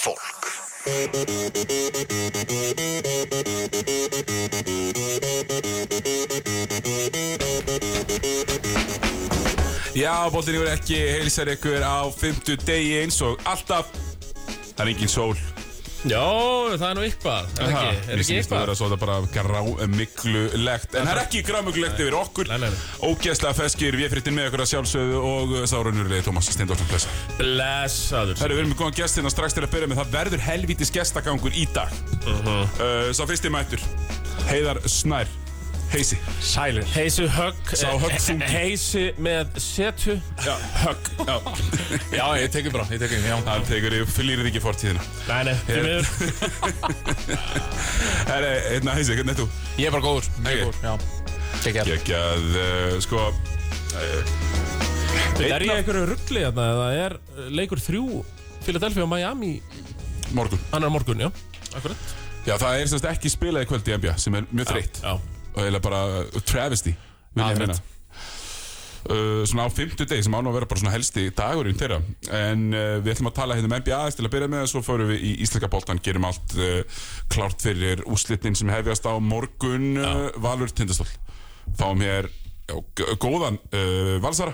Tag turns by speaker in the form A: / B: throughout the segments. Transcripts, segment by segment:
A: fólk
B: Já, bóttinni verður ekki heilsar ykkur á fymtu degi eins og alltaf Það er engin sól
C: Já, það er nú eitthvað Er
B: Aha,
C: ekki, er
B: mér
C: ekki
B: sýnist að
C: eitthvað
B: vera svolítið bara grámiglulegt En það er ekki grámiglulegt yfir okkur
C: Nei, nei, nei.
B: Ógeðslega feskir, við frittin með ykkur að sjálfsögðu Og sárunurlegi Tómas Steindórsson Plessa
C: Blessaður
B: Það eru verið með góðan gest hérna strax til að byrja með Það verður helvítis gestagangur í dag uh Sá fyrsti mættur Heiðar Snær Heisi
C: Sælir Heisu högg eh,
B: Sá högg þungi.
C: Heisi með setu
B: Já, högg Já,
D: Já, ég tekur bara, ég tekur, já
B: hann tekur yfir, flýrið ekki fortíðina
C: Nei, nei, því
B: Ég-
C: miður
B: Herre, hérna Heisi, hvernig er þú?
D: Ég er bara góður, mjög
B: Ok.
D: góður, já Tekja
B: Gekkjað, uh, sko
C: Er ég
B: Einna-
C: einhverju ruggli hérna eða er leikur þrjú Philadelphia og Miami
B: Morgun
C: annar morgun, já Akkurat
B: Já, það er semst ekki spilað í kvöld í NBA sem er mjög þreytt
C: Já
B: og eiginlega bara uh, travesty vil
D: Já,
B: ég meina
D: þreytt.
B: Uh, svona á fymtu deg sem án að vera bara svona helsti dagurinn þeirra en uh, við ætlum að tala hérna um NBA aðeins til að byrja með og svo förum við í Íslika boltan gerum allt uh, klárt fyrir úslitin sem hefjast á morgun uh, Valur Tindastól fáum hér já, g- góðan uh, Valsara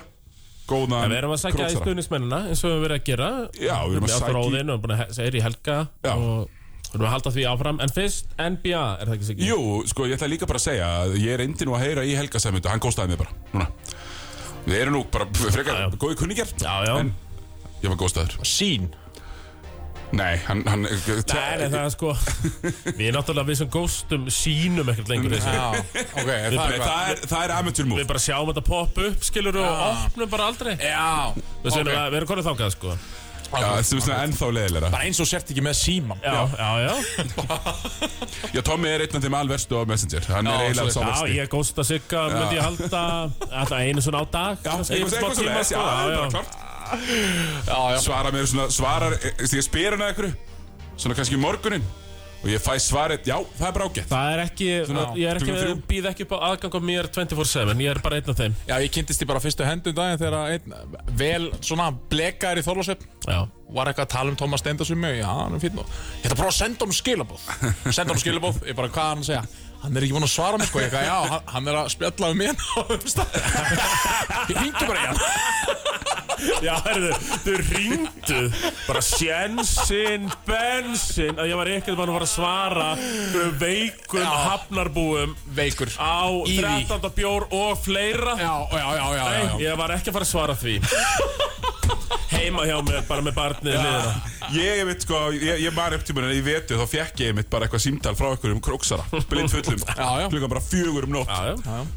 B: góðan
C: Við erum að sækja í
B: Króksara.
C: stuðnismennina eins og við erum verið að gera
B: Já, við erum að sækja í-
C: Við erum búin að segja í helga
B: Já.
C: og við erum að halda því áfram En fyrst NBA, er það ekki sikkert?
B: Jú, sko, ég ætla líka bara að segja að ég reyndi nú að heyra í Helga Sæmundu, hann góstaði mig bara, núna. Við erum nú bara frekar
C: Já, já.
B: góði kunningjar.
C: Já, já.
B: En ég var góstaður.
D: Sín
B: Nei, hann... hann
C: Nei, nei, það er sko Við erum náttúrulega við sem góstum sínum ekkert lengur þessu
D: Já, ok, er það
B: Nei,
D: eitthvað
B: það er, það er amateur move.
C: Við bara sjáum þetta poppa upp, skilur og opnum bara aldrei
E: Eh,
D: Já,
C: Þess
D: ok
C: vegna okay. við erum konið þangað, sko Já,
B: Já, sem er svona ennþá leiðilegra.
D: Bara eins og sért ekki með síman
C: já, já
B: Já, Tommi er einn af þeim alverstu á Messenger. Hann
D: Já,
B: er eiginlega
D: svo-
B: sá
C: Já,
B: versti.
C: ég gósta sigga, myndi ég halda Alltaf einu svona á dag
B: Já,
C: kannski,
B: eitthvað
C: smá
B: eitthvað svona,
C: tíma,
B: já,
C: sko.
B: það er bara klart.
D: Já, já
B: Svara mér svona, svarar, því ég spyr hann að ykkur, svona kannski morgunin, og ég fæ svarið, já, það er bara ágætt.
C: Það er ekki, ég
B: klukkan
C: er ekki,
B: þrjú.
C: býð ekki upp á aðgang á mér 24-7, ég er bara einn af þeim
D: Já, ég kynntist því bara fyrstu hendum daginn þegar einn vel svona blekaður í Þorlósöfn
C: Já,
D: var eitthvað að tala um Tómas Stendars við mig, já, hann er fínn og ég ætla að prófa að senda honum skilabóð senda honum skilabóð, ég bara, hvað er hann að segja hann er ekki búinn að svara mér, sko, ég eitthvað, já, hann- hann er að spjalla um mér á umstað ég hingi bara í hann
C: já herðu, þau ringdu bara sjensinn, bensinn að ég var ekkert mann að fara að svara einhverjum veikum
D: Já.
C: hafnarbúum
D: veikur,
C: á
D: í því
C: 13. bjór og fleira
D: já, já, já, já, já, já.
C: Ég var ekki að fara að svara því Heima hjá mér, bara með barnið liðina
B: Ég, ég veit, sko, ég, ég man upp tímunin í vetu, þá fekk ég mitt bara eitthvað símtal frá ykkur um króksara, blind fullum,
D: Já, já.
B: klukkan bara fjögur um nótt.
C: Já, já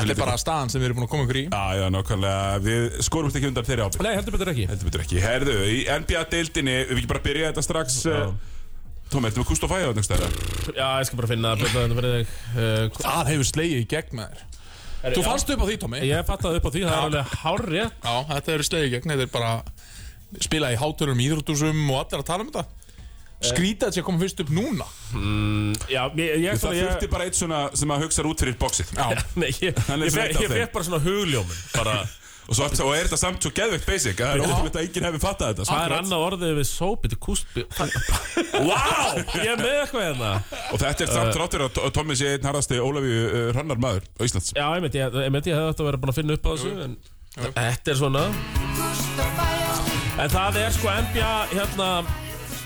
D: þetta er bara staðan sem við erum búin að koma ykkur í
B: Já, já, nákvæmlega, við skorumst ekki undan þeirri ábyrg
C: Nei, heldur betur ekki
B: Heldur betur ekki, herðu, í NBA-deildinni Við ekki bara byrja þetta strax uh, Tómi, ertu með Kust og Fæða nægst þeirra?
C: Já, ég skal bara finna að byrja þetta fyrir þig uh,
D: það hefur slegið í gegn með þér þú fannst upp á því, Tómi
C: Ég fattaði upp á því, það er alveg hárrétt
D: já, þetta hefur slegið í gegn, þetta er bara spilað í háturum, íþróttusum og allir að tala um þetta skrýta þetta sé að koma fyrst upp núna
C: Já, ég, ég,
B: Það
C: ég,
B: þurfti bara eitt svona sem að hugsa út fyrir bóksið
D: já,
C: Nei, ég,
B: Hann er
C: ég,
B: svo
C: ég,
B: einn af
C: ég
B: þeim.
C: fekk bara svona hugljómun bara,
B: og, svo, og er þetta samt svo geðveikt basic að Það er ótrúlega að enginn hefði fattað þetta
C: Það er
B: sko.
C: annað orðið við sópi til kústbjó Vá, ég er með eitthvað hérna
B: Og þetta er samt ráttur að Tó- Tommi sé einn harðasti Ólafi uh, Hrannar maður á Íslands
C: Já, ég meinti, ég, ég, meinti, ég hefði þetta verið búin að finna upp á þessu En þetta er svona En það er sko NBA hérna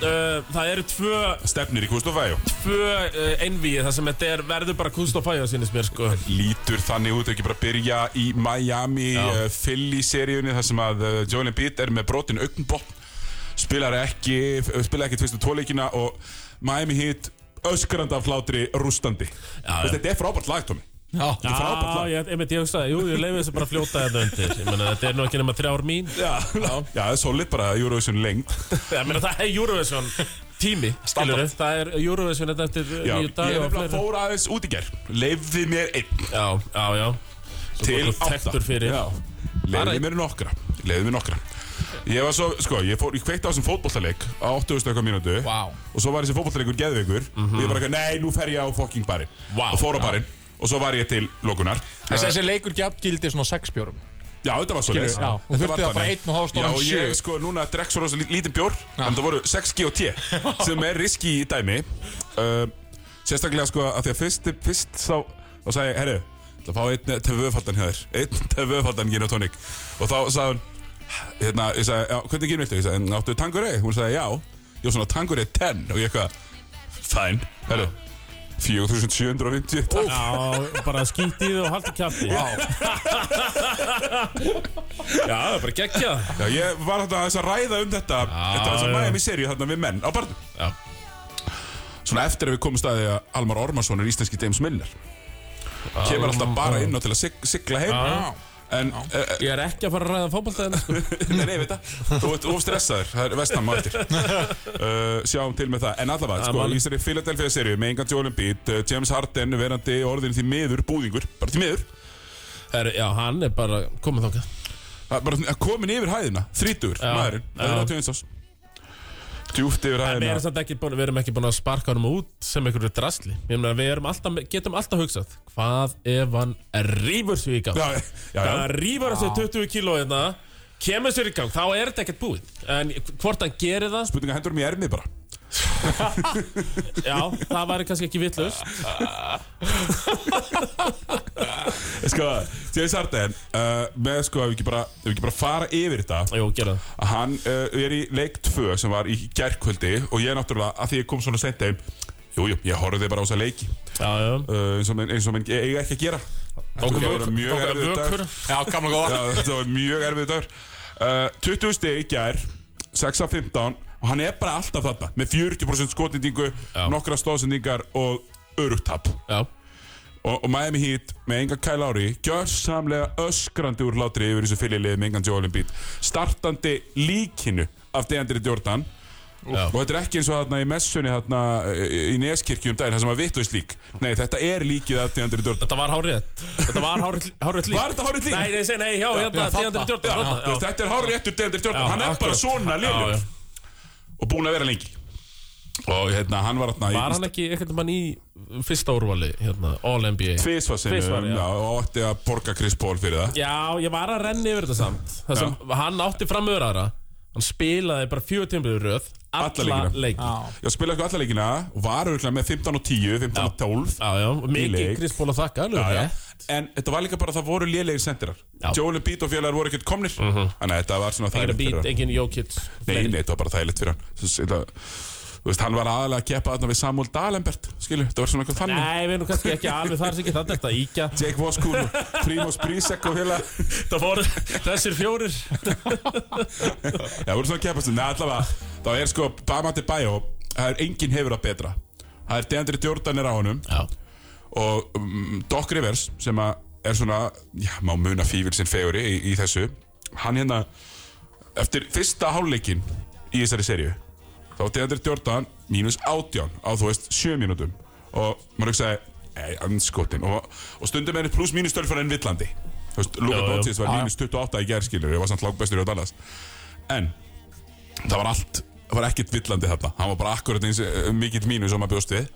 C: Uh, það eru tvö,
B: Stefnir í Kust og Fæða
C: tvö uh, einvíð þar sem þetta er verður bara kúst og fæða sínist mér sko
B: Lítur þannig út ekki bara að byrja í Miami uh, Philly-seríunni þar sem að uh, Joel Embiid er með brotin augnbótt spilar ekki eh, spilar ekki tvistu tóleikina og Miami Heat öskrandi af hlátri rústandi
C: já.
B: Þetta er frábært lag, Tómi
D: já,
B: er frábært
C: Já,
B: lag.
C: ég, ég meinti, ég hugsaði, jú, ég leiði þessu bara að fljóta þetta undir Ég meina, þetta er nú ekki nema þrjár mín
B: Já, það er solid bara Eurovision lengt
C: Ég meina, það er Eurovision tími, skilur
D: Standard.
C: Það er Eurovision þetta eftir
B: Já,
C: nýju
B: ég
C: dag og
B: nefnilega
C: fleiri
B: fór aðeins út í ger Leifði mér einn
C: Já, já, já Svo
B: til
C: bara
B: átta
C: Þekktur fyrir
B: Já,
C: Bara
B: Leifði
C: einn.
B: mér nokkra Leifði mér nokkra Ég var svo, sko, ég fór, ég kveikti á þessum fótbollaleik á 80 stökkum mínútu
D: Vá.
B: og svo var þessi fótbollalegur geðveikur og ég bara, eitthvað, nei, nú fer ég á fucking barinn
C: Vá.
B: og fór á barinn og svo var ég til lokunar
D: Þessi, þessi leikur gætt gildi svona 6 bjórum
B: Já, þetta var svo
D: Skilur,
B: leiðis.
D: já. Þú þurfti að fara einn og hálf stóran
B: Já, og
D: sjö.
B: ég sko núna drekk svo rosa lí- lítið bjór, en það voru 6G og T, sem er riski í dæmi. Uh, sérstaklega sko að því að fyrst, fyrst sá, þá sagði ég, herru, það fá einn tvöfaldan hjá þér, einn tvöfaldan gin og tónik. Og þá sagði hún, hérna, ég sagði, já, hvernig gin viltu? Ég sagði, "En áttu tangurei? Hún sagði, já, ég var svona tangurei 10 og ég eitthvað, fæn, herru, 4750, takk.
C: Já, bara skýtt í þið og haldi kjátti Já, það er bara geggja
B: Já, ég var þarna aðeins að ræða um þetta Þetta var þess að
C: já.
B: Miami serju þarna við menn á barnum
C: Já.
B: Svona eftir að við komum staði að Almar Ormarsson er íslenski James Miller Kemur alltaf bara inn á til að sig, sigla heim En, eh, eh,
C: Ég er ekki að fara að ræða fótbolta en sko
B: nei, nei, veit það Þú ert ofstressaður, það er vestam á eftir uh, Sjáum til með það, en allavega sko,
C: málið.
B: Í þessari Philadelphia serju með engan Jólin Beat uh, James Harden verandi orðin því miður búðingur Bara því miður,
C: er, Já, hann er bara komið þókað
B: Það er bara komin yfir hæðina Þrítur,
C: Já,
B: maðurinn,
C: já.
B: það er 21 ás Djúft yfir
C: Við erum,
B: hæðina
C: samt ekki búin, við erum ekki búin að sparka honum út sem einhverju drasli Ég meina, Við erum alltaf, getum alltaf hugsað Hvað ef hann rýfur sig í gang
B: Já, já, já.
C: Það rýfur sig 20 kíló hérna Kemur sér í gang, þá er þetta ekkert búið En hvort hann gerir það,
B: Spurninga hendur um í ermið bara
C: já, það væri kannski ekki vittlust
B: Sko, James Harden uh, Með sko, ef við ekki bara, ef við ekki bara fara yfir þetta
C: Jú, gera það
B: að Hann uh, er í leik 2 sem var í gærkvöldi Og ég náttúrulega, að því ég kom svona sent heim Jú, jú, ég horfði bara á þessa leiki
C: Já, já
B: uh, Eins og menn, eins og menn eiga ekki að gera Þetta
C: Tókum
B: var
C: vökur,
B: mjög
C: tókum
B: erfiður dagur.
C: vökur
D: Já, gamla
B: Já,
D: góða
B: Þetta var mjög erfið dagur uh, 20 steg í gær 6 af 15 Og hann er bara alltaf þarna Með 40% skotendingu,
C: Já.
B: nokkra stóðsendingar Og örugtap
C: Já,
B: og, og Miami Heat með engan Kyle Lowry gjörsamlega öskrandi úr látri yfir þessu fyrirlið með engan Joel Embiid startandi líkinu af Deandre Jordan
C: Já.
B: og þetta er ekki eins og þarna í messunni þarna eh, í Neskirkju um daginn það sem var vittlust lík nei þetta er líkið af Deandre Jordan
C: þetta var hárið Þetta var hárið lík
B: Var þetta hárrétt lík?
C: Nei, nei, segi, nei, já, hérna,
D: já, þarna.
C: tíðandur
B: Já,
C: djórn
B: þú veist, þetta er hár réttur Deandre Jordan
C: Já,
B: hann er bara
C: akkurat.
B: svona
C: Já,
B: liður og búin að vera lengi og hérna hann var þarna
C: Var
B: í
C: hann ekki einhvern veginn í fyrsta úrvali, hérna, All-NBA?
B: tvisvar sem
C: Tvisvar, já.
B: og átti að borga Chris Paul fyrir það
C: Já, ég var að renna yfir þetta samt Það sem hann átti fram öðru aðra Hann spilaði bara fjögur tímbriður röð
B: Alla
C: Alla
B: leikina.
C: leiki
D: Já.
B: Já, spilaði ekki alla leikina og var auðvitað með 15 og 10, 15 og 12
C: Já, já, og mikið
B: leik.
C: Chris Paul að þakka alveg
B: já, já.
C: rétt.
B: En þetta var líka bara að það voru lélegir sendirar
C: Já. Mhm.
B: Joel Embiid og félagar voru ekkert komnir Þannig að þetta var svona
C: Engin
B: þægilegt fyrir
C: beat,
B: hann
C: engin Jokic
B: Nei,
C: fleiri.
B: nei, þetta var bara þægilegt fyrir hann Þú veist, þetta- Þú veist, hann var aðalega að keppa þarna við Samuel Dalenbert Skilju, þetta var svona eitthvað þannig
C: Nei, við erum kannski ekki alveg þar sem ekki þannig þetta íkja
B: Jake Voskúl og Primoz Brisek og félag
C: Það voru þessir fjórir
B: Já, voru svona að keppast um. Nei, allavega, þá er sko Bama til bæjó Það er enginn hefur að betra Það er Deandre Jordan er á honum
C: Já,
B: og um, Doc Rivers sem að er svona, já, má muna fífil sinn feguri í, í þessu hann hérna, eftir fyrsta hálfleikin í þessari serju þá var Deandre Jordan mínus átján á þú veist sjö mínútum og maður hugsaði, ei, anskotin og, og stundum er pluss mínus tölfur en villandi þú veist, Luka
C: Já, já.
B: Doncic var mínus 28 í gerðskilur og var samt langbestur í Dallas en það var allt, það var ekkert villandi þarna hann var bara akkurat eins eh, mikill mínus og maður bjóst við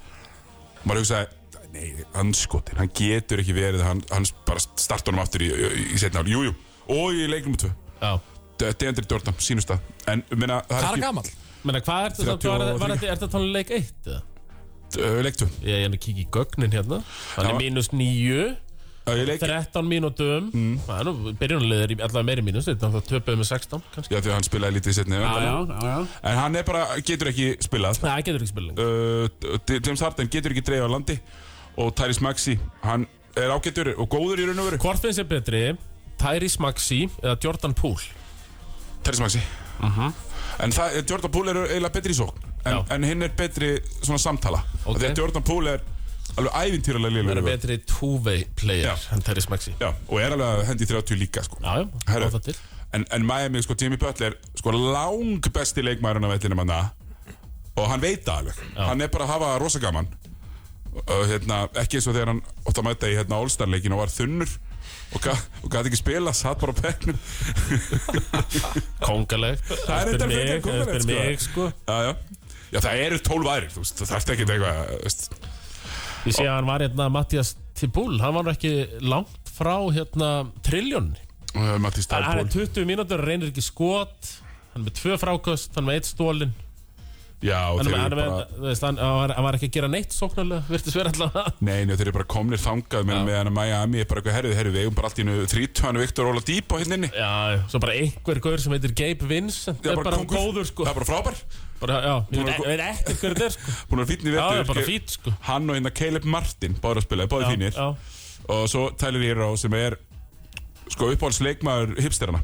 B: maður hugsaði, nei, anskotin hann getur ekki verið, hann, hann bara starta honum aftur í, í, í setna ári, jújú og í leiknum tvö,
C: já
B: D- Deandre Jordan, sínust það, en minna, það
D: Hvað er gammal?
C: Menna, hvað er þetta?
B: 33.
C: Var, var, þetta- er þetta tónlega um leik 1?
B: ekki uh, leik tvö,
C: Ég er hérna að kíkja í gögnin hérna Hann
B: Já.
C: er mínus níu
B: uh, leik,
C: 13 mínútum
B: Mm.
C: Það er nú byrjunarlið er í- allavega meiri mínus Þetta er töpuð með 16 kannski
B: já því að hann spilaði lítið í setni
C: já, já
B: en hann er bara, getur ekki spilað
C: Það getur ekki spilning
B: uh, D- James Harden getur ekki dreifað landi og Tyrese Maxey, hann er ágættur og góður í raun og veru,
C: Hvort finnst þér betri Tyrese Maxey eða Jordan Poole
B: Tyrese Maxey en það, Jordan Poole er eiginlega betri í sókn en,
C: Já.
B: en hinn er betri svona samtala
C: Ok.
B: okay. því að Jordan Poole er alveg ævintýralega
C: Það er
B: liður
C: betri two-way player
B: Já.
C: en Tyrese Maxey
B: Já, og er alveg að hendi 30 líka sko.
C: Já, já,
B: Herru.
C: á það til
B: en, en Miami, sko, Jimmy Butler sko lang besti leikmærin af vellinum hann og hann veit það alveg hann er bara að hafa rosa gaman uh, hérna, ekki eins og þegar hann ótt að mæta í hérna, All-Star-leikin og var þunnur og, ga, og gæti ekki spila, satt bara á bekknum
C: Kongaleg
B: Það er þetta frekar kóngulegt,
C: Spyr
B: sko.
C: mig, sko
B: já, já. já, það eru 12 aðrir þú veist, það þarf ekki eitthvað þú veist.
C: Ég sé að hann var hérna Mattias Tibúl Hann var nú ekki langt frá hérna triljónni
B: uh, Matís
C: Hann hann er
B: Tálból
C: 20 mínútur, reynir ekki skot Hann er með tvö frákast, hann er með eitt stólin
B: Já, og
C: Hann,
B: þeir
C: er
B: eru
C: með, hann, er með,
B: bara
C: þú veist, hann, hann, var, hann var ekki að gera neitt sóknarlega Virtist vera allavega
B: Nei, nei, þeir eru bara komnir þangað meðan með hann að Miami er bara eitthvað herrið, herrið, við eigum bara allt í nú 30 Viktor Óla Dýb á hérna hinninni
C: Já, já, svo bara einhver gaur sem heitir Gabe Vincent
B: Já,
C: er bara
B: kóngur.
C: góður sko
B: Það er bara frábær
C: bara, Já, ég
B: Bara
C: veit,
B: kó-
C: veit ekkert hver þetta er sko
B: Búin að fýtni
C: Já, það
B: vetur
C: er bara fít sko
B: Hann og hérna Caleb Martin báður að spila, báður
C: Já,
B: fínir
C: já.
B: Og svo Tyler Hero sem er sko uppáhaldsleikmaður hipsterana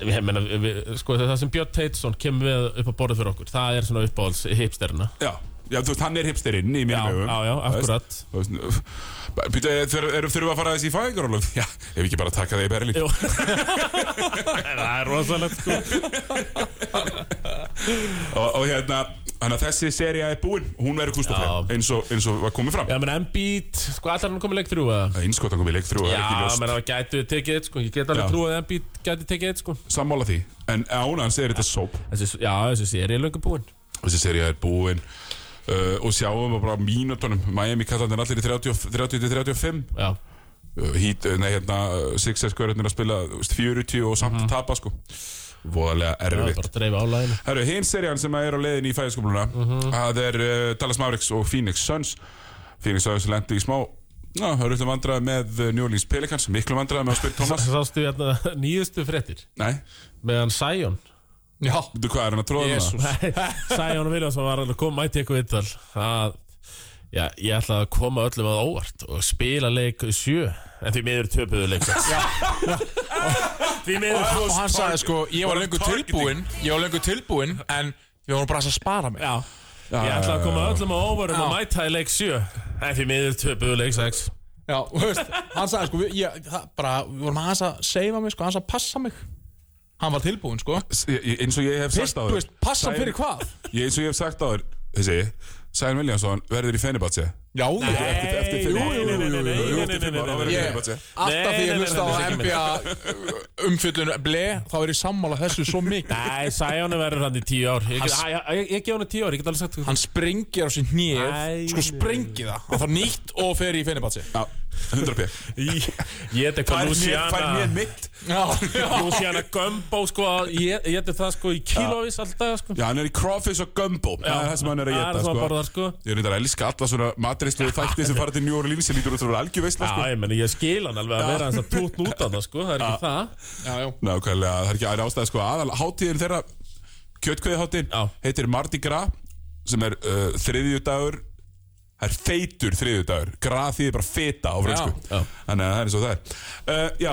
C: Ég meina, við, sko, það sem Björn Teitsson kemur við upp á borðið fyrir okkur Það er svona uppáhalds hipsterina
B: Já, já þú veist, hann er hipsterinn í
C: Já,
B: mínum augum.
C: já, já,
B: Þú veist,
C: akkurat
B: þú veist, bara, Býtu, eh, þur- eru- þurfum við að fara þessi í fæðingarólu? Já, ef við ekki bara taka það í Berlín
C: Jú Það er rosalegt sko
B: og, og hérna, þannig að þessi seria er búin Hún verður kústafræð, eins, og- eins og var komið fram
C: Já, menn, Embiid, sko, allar hann komið leik þrjú eða?
B: Það er innskot að komið í leik þrjú, það er ekki
C: Já,
B: ljóst
C: menn, það gætu tekið eitt, sko, ég get alveg
B: Já.
C: trú að Embiid gæti tekið eitt, sko.
B: Sammála því, en án hans er þetta sóp
C: Þessi, já, þessi séri er löngu búinn.
B: Þessi seria er búin uh, Og sjáum við bara mínutunum Miami kallandir allir í 30-35
C: Já,
B: uh, Heat, uh, nei hérna uh, Sixers hverjarnir að spila þú veist, 40 og
C: Mhm.
B: samt tapa sko Voðalega
C: það
B: erfitt
C: er bara að dreifa álæðinu.
B: Herru, hinn serían sem er á leiðin í fæðiskopluna Það er uh, Dallas Mavericks og Phoenix Suns Phoenix Suns lendi í smá Ná, það eru alltaf vandrað með uh, New Orleans Pelicans Miklu vandrað með að spyrja Thomas
C: Sástu hérna nýðustu fréttir
B: Nei,
C: með hann Sæjón.
D: Já,
B: veitu hvað er hann að tróða
D: Jesús.
B: það?
C: Sæjón Viljánsson var alveg kom mæti eitthvað viðtal. Það, já, ég ætlaði að koma öllum að óvart og spila leik sjö, en því miður töpuðu leik sex. því miður,
D: og hann sagði sko, ég var lengur
B: targeting.
D: tilbúinn Ég var lengur tilbúinn, en við vorum bara að spara mig
C: já. Ég ætlaði að koma öllum að óvarum og mæta í leik 7 En því miður töpuðu leik 6
D: Já, og þú veist, hann sagði sko, við- ég, það, bara, við vorum aðeins að seifa mig, sko, aðeins að passa mig Hann var tilbúinn, sko
B: S- ég- Eins og ég hef
D: Fyrst,
B: sagt á
D: þú
B: þér
D: veist, passa
B: Sæl-
D: fyrir hvað?
B: Ég eins og ég hef sagt á þér Þessi, Sæn Viljánsson verður í Fenerbahce
D: Já, ég,
B: Eftir- eftir fimm-
C: Nei, nei, nei, nei, nei, nei,
B: Jú, jú, jú, jú,
C: nei, nei,
B: eftir fimm
C: nei,
B: ár,
C: nei,
B: þá verður í
D: Ég,
B: Fenerbahce.
D: alltaf því
C: Nei, nei,
D: ég
C: nei,
D: hlusta á
C: nei, nei, nei,
D: NBA umfjöllun ble, þá er ég sammála þessu svo mikið
C: Nei, Sæjónu verður hann í 10 ár Ég,
D: Hann-
C: Æ, ég, ég, ég gef hann 10 ár, ég get alveg sagt
D: Hann sprengir á sér
C: Æ.
D: hnið, sko sprengir það Hann þarf nýtt og fer í Fenebatsi
B: Já, 100 pjö
C: Ég ég get eitthvað
B: Fær mér
C: Luciana
B: mitt
D: Já,
C: Luciana Gumbo sko, Ég ég get það sko í kílóvis alltaf sko.
B: Já, hann er í crawfish og gumbo Það er það sem hann er að
C: Það er
B: geta
C: það
B: sko.
C: bara þar, sko.
B: Ég reyndar að elska alla svona matrislu þætti sem fara til New Orleans sem lítur út frá algjöfisla
C: Já,
B: sko.
C: ég meni, ég skil hann alveg að vera hans að tótt út á það sko, það er ekki það
D: já, já
B: Nákvæmlega, það er ekki aðra ástæði sko aðal Hátíðin þeirra,
C: Já.
B: kjötkveðiháttíðin heitir Mardi Gras sem er uh, þriðjudagur Það er feitur þriðjudagur Gras þýðir bara feta á fransku
C: Já, já.
B: Þannig að það er eins og það er uh, Já,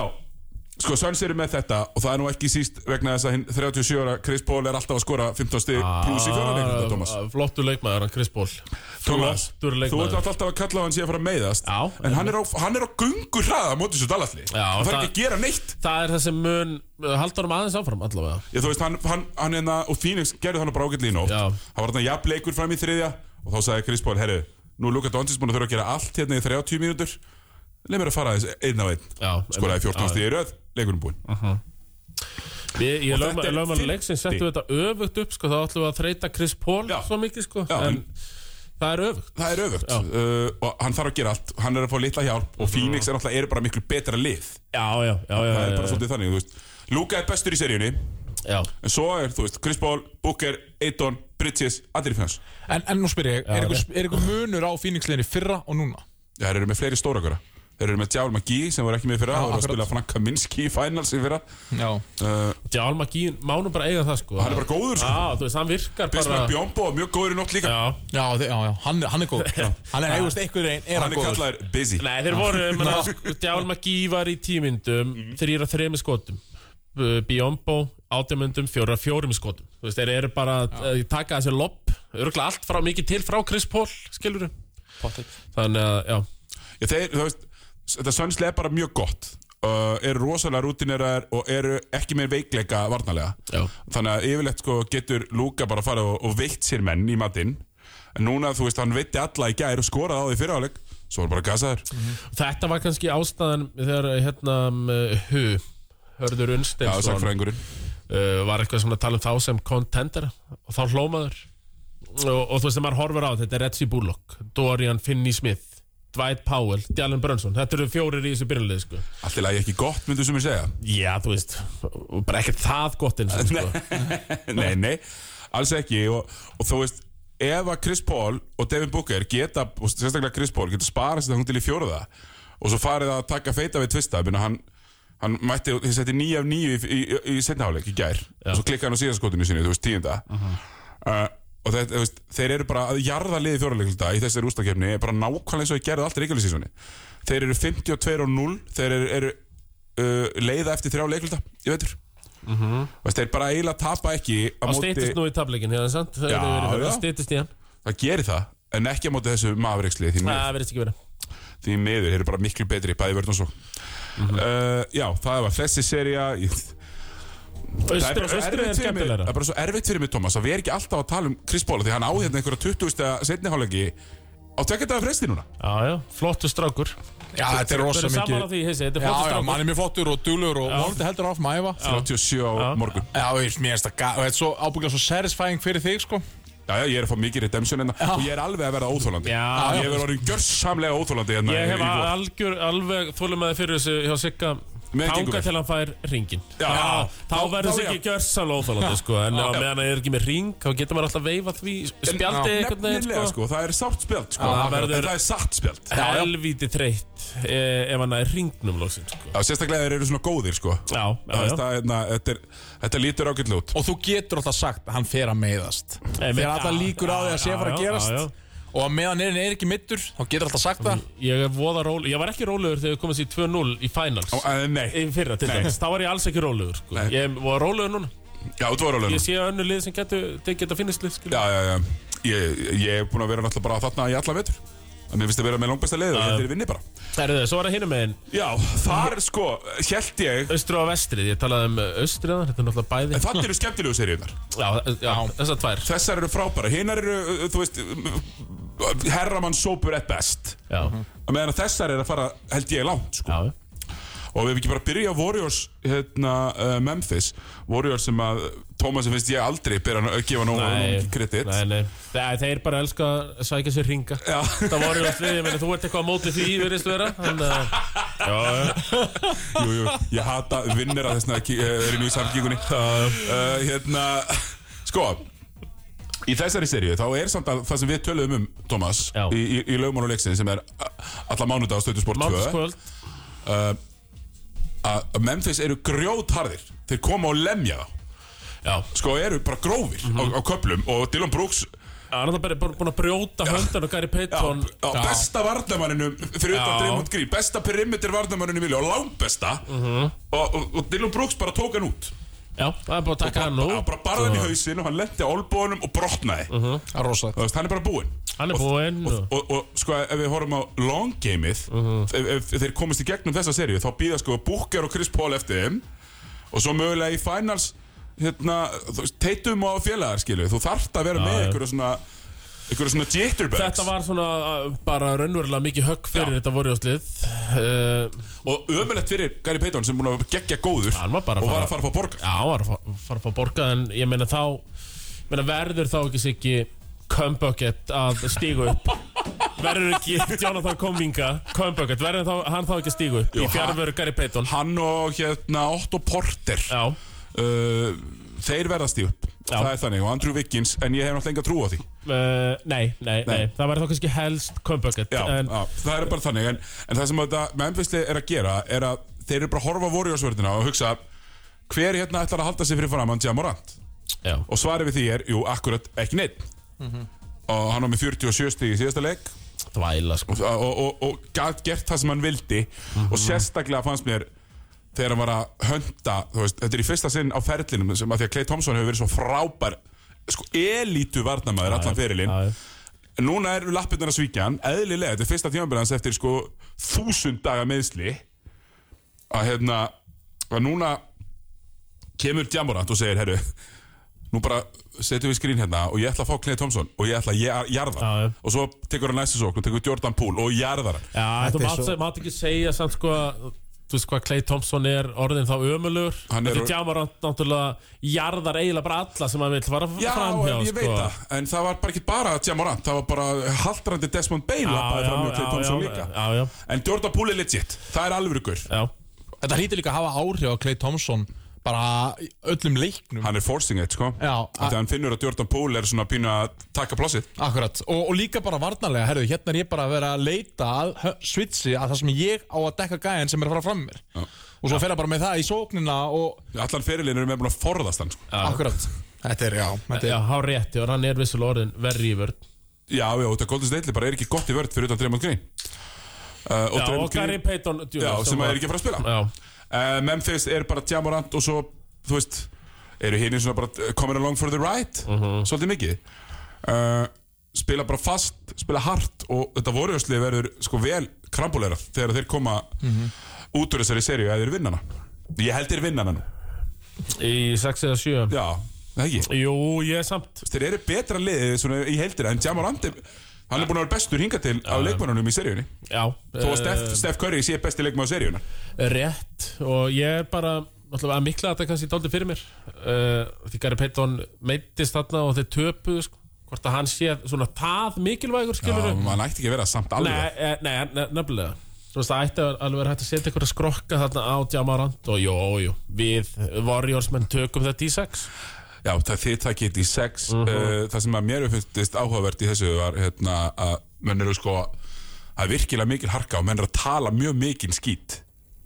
B: sko Söns eru með þetta og það er nú ekki síst vegna þess að hinn 37 ára Chris Paul er alltaf að skora 15 stig pluss í fjóranleikunda, Thomas
C: Ah, Flottur leikmaður, hann Chris Paul
B: Thomas,
C: Flottur
B: þú ert
C: leikmaður
B: alltaf að kalla á hann síðan að fara að meiðast
C: Já,
B: En hann er á, hann er á gungu hraða mótið svo dalalli
C: Já,
B: Hann þarf
C: það-
B: ekki að gera neitt
C: Það er það sem mun uh, halda honum aðeins áfram allavega
B: Ég, Þú veist, hann, hann, hann hérna, og Phoenix gerði hann bara ágætlega í nótt
C: Já.
B: Hann var þarna jafnleikur fram í þriðja Og þá sagði Chris Paul, herru, nú er Luka Doncic búin að þurfa að gera allt hérna í 30 mínútur Leif mér að fara aðeins einn á einn
C: Já,
B: Skoraði 14 stíð í röð, leikunum búinn
C: Við, ég
B: Og
C: lögum
B: þetta er
C: að
B: 50.
C: leik sem settum við þetta öfugt upp sko, þá ætlum við að þreita Chris Paul
B: Já.
C: svo mikið sko,
B: Já,
C: en það er öfugt
B: Það er öfugt uh, Og hann þarf að gera allt, hann er að fá litla hjálp Og Phoenix er alltaf, er bara miklu betra lið
C: Já, já, já, já,
B: Það er bara
C: já,
B: svolítið þannig, þú veist Luka er bestur í seríunni
C: já.
B: En svo er, þú veist, Chris Paul, Booker, Eiton, Bridges, allir í fjans
D: En, en nú spyr ég, er
C: Já,
D: einhver- er einhver munur á Phoenix-liðinni fyrra og núna?
B: Já, þeir eru með fleiri stóra góra Þeir eru með Djál McGee sem voru ekki með í fyrra
D: Já,
B: Þeir voru að
D: akkurat.
B: spila Frank Kaminski í finals í fyrra uh,
D: Já
C: Djálma Gín, mánum bara eiga það sko
B: Hann er bara góður, sko
C: Já, þú veist, hann virkar bara
B: Bismarck Bjombo og mjög góður í nótt líka
C: Já,
D: Já, þe- já, já, hann, hann er góð Hann er eigust einhver einn, er hann
B: Hann er
D: góð
B: kallaður Busy
C: nei, þeir voru Djálma Gín var í tímyndum
B: Mhm.
C: þrýra þremi skotum B- Biombo, átjámyndum, fjóra fjórum í skotum Þú veist, þeir eru bara að eh, taka þessi lopp, örgulega allt frá mikið til frá Chris Paul, skilur Þannig að, já,
B: Já, þeir, þú veist, þetta sönslega er bara mjög gott uh, Eru rosalega rútineraðar og eru ekki með veikleika varnalega
C: Já.
B: Þannig að yfirleitt sko getur Luka bara að fara og, og veitt sér menn í matinn En núna, þú veist, hann veitti alla í gær og skoraði á því fyrra áleik Svo er bara gasaður
C: Þetta var kannski ástæðan þegar hérna eh, Hu, Hörður
B: Já,
C: Unnsteinsson
B: sagfræðingurinn
C: uh, var eitthvað svona að tala um þá sem contender og þá hlómaður og, og þú veist þegar maður horfir á þetta þetta er Reggie Bullock, Dorian Finney Smith Dwight Powell, Dylan Brunson Þetta eru fjórir í þessu byrjulegi sko.
B: Allt í lagi ekki gott, myndu sem ég segja
C: Já, þú veist, bara ekkert það gott eins og sko.
B: Nei, nei, alls ekki og, og þú veist, ef að Chris Paul og Devin Booker geta, og sérstaklega Chris Paul geta sparað sér þangum til í fjóruða og svo farið að taka feita við tvista minna, hann, hann mætti, þið setti nýja af nýju í, í, í setnaháleik í gær og svo klikkaði hann á síðanskotinu sinni, þú veist, tíunda uh, og þeir, veist, þeir eru bara að jarða liði fjóruleikulta í þessari ústakefni bara nákvæmlega eins og ég gerði alltaf reykjulegsísunni þeir eru 52 og 0 þeir eru, eru uh, leiða eftir þrjá leikulta í veitur Þú veist, þeir bara eiginlega tapa ekki á
C: Það
B: móti,
C: stýttist nú í tableikin, hérna, sant?
B: Já, já.
C: Það stýttist í hann
B: það gerir það en ekki á móti þessu mafriksli því,
C: Nei,
B: miður.
C: það verðist ekki verið
B: því miður, þeir eru bara miklu betri bæði vörn og svo
C: Mhm.
B: uh, já, það var þessi seria ég, það
C: Östur
B: bara
C: og
B: svo erfitt
C: östur er
B: fyrir mig- það
C: skemmtilegra
B: er bara svo erfitt fyrir mig, Thomas að við erum ekki alltaf að tala um Chris Bóla því hann á hérna einhverja 20. setni hálflegi á tvekja dagar fresti núna
C: Já, já, flottu strákur
D: Já, þetta er
C: Þú
D: rosa
C: eru saman á
D: mikið
C: því, heisi, þetta er
D: Já,
C: flottu
D: já,
C: strákur
D: mann er mjög flottur og dulur og vonandi heldur áfram að æfa
B: 37 á morgun
D: Já, ég veist, mér finnst það gæð og þetta er svo ábyggilega svo satisfying fyrir þig, sko
B: já, já, ég er að fá mikið redemption hérna og ég er alveg að verða óþólandi
C: Já,
B: ég er orðin gjörsamlega óþólandi hérna
C: Ég
B: í-
C: hef
B: í vor.
C: algjör, alveg þólumæði fyrir þessu hjá Sigga
B: Með gengur
C: Tanga
B: vel.
C: til hann fær ringin
B: Já.
C: Þá
B: Þá-
C: verður
B: þá
C: þessi
B: já.
C: ekki gjörsann óþálandi sko, En á meðan það er ekki með ring Þá getur maður alltaf veifað því Spjaldi einhvern veginn
B: Nefnilega
C: sko.
B: sko, það er sátt spjald sko.
C: Já, það
B: En
C: verður-
B: það er satt spjald
D: já.
C: Helvíti þreytt e, Ef hann er ringnum lóksinn sko.
B: Já, sérstaklega þeir eru svona góðir sko
C: Já, já,
B: Það,
C: já.
B: það, hérna, þetta, er, þetta lítur ágætlega út
D: Og þú getur alltaf sagt að hann fer að meiðast
C: Einmitt.
D: Þegar alltaf
C: Já,
D: líkur á því
C: já,
D: að sé að fara
C: já,
D: að
C: já,
D: gerast
C: já.
D: Og að meðan erin er ekki middur, þá getur alltaf sagt það
C: Ég er voða rólegur Ég var ekki rólegur þegar við komast í 2-0 í finals
B: Ó, eh, Nei,
C: Í fyrra til dæmis Þá var ég alls ekki rólegur sko.
B: Nei.
C: Ég var rólegur núna
B: já, þú var alveg
C: Ég
B: nú.
C: sé önnu lið sem getur geta finnist lið
B: Já, já, já Ég, ég er búin að vera náttúrulega bara þarna í alla vetur En Mér finnst að vera með langbæsta leið og þetta er vinni bara
C: Það er það, svo var það hinum meginn
B: Já, þar sko, held ég
C: Östru og vestrið, ég talaði um austriðan, þetta er náttúrulega bæði
B: En þannig eru skemmtilegu seríunar
C: Já, já, þessar tvær
B: Þessar eru frábæra, hinar eru, uh, þú veist uh, Herramann sópur at best
C: Já,
B: Á Meðan að þessar eru að fara, held ég, langt sko
C: já,
B: Og við hefum ekki bara að byrja á Warriors hérna, uh, Memphis Warriors sem að Thomas finnst ég aldrei byrja að gefa nógu nógu kredit
C: nei, nei Þe- Þeir bara elska að sækja sér ringa
B: Já.
C: Það voru að sliði, meni, þú ert eitthvað á móti því, verðist vera Þannig að,
B: jú, jú, ég hata vinnir að þessna ekki, uh, er í nú í samkíkunni uh, Hérna, sko Í þessari seríu þá er samt að það sem við töluðum um Thomas
C: Já.
B: í, í, í lögmánu leiksin sem er uh, alla mánudag á Stöðusport 2
C: mánskvöld
B: að Memphis eru grjótharðir þeir koma og lemja þá
C: Já, Mhm.
B: sko eru bara grófir á, á köplum og Dylan Brooks
C: hann er það bara bara búin að brjóta höndan og Gary
B: Já,
C: Payton
B: já, besta varnamanninu fyrir utan
C: Já.
B: Draymond Green besta perimeter varnamanninu vilja og langbesta
C: Mhm.
B: og, og, og Dylan Brooks bara tók hann út
C: Já, það er bara að taka hann nú
B: Já, bara barði hann í hausin og hann lendi á olbónum og brotnaði
C: Mhm.
D: Það er rosa
B: Þú veist, hann er bara búinn
C: Hann er búinn
B: og,
C: og-
B: og, og sko, ef við horfum á long gameið
C: Mhm.
B: ef, ef þeir komast í gegnum þessa seríu þá býða sko Booker og Chris Paul eftir þeim og svo mögulega í finals hérna, þú veist, teitum og félagar skilu þú þarft að vera með
C: já.
B: einhverju svona einhverju svona jitterbugs
C: Þetta var svona uh, bara raunverulega mikið högg fyrir
B: Já.
C: þetta Uh, voru á slið
B: og ömulegt fyrir Gary Payton sem búin að gegja góður
C: Hann var bara að
B: og var
C: fara-
B: að fara að fá borga
C: Já, hann var að fá- fara að fá borgað en ég meina þá meina verður þá ekki Siggi Kumbucket að stígu upp verður ekki Jonathan Kominga Kumbucket, verður þá, hann þá ekki að stígu upp
B: Jú,
C: í fjárveru Gary Payton
B: hann og hérna Otto Porter
C: Já,
B: uh, þeir verðast í upp
C: Já.
B: það er þannig og Andrew Wiggins en ég hef náttúrulega enga trú á því
C: uh, nei, nei, nei,
B: Nei.
C: það verður þá kannski helst Kumbucket
B: já,
C: en,
B: já, það er bara þannig en, en það sem þetta Memphisli er að gera er að þeir eru bara að horfa á vorjósvörðina og hugsa hver hérna ætlar að halda sig fyrir framann Jamorant
C: já,
B: og svarið við því er, jú, akkurat ekki neitt
C: Mhm.
B: og hann var með 47 stig í síðasta leik
C: þvæla sko
B: og, og, og, og gat gert það sem hann vildi og
C: Mhm.
B: sérstaklega fannst mér þegar hann var að hönda þú veist, þetta er í fyrsta sinn á ferlinum sem að því að Clay Thompson hefur verið svo frábær sko elítu varnamæður allan ferilinn
C: Já,
B: En Núna eru lappirnar að svíkja hann Eðlilega, þetta er fyrsta tímanbyrðans eftir sko Þúsund daga meðsli Að hérna Að núna Kemur Djamorant og segir, herru Nú bara setjum við skrín hérna Og ég ætla að fá Clay Thompson og ég ætla að jar- jarða
C: Já, já.
B: hann Og svo tekur hann næstu sókn og tekur Jordan Poole og jarðar hann
C: Já,
D: Þetta
C: þú
D: er
C: mátt
D: svo-
C: svo... mát ekki segja samt sko að þú veist hvað Clay Thompson er orðin þá ömulur
B: Hann er-
C: Þetta Jamarant náttúrulega jarðar eiginlega bara alla sem hann vil fara
B: Já,
C: framhjá sko.
B: en ég veit það, en það var bara ekki bara Jamorant, það var bara haldrandi Desmond Bale lappaði fram hjá Clay Thompson líka
C: Já, já,
B: En Jordan Poole er legit, það er alvörugur
C: já
D: Þetta hlýtir líka að hafa áhrif á Clay Thompson bara í öllum leiknum
B: Hann er forcing it, sko
D: Já,
B: Þegar hann finnur að Jordan Poole er svona pínu að taka plossið
D: Akkurat, og, og líka bara varnarlega, herðu, hérna er ég bara að vera að leita að hö- switchi að það sem ég á að dekka gæðin sem er að fara fram mér og svo fer það bara með það í sóknina og
B: Allan fyrirlinn erum við búin að forðast hann, sko
D: akkurat, þetta er, já, þetta er
C: Já, há rétti og hann er vissulega orðin verri í vörð
B: Já, já, og þetta Golden State Lið bara er ekki gott í vörð fyrir utan Draymond Green uh, og,
C: Já,
B: Draymond
C: og Gary Payton Jr.
B: Já, sem er ekki að fara að spila
C: Já,
B: uh, Memphis er bara Jamorant og svo, þú veist eru hinn svona bara uh, coming along for the ride svolítið mikið uh, spila bara fast, spila hart og þetta voruðsli verður sko vel krambuleira þegar þeir koma út úr þessari seríu eða þeir vinna hana ég held þeir vinna hana nú
C: í 6 eða 7
B: já, það ekki
C: Jú, ég er samt
B: þeir eru betra liðið svona í heldina en Jamorant er, hann er búin að vera bestur hinga til af leikmannunum í seríunni
C: Já Eh,
B: þó að Steph, Steph Curry sé besti leikmann á seríuna
C: rétt og ég er bara alltaf að mikla þetta kannski dálítið fyrir mér uh, því Gary Payton meittist þarna og þeir töpuðu sko, hvort að hann sé svona það mikilvægur skilur
B: já, hann ætti ekki að vera samt alveg
C: nei, eh, nei, ne- nefnilega Þú veist, það ætti að alveg vera hægt að setja eitthvað skrokka þarna á Jamarant og jú, jú, við Warriors menn tökum þetta í sex
B: Já, það þið takkið þetta í sex
C: Mhm.
B: uh, Það sem að mér finnst áhugavert í þessu var hérna, að menn eru sko það er virkilega mikil harka og menn eru að tala mjög mikil skít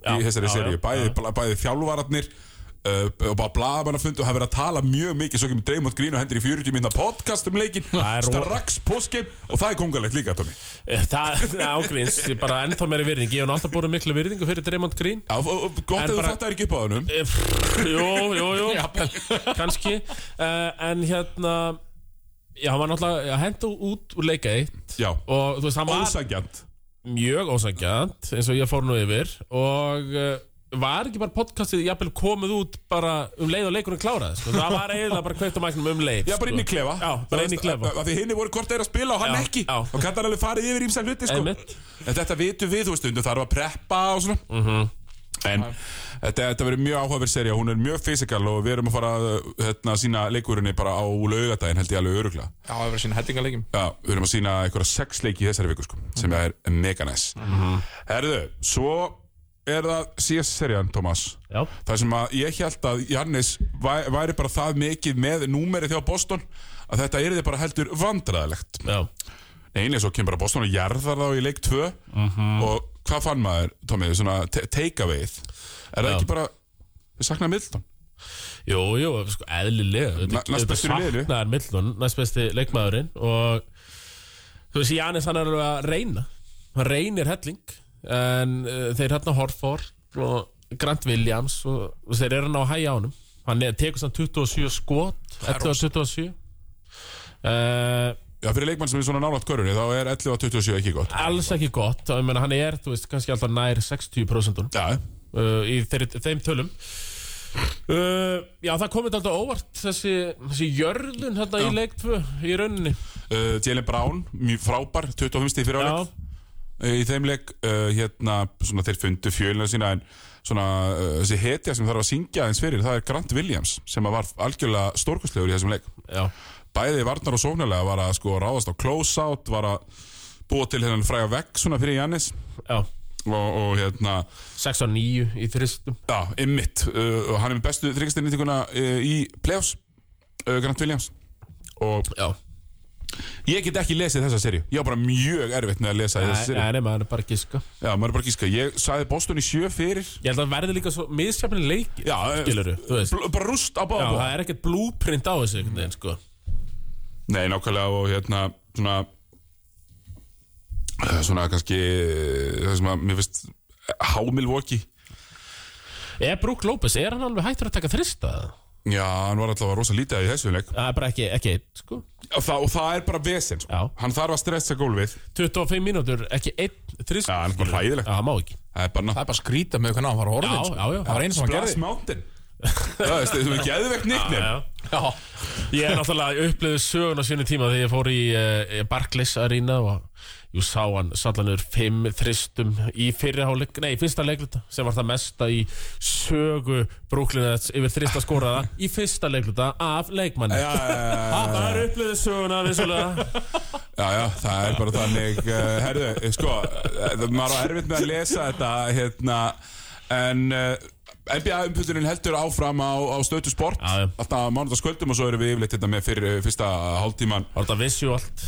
C: Já,
B: í þessari
C: já,
B: seríu,
C: já,
B: bæði, bla- bæði þjálfararnir uh, og bara blaðamannafundu og hafa verið að tala mjög mikið svo kemur Dreymond Grín og hendur í 40 minna podcast um leikin
C: Það er ro-
B: strax póskeim og það er kongalegt líka, Tommy
C: Eh, Það það er ágríns, ég bara ennþá meiri virðing Ég hef náttúrulega búin miklu virðingu fyrir Draymond Green
B: Já, og, og, gott
C: En
B: ef þú
C: bara-
B: þetta er ekki upp á þannum
C: Eh, pff, Jú, jú, jú kannski uh, en hérna já, hann var náttúrulega hendur út úr leika eitt
B: Já,
C: og þú veist, hann var
B: ósangjant
C: mjög ósangjant eins og ég fór nú yfir og uh, var ekki bara podcastið jafnvel komið út bara um leið og leikurinn kláraði sko. það var eiginlega bara kveikt á mæknum um leið
B: Já, bara inn í
C: sko.
B: klefa eh,
C: Já, bara inn í klefa.
B: Af því hinni voru hvort þeir að spila og hann
C: Já,
B: ekki
C: já.
B: Og kannan alveg farið yfir ímsa hluti sko.
C: Einmitt.
B: En þetta vitum við, þú veist, undur þarf að preppa og svona En þetta, þetta verður mjög áhugaverð serja Hún er mjög fysikal og við erum að fara að, hérna, sína leikurinni bara á laugadaginn held ég alveg öruglega
D: Já, það verður sína heldingarleikim
B: Já, við erum að sína einhverja sex leiki í þessari viku sko, sem er mega næs Herðu, svo er það síðast serjan, Thomas
C: já,
B: Það sem að ég held að Jannis væ- væri bara það mikið með númerið þjá Boston að þetta er bara heldur vandræðilegt.
C: já,
B: Einnig svo kemur bara Boston og jarðar þá í leik 2
C: Mhm.
B: og hvað fann maður, Tommy, svona te- takeawayð? Er það
C: Já.
B: ekki bara, við saknaði Middleton?
C: jú, jú, sko, eðlilega
B: Na- næst bestur í liðinu.
C: saknaðar millun, næst besti leikmaðurinn og þú veist, Jánis hann er alveg að reyna hann reynir helling en uh, þeir hérna Horford og Grant Williams og, og þeir eru hann á að hæja ánum hann er, tekur samt 27 skot 11 og 27 uh,
B: Já, fyrir leikmann sem er svona nálaft körunni þá er 11 og 27 ekki gott.
C: alls ekki gott og ég meina, hann er, þú veist, kannski alltaf nær 60% uh,
B: Já,
C: í þeir, þeim tölum uh, já, það komið alltaf óvart þessi, þessi jörðun hérna í leik 2 í rauninni
B: uh, Jalen Brown, mjög frábær, 25 stíð fyrir áleik.
C: já,
B: í þeim leik uh, hérna, svona, þeir fundu fjölina sína en svona, uh, þessi hetja sem þarf að syngja eins fyrir, það er Grant Williams sem að var algjörlega stórkustlegur í þessum leik
C: já
B: bæði varnar og sóknarlega var að sko ráðast á close-out, var að búa til hérna fræga vekk svona fyrir Jannis
C: Já,
B: og, og hérna,
C: 6 og 9 í þristum
B: já, ymmit uh, og hann er með bestu þryggastinnitíkuna uh, í playoffs, uh, Grant Williams og
C: Já,
B: ég get ekki lesið þessa serju ég á bara mjög erfitt með að lesa þessa serju
C: það er maður er bara að giska
B: já, maður er bara að gíska, ég sagði Boston í sjö fyrir
C: Ég held að verði líka svo misjafni leik
B: já, eh,
C: Skilurðu, þú veist Já,
B: Bl- bara rúst á báða
C: það
B: bóða
C: er ekkert blúprint á þessu einhvern veginn, sko
B: Nei, nákvæmlega og hérna svona eh, svona kannski eh, það sem að mér finnst eh, hámilvoki
C: Er Brúk López, er hann alveg hættur að taka þrista?
B: Já, hann var alltaf rosa lítið í þessu leik
C: Það er bara ekki, ekki einn, sko
B: og, það, og það er bara vesen sko.
C: Já.
B: Hann þarf að stressa gólfið
C: 25 mínútur, ekki einn þrist
B: Já, hann er bara hræðilegt
C: Já, það má ekki
B: Það er bara
D: Það
B: nátt
D: er bara skrýta með hvernig hann var orðin
C: Já,
D: sko.
C: já, já.
D: Það var einu sem hann
B: Splash
D: gerði
B: Mountain Það veist, þú er geðvegt nýttnir
C: Já,
D: Já,
C: Ég er náttúrulega upplöðu sögun á sínu tíma þegar ég fór í uh, Barclays Arena og ég sá hann sallanur fimm þristum í fyrirháleik, nei, í fyrsta leikluta sem var það mesta í sögu Brooklyn Nets yfir þrista skoraða í fyrsta leikluta af leikmanni
B: Já, já,
C: Það er upplöðu söguna vissulega
B: já, já, það er bara þannig uh, Herðu, eh, sko, eh, það- maður á erfitt með að lesa þetta hérna, en uh, NBA-umputinin heldur áfram á, á stötu sport
C: Já, já.
B: Alltaf mánudagskvöldum og svo erum við yfirleitt hérna með fyrir eh, fyrsta hálftíman
C: Var þetta visuált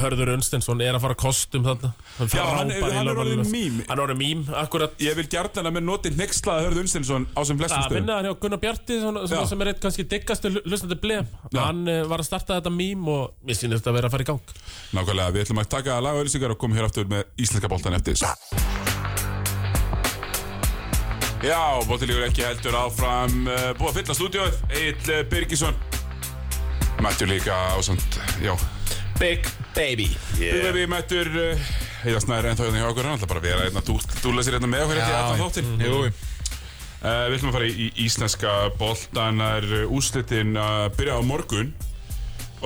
C: Hörður Unstensson er að fara kostum þarna Hann
B: Já, hann er- hann
C: frábær
B: er
C: heilabarinn.
B: orðinn mím.
C: Hann er orðin mím, akkurat
B: Ég vil gjarnan að mér noti hneykslaða Hörð Unstensson á sem flestum
C: að
B: stöðum
C: vinna hann hjá Gunnar Bjarti svona, svona
B: Já.
C: sem er eitt kannski diggastu hlustandi blef hann uh, var að starta þetta mím og mér sýnist þetta að vera að fara í gang
B: Nákvæmlega, við ætlum að taka lagauðlýsingar og koma hér aftur með íslenska boltan eftir Já, bóttilíkur ekki heldur áfram uh, Búið að fylla stúdíóið Egil uh, Birgisson Mættur líka ásand, já
C: Big Baby
B: yeah. Við mættur uh, Heiða Snæri ennþá hérna hjá okkur Hann ætla bara að vera hérna Þú, þú lesir hérna með okkur ekki
D: Já,
B: allan þáttinn
C: Mm.
D: Jú,
B: uh, Við ætlum að fara í, í íslenska boltan Það er uh, úrslitin að byrja á morgun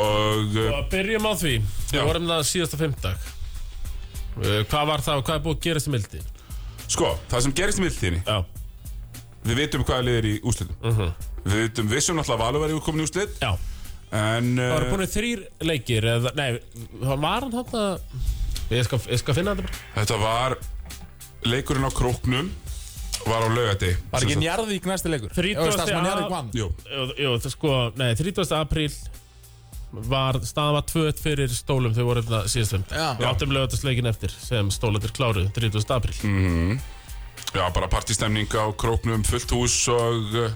B: Og uh,
C: og byrjum á því
B: Já.
C: við vorum það síðasta fimmtag uh, hvað var það og hvað er búið að gerast í mildi
B: sko, það sem gerist í mildtíðinni
C: já,
B: Við vitum hvaða lið er í úrslitum
C: Mhm.
B: Við vitum, vissum náttúrulega að Valur var í útkomin í úrslit
C: já Eh,
B: En
C: það var
B: uh,
C: búin þrýr leikir eða, nei, það var hann þarna ég skal, ég skal finna þetta bara
B: þetta var Leikurinn á króknum Var á laugati
D: var ekki njarðvík næsti leikur?
C: 30.
D: Jú, veist það sem að njarðvík vann
B: Jú,
C: jú, jú, það sko, nei, 30. apríl var, staðan var 2-1 fyrir stólum þau voru þetta síðast fimmtag
D: Já.
C: við áttum lögatasleikin eftir sem stólandir kláruð 30. apríl
B: já, bara partistemning á króknum Fullt hús og uh,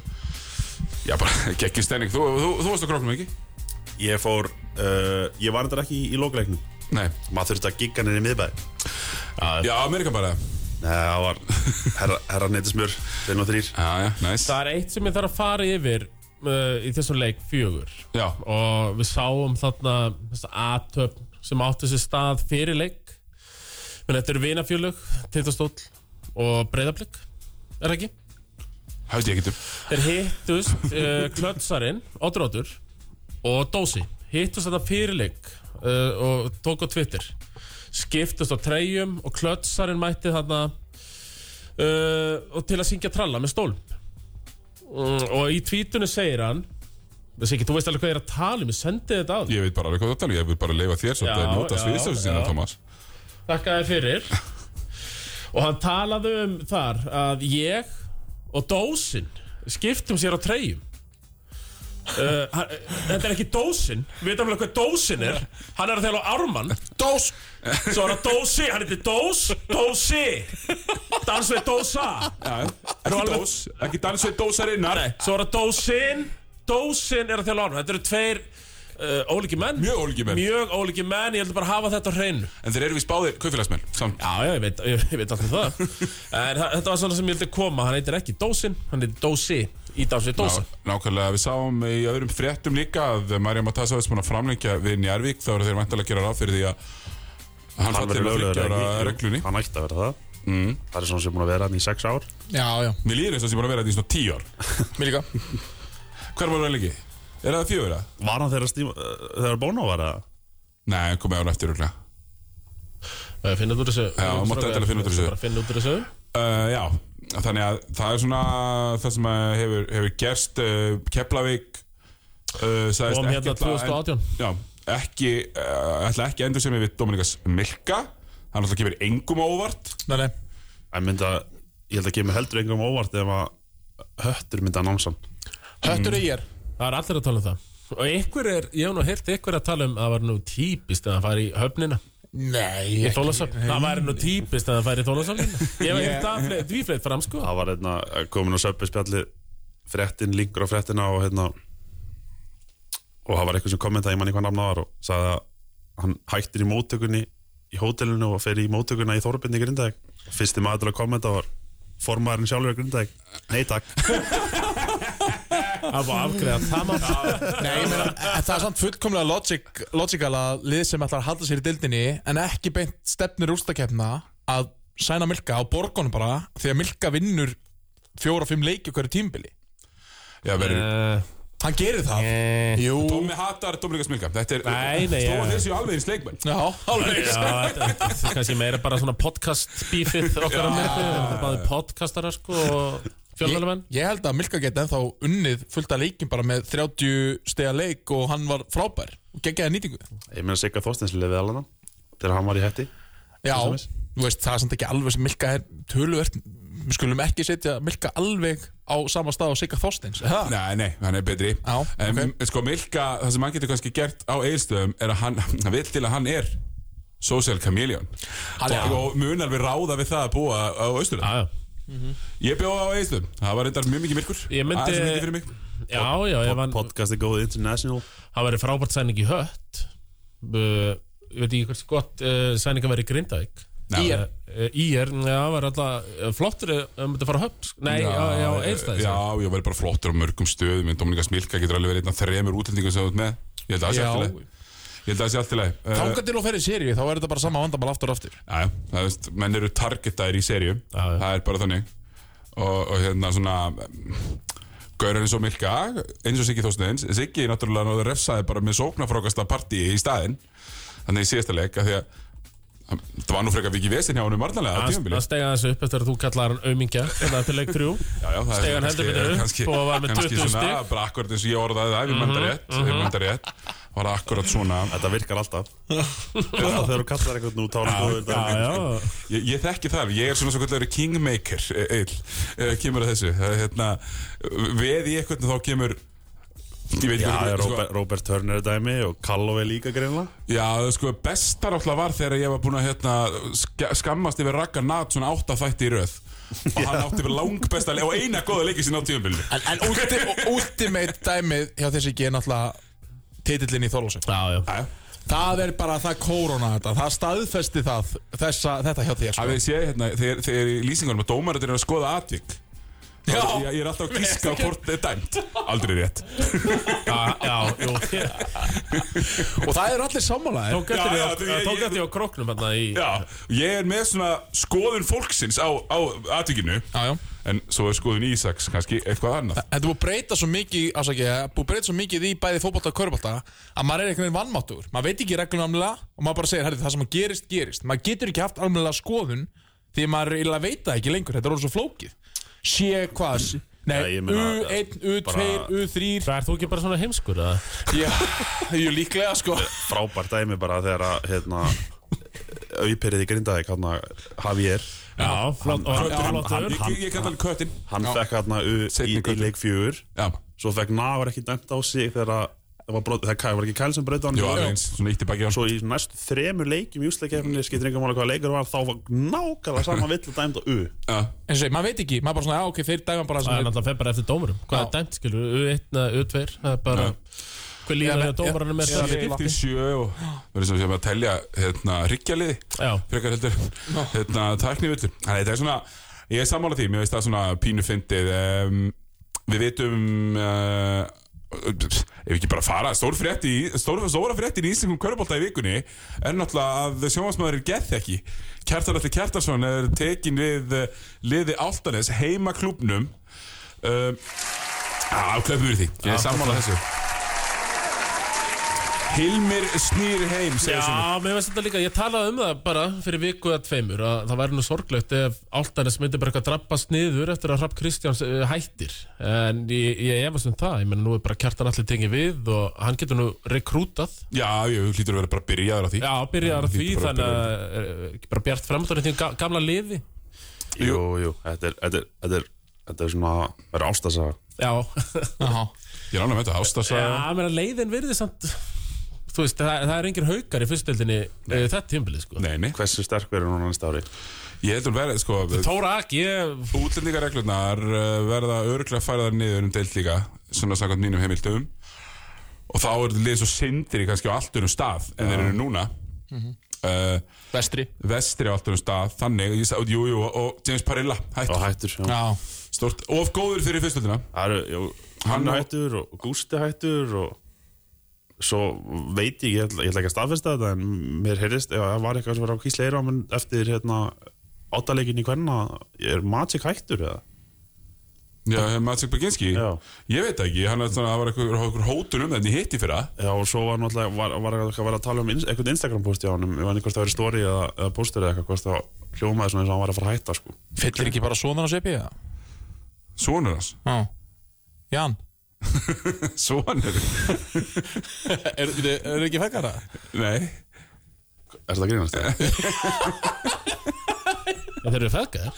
B: Já, bara geggin stemning þú, þú, þú varst á króknum ekki?
A: Ég fór, uh, ég var þetta ekki í, í lókuleiknum
B: Nei
A: Maður þurfti að gigga nýri miðbæ
B: Já, Amerika bara
A: Nei, það var herra, herra neytismur, þeir nú þrýr
B: Já, já, næs
C: Það er eitt sem ég þarf að fara yfir uh, í þessum leik fjögur
B: Já,
C: og við sáum þarna þessa aðtöfn sem átti sér stað fyrir leik menn þetta eru vinafjölög, tindastóll og breyðablík, er það ekki?
B: hætti ég getur
C: Þeir hittust uh, klötsarinn, Odrótur og Dósi, hittust þetta fyrir leik uh, og tók á Twitter skiptust á treyjum og klötsarinn mætti þarna uh, og til að syngja tralla með stólum mm, og í tvítunni segir hann þessi ekki, þú veist alveg hvað ég er að tala um ég sendi þetta á því,
B: Ég veit bara alveg hvað þú tala um. Ég vil bara leifa þér svolítið
C: Já,
B: að njóta
C: já,
B: sviðstofsina,
C: já.
B: Thomas
C: þakka þér fyrir og hann talaði um þar að ég og dósin skiptum sér á treyjum Uh, hann, þetta er ekki dósin Við veitum alveg hvað dósin er Hann er að þjála á Ármann
D: Dós!
C: Svo er það dósi, hann heitir dós Dósi Dans við dósa
B: Já, ekki
C: alveg-
B: dós Ekki dansveit dósarinnar
C: Nei, svo er það dósin Dósin er að þjála á Ármann Þetta eru tveir uh, ólíki menn
B: Mjög ólíki menn.
C: Mjög ólíki menn, ég ætla bara að hafa þetta á hreinu
B: En þeir eru við spáðir kaupfélagsmenn Samt
C: Já, já, ég veit, ég, ég veit alltaf það En þa- þetta var svona sem ég vildi koma Hann heitir ekki Dósin, hann heitir Dósi Í dans við Dósa
B: Já, nákvæmlega, við sáum í öðrum fréttum líka að Marja Matassa er búin að framlengja við Njarvík þá eru þeir vantilega að gera ráð fyrir því að hann
A: Hann
B: fallir að
A: verður lögulegur
B: þykja hérna ára
A: ekki
B: reglunni Mm.
A: Hann ætti að vera það Það er svona sem búin að vera hann í sex ár
D: Já, já,
B: Mér líður eins og sem búin að vera þetta í svona tíu ár
D: mér líka
B: Hver var það lengi? Er það fjögur að?
A: Var hann þegar, stíma, uh, þegar Bono var það?
B: Nei, hann komið ára eftir örugglega.
C: Það finna Eh, út úr þessu
B: Já, þú mátt endilega finna út úr þessu.
C: Bara finna út úr þessu
B: uh, Já, þannig að það er svona það sem að hefur, hefur gerst uh, Keflavík uh, sagðist
C: Kom hérna
B: ekki ætla-
C: 2018.
B: Já, ekki, uh, ætla ekki endur sem við Dominikas Milka Hann alltaf kemur engum á óvart
D: Nei, nei
A: Ég myndi að, ég held að kemur heldur engum á óvart ef að höttur myndi að námsan
D: Höttur í ég
C: Það er allir að tala um það Og einhver er, ég hef nú heyrt einhver að tala um að Það var nú típist að það færi í höfnina
D: Nei,
C: Í Þólasöfn Það var nú típist að það færi í Þólasöfn Ég hef
D: Ég-
C: heyrt það fle- því fleitt fram sko
A: Það var hérna komin á söpbi spjalli fréttin, linkur á fréttina og hérna og það var eitthvað sem kommentaði, ég manni hvað namna var og sagði að hann hættir í móttökunni í hótelinu og fer í móttökunna í Þorbjörn í Grindæk fyrsti maður til að kommenta var formaðurinn sjálfur í Grindæk Nei takk
C: Það var afgreðað það má
D: Nei, ég meina, það er samt fullkomlega logic, logical að lið sem ætlar að halda sér í dildinni en ekki beint stefnir úrstakefna að sæna Milka á borgunum bara því að Milka vinnur fjóra-fimm leiki á hverju tímbili
B: Já, verður
C: Eh,
D: Hann gerir það Jú
B: Tómi hatar Dominika Smilka Þetta er
C: Nei, nei,
B: Þó að
C: ég-
B: þeir séu alveg eins leikmenn
D: Já, alveg
C: Já, þetta þetta er kannski meira bara svona podcast bífið okkar á milli og báði podcastarar sko og
D: ég,
C: fjölmjölumenn
D: ég held að Milka geti ennþá unnið fullt að leikin bara með 30 stega leik og hann var frábær og geggjaði nýtingu
A: Ég meina Sigga Þorstins liðið alveg hann Þegar hann var í hætti
D: Já,
A: Til dæmis.
D: þú veist, það er samt ekki alveg sem Milka er töluvert Við skulum ekki setja Milka alveg á sama stað og Sigga Þorsteins er það?
B: Nei, nei, hann er betri
D: Já,
B: en,
D: ok.
B: Sko, Milka, það sem hann getur kannski gert á eigilstöðum er að hann, hann vil til að hann er social chameleon
D: Hann er-
B: og, og mun alveg ráða við það að búa á austurðum
C: Já, já.
B: Ég bjóða á eigilstöðum, það var reyndar mjög mikið myrkur
C: Ah. Ég myndi-
B: Það er svo mikið fyrir mig
C: já, já, ef hann
A: Podcasti góð international
C: það væri frábært sæning í hött uh, ég veit ekki hvort gott uh, sæning að vera í Grindavík
D: IR.
C: Ír, já, það var alltaf eh, flottur ef um, þetta fara höfn, sko. nei, já, já, einstæðis
B: Já, ég væri bara flottur á mörgum stöðum en Dominika Smilka getur alveg verið einn af þremur útlendingum sem þú ert með Ég held að það sé
D: Já.
B: allt í lagi. Ég held að það sé allt í lagi Eh,
D: Þangað til og ferði séri, þá er þetta bara sama vandamál aftur og aftur
B: Já, já, það veist, menn eru targetaðir í serju
C: já.
B: Það er bara þannig Og, og hérna svona Gaurinn eins og Milka, eins og Siggi Þósteins Siggi náttúrulega náður refsaði bara með sóknarfrákasta partí í staðinn Þannig í síðasta leik að Því að það var nú frekar vikið vesinn hjá honum varnalega á tímabili
C: Það stega þessu upp eftir að þú kallar hann auðmingja Þannig að til leik 3
B: Já, já, það er
C: Steig
B: kannski-
C: hann heldur betur upp
B: kannski-
C: og var með
B: kannski
C: 20
B: svona,
C: stig. Mhm,
B: Bara akkurat eins og ég orðaði það, ef ég manda rétt Ef ég manda rétt, var það akkurat svona
A: Þetta virkar alltaf Þegar þú um kallar eitthvað nú tára góður
C: Já,
A: dag.
C: já,
B: Ég, ég þekki það, alveg. ég er svona svo kvöldlega kingmaker, eil, kemur að þessu það, er hérna, veð í eitthvað þá kemur ég veit ekki
A: Já,
B: hvað-
A: það er
B: sko-
A: Robert, Robert Turner er dæmi og Calloway líka greinlega
B: já, sko, besta náttúrulega var þegar ég var búin að hérna, ska, skammast yfir Ragga Nat svona átta þætti í röð og hann átti yfir langbesta leik og eina góða leiki sinna á tíðanbylnu
D: En, en ulti, ultimate dæmið hjá þessi ekki er náttúrulega titillin í Þorlósum
C: já, já.
D: Það er bara það korona þetta Það staðfesti það þessa, þetta hjá þér sko.
B: að þið sé, hérna, þegar, þegar í lýsingunum að dómarinn er að skoða atvik
D: Já.
B: Ég, ég er alltaf að gíska á hvort þetta er dæmt Aldrei rétt
C: já, Ah, já jú, þér-
D: Og það eru allir sammála
C: Tók
B: Já,
C: eftir því
B: já,
C: á-
B: þú- ég-
C: tók
B: ég-
C: eftir því á króknum hérna í
B: Já, ég er með svona skoðun fólksins á, á atvikinu
D: Já, já.
B: En svo er skoðun Ísaks kannski eitthvað annað
D: En þú búið að breyta svo mikið, ásaki, búið að breyta svo mikið í bæði fótbolta og körbólta að maður er einhvern veginn vannmáttur. Maður veit ekki reglum alveg og maður bara segir, herri, það sem gerist, gerist. Maður getur ekki haft alveg skoðun því maður er að veita ekki lengur. Þetta er orðið svo flókið. Sé hvað, nei,
A: Já, ég meina,
D: U1, U2,
A: bara-
D: U3.
C: Það er þú ekki bara svona heimskur eða?
D: Já, ég er líklega, sko.
A: Frábært dæmi bara þegar að hérna, auðperið í grindaði hérna, Javier
C: Já, flott og
B: Köttur, hann,
C: flottur.
B: ég, ég, ég kalla hann köttin
A: hann fekk hérna U í,
B: Seinni
A: í
B: köttur.
A: leik fjögur
B: Já,
A: svo fekk Navar ekki dæmt á sig þegar að það var, brot, það Kyle- var ekki Kæl sem breyta hann
B: jú, alveg eins, svona ítti baki á hann
A: svo í næstu þremur leikjum í úsleikefni skiptir einhver máli hvað leikur var þá var nákvæmlega sama villu dæmt á U
B: Já,
D: En svo, maður veit ekki, maður bara svona, já, ok, þeir dæma
C: Það
D: bara
C: er
D: sem þeir.
C: náttúrulega fer bara eftir dómurum Hvað er
D: Já.
C: dæmt, skilur, U1 eða U2 Það er bara Hver líka
D: Já,
C: þegar dómarannum er
D: já,
C: það
D: já.
B: skipti sjö og verður sem sem að telja hérna hryggjalið
C: Já,
B: frekar heldur hérna tæknivillur Þannig þetta er svona, ég er sammála því, mér veist það svona pínu fyndið um, Við vitum uh, ef ekki bara að fara stór frétt í, stór, stóra fréttin í Íslingum Körbólta í vikunni er náttúrulega að sjónvarsmaður er gett ekki Kjartan Alli Kjartarsson er tekin við eh, liði Áltanes heima klúbnum um, Afklöfum við því, ég er sammála þessu Hilmir snýr heim, segir svona
C: Já, mér finnst þetta líka, ég talaði um það bara fyrir viku eða tveimur að það væri nú sorglegt ef Altanes myndi bara eitthvað drabbast niður eftir að Rapp Kristjáns eh, hættir en ég, ég efast um það, ég menna nú er bara kjartan allir tengi við og hann getur nú rekrútað
B: Já, ég hlýtur að vera bara byrjaður á því
C: Já, byrjaðar
B: hann
C: því
B: hlýtur bara að
C: þannig að eh, ekki bara bjart fremdurinn því gamla liði
A: jú, jú, þetta er þetta er, þetta er, þetta er svona það er ástasaga
C: Já,
D: Jaha.
B: Ég rána með þetta, ástasaga
C: já menna leiðin virði samt þú veist, það, það er engin haukar í fyrstildinni þetta tímbili sko
B: Nei, nei,
A: hversu sterkur er hún á næsta ári
B: ég heldur verið, sko
C: Tóra Ak, ég
B: Útlendingareglunar uh, verða örgulega færðar niður um deilt líka Svona samkvæmt mínum heimildum Og þá er þetta lið svo sindir í kannski á allt örum stað En þeir eru núna uh,
D: Vestri.
B: Vestri á allt örum stað, þannig ég, sá- Jú, jú, og James Parilla, hættur
A: og hættur já.
D: Já.
B: Stort, of góður fyrir fyrstöldina
A: Það eru, jú,
B: Hann
A: hann
B: á-
A: hættur og Gústi hættur og svo veit ég, ég ætla, ég ætla ekki að staðfesta þetta en mér heyrðist, ef það var eitthvað sem var á Kísli Eirámen eftir hérna áttaleikin í hvernig er Magic hættur eða?
B: Já, Matsik Baginski
A: Já.
B: Ég veit það ekki, hann er svona, það var eitthvað, eitthvað hótun um þetta í hitti fyrra
A: Já, og svo var náttúrulega, var, var, var, var að tala um ins, einhvern Instagram posti á honum, ég veit ekki hvort það verið story eða, eða postur eða eitthvað, hvort það hljómaði svona eins og hann var að fara að hætta, sko.
D: Fyllir ekki bara sonar hans upp í það?
B: Svonur hans
D: E, Já Jan
B: Svonur?
D: Er, er, er ekki fekkara?
B: Nei
A: Er þetta grínast? eða?
C: Já, þeir eru feðgar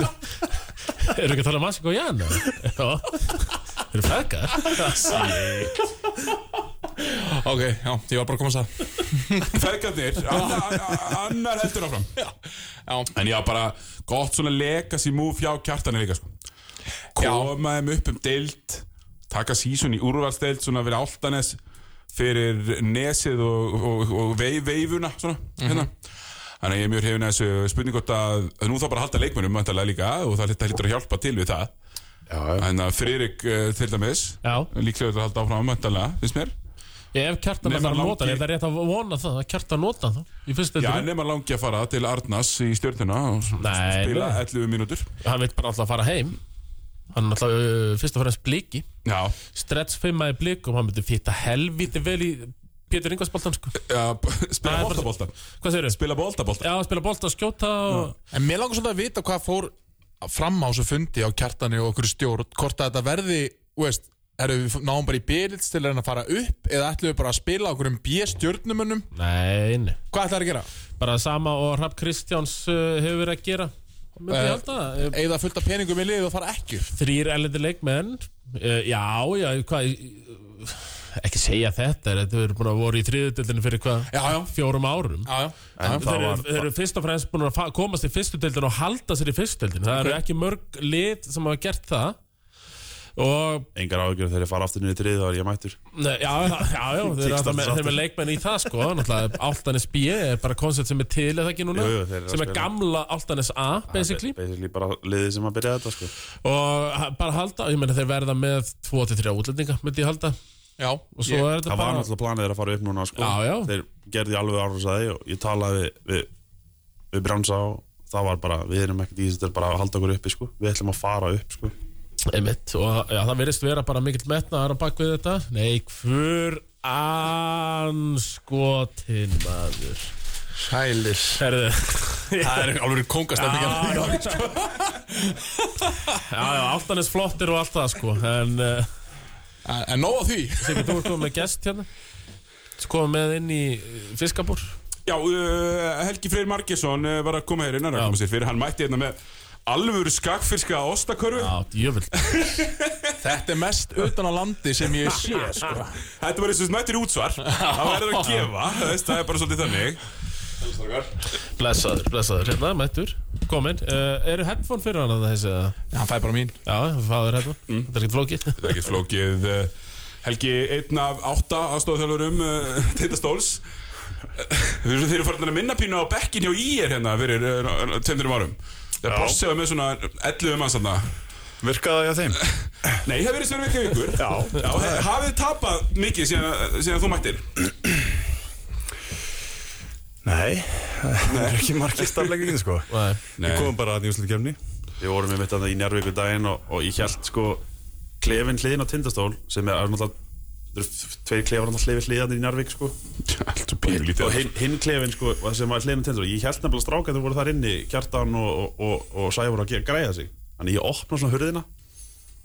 C: Eru ekki að tala um Masik og Jan? eða? Já Þeir eru feðgar
D: Ok, já, ég var bara að komast að
B: Fergarnir, annar, annar heldur áfram
D: Já,
B: En já, bara gott svona legacy move hjá kjartanir líka sko. Koma þeim upp um deild Taka sísun í úrvalsdeild Svona verið áltanes Fyrir nesið og, og, og veif, veifuna Svona,
D: Mhm.
B: hérna Þannig að ég er mjög hefina þessu spurning gott að nú þá bara að halda leikmennum vantarlega líka og það hlýttur hlýttur að hjálpa til við það.
A: Já, já.
B: Þannig að Friðrik uh, til dæmis,
C: Já.
B: líklega þetta halda áfram vantarlega, finnst mér.
C: Ef kjartan
B: Nema
C: að fara að
B: langi-
C: nota það, er það rétt að vona það að kjartan nota það Ég finnst
B: Já,
C: þetta
B: nema langi að fara til Arnars í stjórnina og s-
C: Nei,
B: spila
C: nei.
B: 11 mínútur.
C: Hann veit bara alltaf að fara heim Hann er alltaf uh, fyrst og fremst bliki
B: Já,
C: Stretch fimmaði blikum, hann myndi fitta helviti vel í Pétur Ingvarsboltan sko
B: já b- spila
C: Nei,
B: boltabolta.
C: Hvað segirðu?
B: Spila boltabolta.
C: Já, spila bolta, skjóta og...
D: en mér langar svona að vita hvað fór fram á þessu fundi á kjartani og okkur stjórn hvort að þetta verði, þú veist erum við náum bara í byrjits til að reyna að fara upp eða ætlum við bara að spila okkur um B-stjórnumunum
C: Nei, nei
D: hvað ætlar að gera?
C: Bara sama og Rapp Kristjáns uh, hefur verið að gera Hann myndi
D: Eh,
C: ég halda það Eh,
D: Eða fullt af peningum í liðið og fara ekki upp
C: Þrýr erlendi leikmenn uh, Já, já, hvað Ekki segja þetta, þetta verður búin að voru í þriðutöldinu fyrir hvað
D: Já, já,
C: Fjórum árum
D: já, já.
A: En
C: Þeir
A: það
C: eru,
A: var,
C: þeir eru fyrst og fremst búin að fa- komast í fyrstu deildin og halda sér í fyrstu deildin Það eru ekki mörg lið sem hafa gert það Og
A: engar ágjörð þegar ég fara aftur niður í þrið þá er ég mættur.
C: Nei, já, já, já, já, þeir eru alltaf með, þeir eru með leikmenn í það sko Náttúrulega Áltanes B er bara koncept sem er til eða ekki núna
A: Jú, jú, þeir eru að
C: Sem er
A: spila. Ah,
C: gamla Áltanes A, basically
A: Basically bara liðið sem að byrja þetta, sko.
C: Og ha- bara halda, ég meina þeir verða með 2-3 útlendinga, myndi ég halda
D: já.
C: Og svo er þetta
A: Það var
C: bara
A: náttúrulega planið þeirra að fara upp núna, sko.
C: Já, já.
A: Þeir gerði alveg árúsaði og ég talaði við, við, við Bransa og það var bara, við erum ekkert í þessu, þetta er bara að halda okkur uppi, sko. Við ætlum að fara upp, sko.
C: einmitt, Og já, það virðist vera bara mikill metnaðar á bak við þetta Nei, hver anskotin maður
D: Sælir
C: Herðu
D: Það er alveg kongastæmmingar
C: Já, já, Áltanes flottir og allt það sko En... Uh,
D: En nóg á því
C: Siggi, þú ert komið með gest hérna Þú ert komið með inn í eh, fiskabúr
B: Já, uh, Helgi Freyr Margesson uh, var að koma hér innan að koma sér fyrir. Hann mætti hérna með alvöru skakfyrska ostakörfu.
C: Já, djöfull
D: Þetta er mest utan á landi sem ég sé sko.
B: Þetta var eins og þessi mættir í útsvar. Það verður að gefa, þú veist, það er bara svolítið þannig.
C: Blessaður, blessaður Hérna, mættur Komin uh, Eru headphone fyrir hann að þessi eða? Mm.
D: Hann fæ bara mín
C: Já, fáður headphone Þetta er ekkert flókið
B: Það er ekkert flókið eh, Helgi, einn af átta aðstofþjálfurum uh, Teita Stóls Þeir eru- þeir eru farin að minna pínu á bekkin hjá IR hérna fyrir uh, tveimdurum árum Þegar Bosse var með svona 11 manns þarna
E: Virkaði það hjá þeim?
B: Nei, það verið sverið ekki ykkur Já, Já he- Hafið þið tapað mikið síðan, síðan þú mættir
E: Nei, það er ekki margir stafleggingin sko
C: Nei.
E: Við komum bara að nýjúslega kemni
A: Við vorum einmitt að það í Njárvíku daginn og, og ég held sko klefin hliðin á tindastól sem er, er náttúrulega þetta eru tveir klefar náttúrulega hliðið hliðan í Njárvík sko
B: Allt og
A: og
B: pílítið
A: hinn, hinn klefin sko og það sem var hliðin á tindastól ég held nefnilega stráka þegar voru þar inni kjartan og, og, og, og sæfur að ge- græða sig þannig ég opna svona hurðina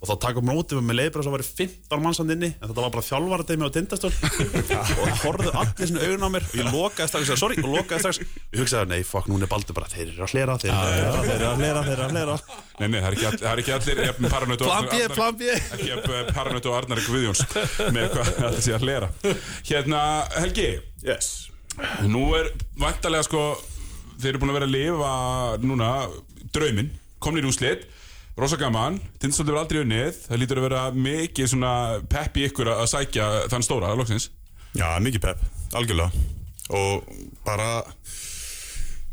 A: og þá taka mótið með leifur og það var 15 mannsand inni en þetta var bara þjálfara dæmi á tindastól og það horfðu allir svona augun á mér og ég lokaði strax, ég sagði, sorry, og lokaði strax ég hugsaði, nei, fuck, núna er baldur bara, þeir eru að hlera þeir eru að hlera, þeir eru að hlera, þeir eru að hlera
B: Nei, nei, það er ekki all- það er ekki allir jafn paranoid og-
E: Plan B, plan B
B: ekki að paranoid og Arnar Guðjóns með hvað þetta sé að hlera Hérna, Helgi
A: Yes
B: Nú er vantarlega sko Þeir eru búin að vera að lifa núna Drauminn, komnir í úslit Rosa gaman, tindstóldi var aldrei unnið Það lítur að vera mikið svona pepp í ykkur að að sækja þann stóra loksins.
E: Já, mikið pepp, algjörlega Og bara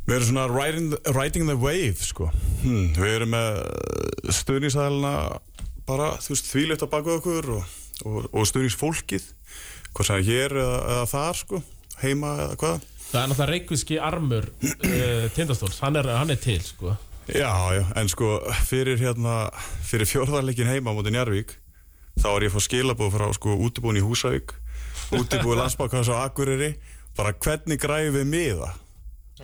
E: Við erum svona riding the, riding the wave sko hm, Við erum með stuðningsæðalina Bara, þú veist, þvíleitt á baku okkur Og, og, og stuðningsfólkið Hvað sem er hér eða, eða þar sko Heima eða hvað
C: eh, Það er náttúrulega reikviski armur uh, Tindastóls, hann er, hann er til sko
E: Já, já, en sko fyrir hérna, fyrir fjórðarleikin heima á móti Njarvík, þá er ég að fá skilabóð frá sko útibúin í Húsavík útibúin landsbákans á Akureyri bara hvernig græðum við miða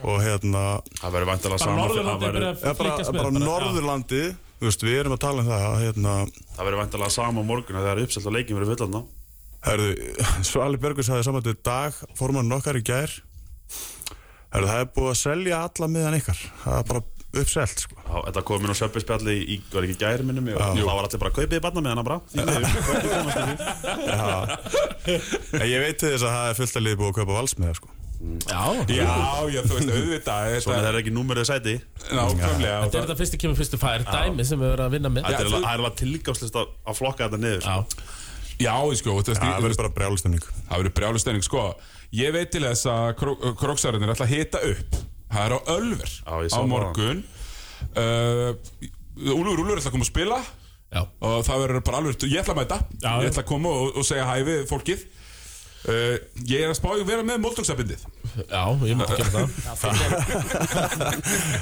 E: og hérna
A: Það verður vantilega
C: Bara
A: sama það
C: Norðurlandi er
A: verður-
C: byrjað
E: ja,
C: að
E: bara,
C: flikast með
E: bara Norðurlandi þú veist, við erum að tala um það að, hérna,
A: það verður vantilega sama á morgun að það er uppselt og leikin verður fullan
E: herðu, Svali Bergus hafði saman til dag, formann okkar í gær herðu, það er búið að selja alla miðan ykkar, það er bara uppselt sko.
A: Þá- Þetta kom inn á söpbisspjalli í, var ekki gæri minnum og
E: Já.
A: það var allir bara kaupið í barna með hana bara Því miður, kaupið komast ekki.
E: en ég veit til þess að það er fullt að liði búið að kaupa valsmiða sko.
C: Já,
B: Já, já, þú veist, auðvitað
A: Svona
B: Þetta
A: það er ekki númerið sæti
B: nákvæmlega og
C: þetta er
B: það-
C: þetta fyrstu kemur fyrstu fær dæmi sem við verðum að vinna með
A: Þetta er
B: þú-
A: alveg- það er alveg tilgangslist að að flokka þetta niður sko.
C: Já,
B: Já, sko, þú veist,
E: það verður bara brjálistemning
B: Það verður brjálu stemning, sko Ég veit til þess að kró, króksarinnir ætla að hita upp Það er á Ölver
A: Já, ég
B: á
A: sá það.
B: morgun uh, Úlfur Úlfur ætla að koma að spila
C: já
B: og það verður bara alveg, ég ætla að mæta
C: Já.
B: ég ætla að koma og, og segja hæ við fólkið uh, Ég er að spá ég vera með Móltóksabindið
C: Já, ég mátti gera það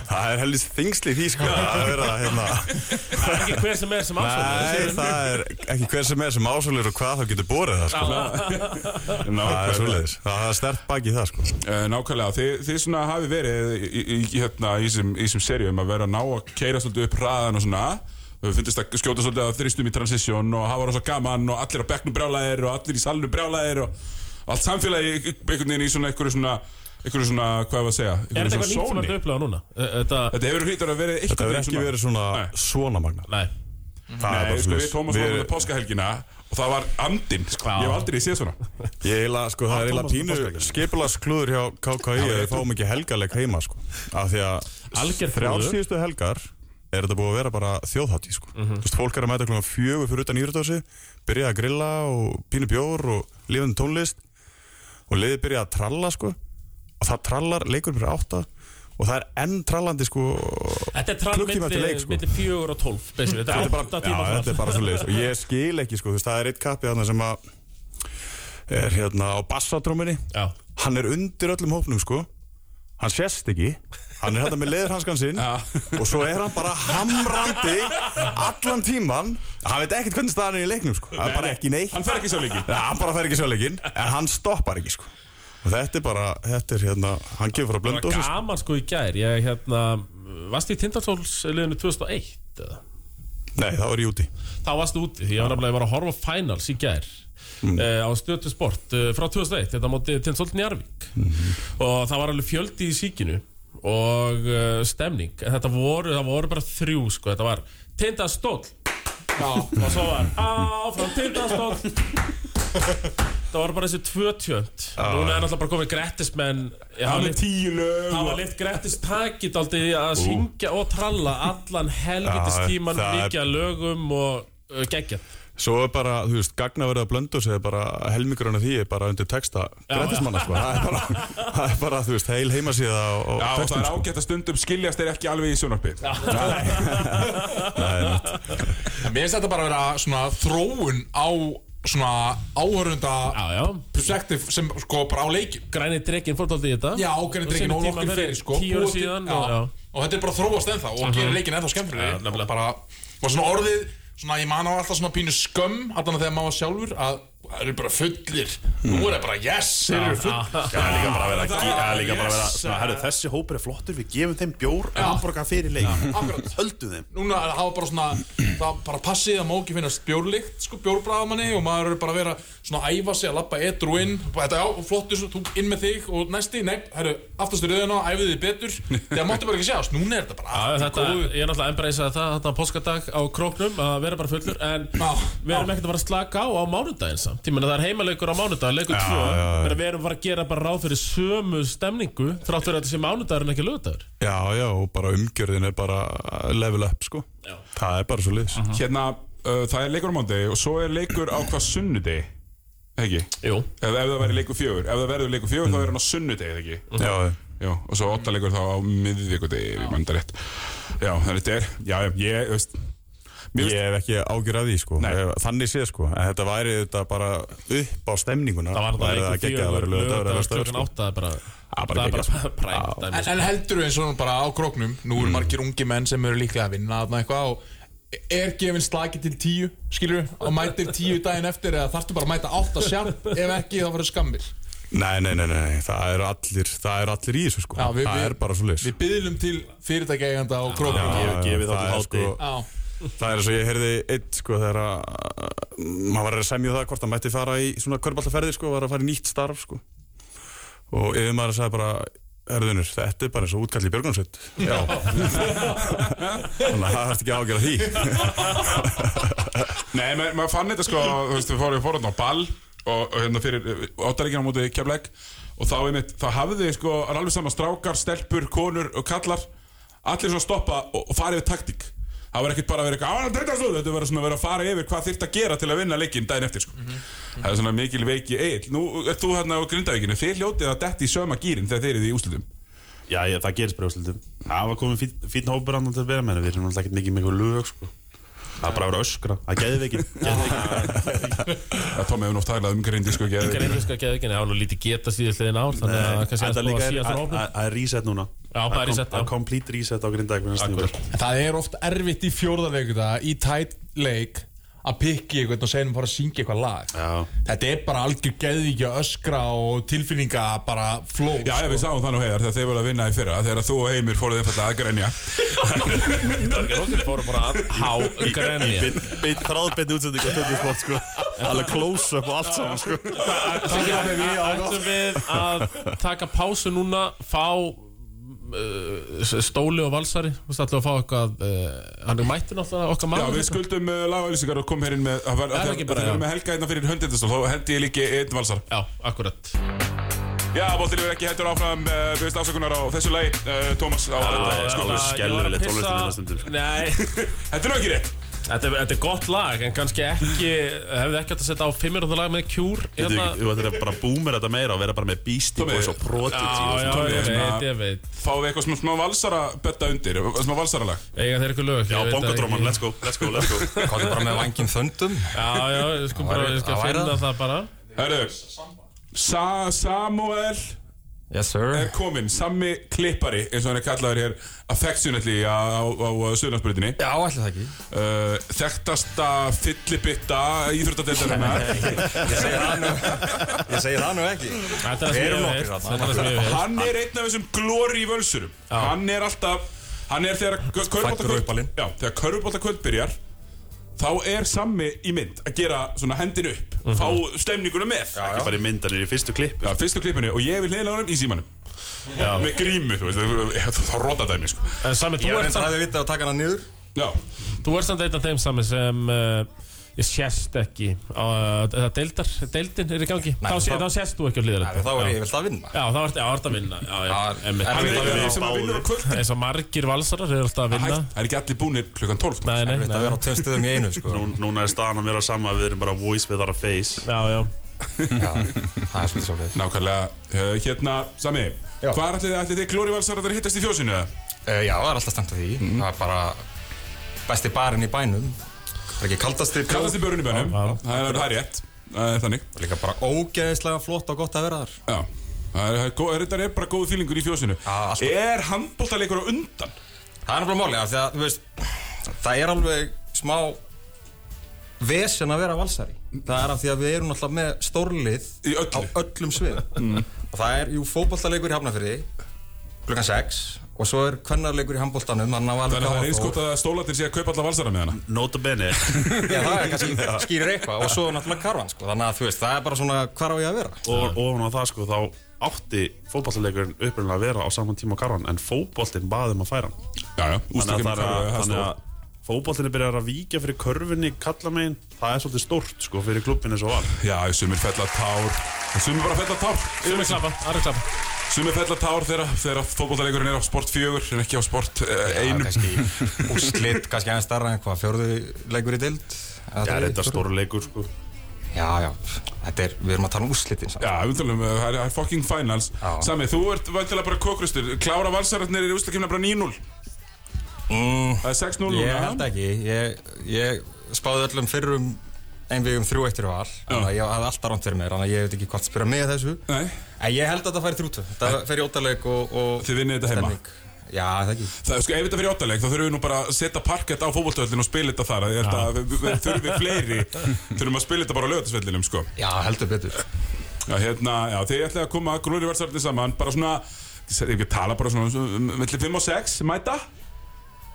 E: Það er helvist þingsli í því sko Það er verið að hérna
C: Það er ekki hver sem er sem
E: Nei,
C: ásvöld
E: það er ekki hver sem er sem ásólir og hvað þá getur borið það sko Það er svoleiðis Það er stert baki það sko
B: Eh, Nákvæmlega, þið, þið svona hafi verið í, í, í- hérna, í sem, í sem serjum að vera að ná að keira svolítið upp hraðan og svona Við finnst að skjóta svolítið að þrýstum í transition og hafa rosa gaman og allir á bekknum brjálæðir og allir í salnum brjálæðir og allt samfélagi í- einhvern veginn í svona einhverju svona, einhverju svona, hvað var að segja, einhverju
C: Er þetta eitthvað nýtt sem
B: sóni.
C: þetta upplega núna? Eh, Þetta,
B: Þetta hefur hýttur að verið
E: Það
B: einhvern
E: hefur ekki verið svona
B: Nei.
E: svona magna
C: nei
E: Það er
B: Nei,
E: bara
B: sko, við
E: svoleiðis
B: Tómas
E: Við-
B: varum með páskahelgina og það var andinn, sko,
C: Já.
B: ég hef aldrei séð svona
E: Ég heila, sko, það er heila
A: Tómas með
E: pínu
A: páskaeggin.
E: skipulagsklúður hjá KKI að við fáum ekki helgarleik heima sko Af því að
C: Alger
E: þrjár
C: klúður.
E: síðustu helgar er þetta búið að vera bara þjóðhátti sko
C: Mhm.
E: Þú veist, fólk er að mæta klokkan fjögur fyrir utan íratási byrja að grilla og pínu bjór og lifandi tónlist og liðið byrja að tralla sko og það trallar leikur fyrir átta og það er enn trallandi sko
C: Þetta er trall
E: Klukkutíma eftir leik, sko.
C: myndi fjögur og tólf basically. Þetta
E: Þetta
C: er
E: er bara,
C: átta tíma
E: já, þetta er bara svo leiðis og ég skil ekki sko, þú veist, það er eitt kappið þarna sem að er hérna á bassadróminni
C: Já,
E: hann er undir öllum hópnum sko hann sést ekki hann er hérna með leðurhanskan sinn og svo er hann bara hamrandi allan tíman hann veit ekkert hvernig staðan er í leiknum sko hann er bara ekki neitt
B: Hann fer ekki svo leiki
E: Ja, hann bara fer ekki sjáleikinn en hann stoppar ekki sko og þetta er bara þetta er hérna hann gefur frá
C: það var
E: blöndu
C: gaman sko í gær Ég hérna, varst í Tindartóls-liðinu 2001 eða?
E: nei þá er ég úti
C: Þá varst úti, því ég var nefnilega ég var að horfa á finals í gær mm. á stötu sport uh, frá 2001, þetta móti Tindartóls Njarvík
E: Mm-hmm.
C: og það var alveg fjöldi í síkinu og uh, stemning En þetta voru, það voru bara þrjú sko, þetta var Tindastóll og svo var áfram tindastótt það var bara þessi tvö tjönd núna er náttúrulega bara komið grettismenn
B: Hann er tíu lög
C: það var lift grettis takit aldrei að syngja og tralla allan helgitis
E: Já,
C: tíman
E: það er-
C: mikið að lögum og uh, geggja
E: svo er bara þú veist gagnaverða blöndu er bara helmingurinn af því er bara undir texta grættismanna sko það er bara, það er bara þú veist heil heimasíða og, og
B: Já, og það
E: textum
B: er
E: sko
B: ágætt að stundum skiljast þeir ekki alveg í sjónarpi
D: En mér finnst þetta bara að vera svona þróun á svona áhörunda
C: já já
D: perspektiv sem sko bara á leikin
C: græni drekinn fórt aldrei í þetta
D: Já, ok, þetta er ekki
C: Og
D: nóg
C: sínum
D: okkur
C: tíma
D: fyrir sko
C: tíu ára
D: Búið til-
C: síðan og-
D: já.
C: já. Mhm.
D: Og þetta er bara að þróast ennþá og gerir leikin ennþá skemmtilegri.
C: Já, nefnilega.
D: Og bara Og svona orðið, svona ég man á alltaf svona pínu skömm Alltaf þegar maður var sjálfur að það eru bara fullir
C: Mhm.
D: Nú er það bara yes, þeir eru fullir
A: Já, það er líka bara að vera,
D: Já,
A: það er líka bara að vera
D: yes.
A: svona, herru, þessi hópur er flottur, við gefum þeim bjór og hamburga fyrir leik
D: Akkurat
A: höldum þeim
D: núna er- hafa bara svona það bara passið að má ekki finnast bjórlikt sko, bjórbræðamanni og maður er bara að vera svona að æfa sig að lappa etru inn og þetta já, flottur, svo tók inn með þig og næsti, nei, herru, aftastur auðvitað æfið þið betur, þegar máttu bara ekki sjást núna er þetta bara
C: Já,
D: allt í
C: þetta,
D: góðu.
C: ég er náttúrulega embracað það þetta póskadag á króknum að vera bara fullur en
D: Já.
C: við erum ekkert að fara að slaka á á mánudaginn samt ég meina það er heimaleikur á mánudaginn, leikur 2 menna við erum bara að gera bara ráð fyrir sömu stemningu þrátt fyrir að þetta sé mánudaginn ekki lögudagur
E: já já og bara umgjörðin er bara level up sko það er bara svo leiðis
B: Hérna, uh, það er leikur á mándegi og svo er leikur á hvað sunnudegi Ekki?
C: Jú,
B: Ef, ef það væri leikur fjögur Ef það verður leikur fjögur þá er hann á sunnudegi, ekki?
E: já já
B: Já, og svo åtta leikur þá á miðvíkudegi, við mandar rétt Já, þannig þetta er, já, já, ég, veist Mér
E: Ég hef ekki ágjur að því sko
B: Nei.
E: Ef- Þannig sé sko En þetta væri þetta bara upp á stemninguna
C: það var
E: Væri
C: það
E: það
C: leikur
E: geggjað að vera
C: fjögur
E: lögadagur eða
C: lögudagur
E: föstudagur,
C: klukkan
E: sko.
C: átta er bara
E: Æ, er
C: það
E: bara
C: er
E: ekki
C: bara præmt dæmi,
D: En,
C: sko.
D: en heldur eins og bara á króknum Nú eru margir ungi menn sem eru líklega að vinna þarna eitthvað og er gefin slagi til tíu, skilur og mætir tíu daginn eftir eða þarftu bara að mæta átta sjarp ef ekki þá verður skammir
E: sko. Nei, nei, nei, nei, nei, það eru allir, það eru allir í þessu sko
D: Já, við-
E: Það
D: við-
E: er bara svo
D: Við byðlum til fyrirtækjaeganda á króknum
E: Já,
A: Gefið- gefið þá
E: það
A: til
E: er
A: hátíð.
E: sko-
D: Já,
E: Það er eins og ég heyrði eitt sko þegar að maður var að semja það hvort að mætti fara í svona körpallaferði sko, var að fara í nýtt starf sko og yfir maður sagði bara Erðunur, þetta er bara eins og útkall í Björgunsveit Já Þannig að það þarf ekki að ágjöra því
B: Nei, ma- maður fann þetta sko, þú veist, við fórum fórum á ball og, og hérna fyrir áttaríkina mútið kemleik og þá einmitt, þá hafði sko, það er alveg saman strákar, stelpur, konur og kallar allir svona stoppa og, og farið við taktík það var ekkert bara að vera eitthvað, á hann treyta svo þetta var svona að vera að fara yfir hvað þyrft að gera til að vinna leikinn daginn eftir sko. það er svona mikil veiki eil, nú er þú hérna á grindavíkinu þið hljótið að detti í söma gýrin þegar þeir eru í úslutum
A: Já, ég, það gerist bara úrslitum Það var komin fínn fín hópur andan til að vera með þeim Við erum alltaf ekki mikið mikið lög sko. Það er bara að vera að öskra, það geði við ekki
B: að Tommi hefur oft talað um grindi sko, ekki að-
C: Engar einhverska geðvikin, það var nú lítið geta síðast liðin ár þannig að það kannski
A: En
C: aðeins
A: það
C: búið
A: líka
C: að
A: er-
C: síðast
A: að-
C: rópum
A: að- að reset núna
C: Já, það er
A: kom-
C: reset, já.
A: Að complete reset á grindæk
D: En það er oft erfitt í fjórðarleikuta í tætt leik að pikki eitthvað og segja um að fara að syngja eitthvað lag
A: Já.
D: Þetta er bara algjör geðvíkja öskra og tilfinninga bara flow
B: Já, já, við sáum það nú heiðar þegar þeir voru að vinna í fyrra þegar þú og Heimir fóruð einfallega að grenja
C: Rópum fóru bara að há grenja
A: Þráðbeinni útsending á Töndisbótt sko Alveg close up og allt saman sko
C: Ætlum við að taka pásu núna fá uh, stóli og valsari Þú veist, ætlum við að fá eitthvað uh, hann er mættur náttúrulega okkar
B: Já,
C: maður
B: við skuldum uh, lagalýsingar og komum hér inn með Það var,
C: er
B: það
C: ekki
B: var,
C: bara,
B: það
C: já.
B: var með helga hérna fyrir höndindastól Þá hendi ég líki einn valsar
C: Já, akkurat
B: Já, bóttir yfir ekki hættur áfram uh, Við veist afsökunar á þessu lagi uh, Tómas, á þetta sko
A: alveg skelfilegt
C: Ég var að pissa-
A: tónlistin
F: sko.
A: hérna
C: Nei,
B: Þetta er nú ekki rétt
C: þetta er, þetta er gott lag en kannski ekki, hefði ekki átt að setja á fimmirönda lag með Cure
A: Þú
C: hérna.
A: þú ættir að bara boomer þetta meira og vera bara með Beastie
B: Tommy.
A: Boys og
C: Já,
A: Prodigy
C: já,
A: og
B: Tommy,
C: ég
B: svona-
C: veit, ég veit
B: Fáum við eitthvað smá, smá valsara betta undir eh, Smá valsara lag
C: Eiga þeir eitthvað lög
A: Já,
C: ég veit það
A: bongodróman,
C: ekki.
A: let's go, let's go, let's go
F: Hvað er bara með vangin þöndum?
C: Já, já, ég sko
F: Það
C: bara,
F: væri-
C: ég skal
F: það væri
C: finna
F: það.
C: það bara
B: Herru Sa Samuel
F: Yes sir
B: er kominn Sammi klippari, eins og hann er kallaður hér Affectionately á, á, á Suðlandsbrutinni
F: Já, allir það ekki
B: uh, Þekktasta fyllibitta Íþróttadeildarinnar
F: Ég segi það nú Ég segi það nú ekki
C: Þetta er það
F: Við
C: sem ég
F: erum
C: hef heyrt,
F: nokkur
C: þetta er
F: þarna.
C: það sem ég hef heyrt.
B: Hann er einn af þessum glóri í völsurum Hann er alltaf Hann er þegar
F: Fæddur uppalinn.
B: Körbólta kvöld byrjar Þá er sammi í mynd að gera svona hendin upp Fá stemninguna með
A: Ekki bara í myndanir í fyrstu klipp
B: Já, fyrstu klippinu og ég vil heila honum í símanum Með grímu, þú veist, þá rota dæmi sko.
C: En Sami, þú
F: Ég
C: ert
F: reyndi
C: samt
F: að vita að taka hana niður
B: Já,
C: Þú ert samt einn af þeim sami sem uh, ég sést ekki á, eða deildar, deildin er í gangi
F: Nei,
C: þá, sé,
F: þá-
C: þá sést þú ekki á liðar
F: En Þá er ég vilt að vinna
C: Já, þá ert já, ert að vinna Já, já,
F: Já, er-
C: einmitt.
F: er-
B: hann er
F: veit að
B: einn af
F: við
B: þeim sem að
A: báðir.
B: vinnur á kvöld
C: eins og margir valsarar eru alltaf að vinna
B: Það er ekki allir búnir klukkan sko. 12
C: Nei, nei,
F: Vilt
C: nei
F: að vera á tveim stöðum í einu sko
A: Nú- Núna er staðan að vera sama, við erum bara voice with our face
C: Já, já
F: Já, það er svolítið svolítið
B: Nákvæmlega, uh, hérna, Sami
F: Já.
B: Hvað ætli þið, ætli þið glóri valsar að hittast í fjósinu? eða?
F: Eh, Já, það er alltaf stemt að því
B: Mhm.
F: Það er bara besti barinn í bænum Það er ekki kaldasti bjór.
B: Kallast í börunni bænum,
C: Já, já.
B: það er- það er rétt Það er Þannig
F: Líka bara ógeðislega flott og gott að vera þar
B: Já, það er, það er gó- er, þetta er bara góð fílingur í fjósinu
F: alltaf.
B: Er handbóltaleikur á undan?
F: Það er náttúrulega máli af því að, þú veist, það er alveg smá vesen að vera valsari. Það er af því að við erum alltaf með stórlið
B: Í öllu. Mm.
F: á öllum sviðum. og það er, jú, fótboltaleikur í Hafnafyrði, klukkan 6, og svo er kvennarleikur í handboltanum, þannig að
B: Þannig
F: valur
B: að það er eins gott að stólatir sé að kaupa alla valsara með hana
A: Nota bene
F: Já, það er kannski skýrir eitthvað, og svo náttúrulega karvan, sko. Þannig að, þú veist, það er bara svona, hvar á ég að vera?
A: og ofan á það sko þá átti fótballtaleikurinn upprunnilega að vera á saman tíma á karvan en fótballtinn baði um að færa hann
B: Já, já,
A: þannig
B: ústökkum
A: að, að, þannig að fótballtinn er byrjað að víkja fyrir körfunni kallamein, það er svolítið stórt sko fyrir klubbin eins og var
B: Já, sumir fella tár Sumir bara fella tár
C: Sumi klappa, aðra klappa
B: Sumir fella tár þegar, þegar fótboltaleikurinn er á sport fjögur En ekki á sport uh,
F: Já,
B: einum
F: kannski úrslit, kannski aðeins starra en hvað, fjórðu leikur í dild?
A: það er þetta stórleikur sko
F: Já, já, þetta er, við erum að tala um úrslitin samt.
B: Já, við talum, uh, það er- það er fucking finals
F: Já.
B: Sami, þú ert vantilega bara kokrustur Klára valsararnir í ústökkjumna bara 9-0
F: Mm.
B: Það er 6-0
A: Mm.
F: Ég
B: núna.
F: held ekki, ég, ég spáði öllum fyrrum en við um þrjú eittir val þannig að ég hafði alltaf ránt fyrir mér þannig að ég veit ekki hvort spyrja mig að þessu
B: Nei.
F: en ég held að þetta færi þrjútu þetta fer í óttaleg og, og
B: Þið vinnið þetta heima?
F: stemning. já, það ekki
B: Það er sko, ef þetta fyrir áttaleg, þá þurfum við nú bara að setja parkett á fótboltöðlinu og spila þetta þar. Ég held að við- við- þurfum við fleiri, þurfum að spila þetta bara á lögatisvellinum, sko.
F: já, heldur betur
B: Já, hérna, já, þið ætlaði að koma að grúri verðsarðin saman, bara svona, ég ekki tala bara svona, um, milli 5 og 6, mæta?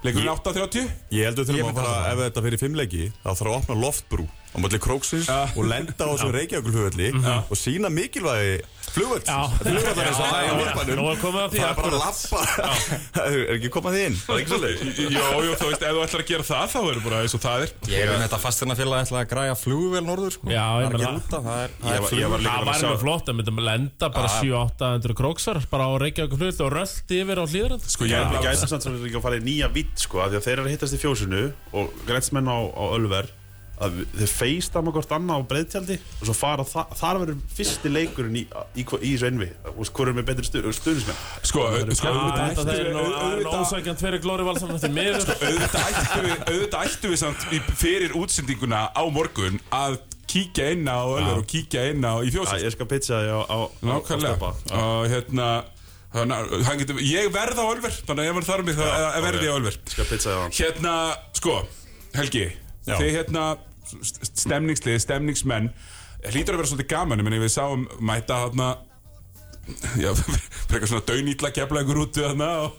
B: Leikurinn 8.30?
E: Ég heldur til
B: Ég
E: að
B: myndi
E: fara,
B: halda það.
E: ef þetta fyrir fimmleiki þá þarf að opna loftbrú á mölli króksins
B: Já. Mhm.
E: og lenda á þessum reykjaglhugulli og sína mikilvægi flugvöld flugvöldar eins og það er í
C: Nú
E: úrbanum
C: er komið að því
E: það er bara að lappa er ekki komað því inn, það er ekki svolítið
B: Jó, jó, þú veist, ef þú ætlar að gera það, þá er bara eins og það er.
F: ég er um þetta fastirnafélag ætla að græja flugvél norður sko.
C: Já,
F: það
C: ég
F: er
C: meina
F: ekki
C: það.
F: úta það er, það
A: Ég
F: er
A: var, ég var líka
C: Það
A: bara
C: væri
A: að
C: með
A: sjá
C: flott að myndum lenda bara 7-800 króksar bara á Reykjavík hlut og rölt yfir á hlýðrand
B: Sko, ég er
A: Við
B: bara,
A: gæsum samt sem við líka að fara í nýja vitt sko, af því að þeir eru að hittast í fjósinu og grænsmenn á, á Ölver að við- þeir feista með hvort annað á breyðtjaldi og svo fara, þa þar verður fyrsti leikurinn í, í, í, í sveinvi og sko erum við betri stu, stuðnismenn
B: sko, sko, auðvitað
C: Ah, Þetta
B: ættu
C: er
B: við-
C: nú- það er nú
B: auðvitað-
C: ásækjan tveri glóri valsan eftir miður
B: auðvitað ættu við, auðvitað ættu við samt í, fyrir útsendinguna á morgun að kíkja inn á Ölver og kíkja inn á í
A: Æ,
B: fjósið.
A: Ég skal pitcha því á, á, á, á
B: Nákvæmlega.
A: stoppa
B: Og hérna, þannig að hann getur, ég verð á Ölver, þannig að ef hann þarf mig, þá
A: ok.
B: verði ég á Ölver.
A: Ég skal pitcha því á hann
B: Hérna, sko, Helgi
E: Já.
B: Þið hérna, st- stemningslið, stemningsmenn Hlýtur að vera svolítið gaman Ég meni við sáum mæta hérna Já, frekar svona daunýtla kefla ykkur út við hérna og,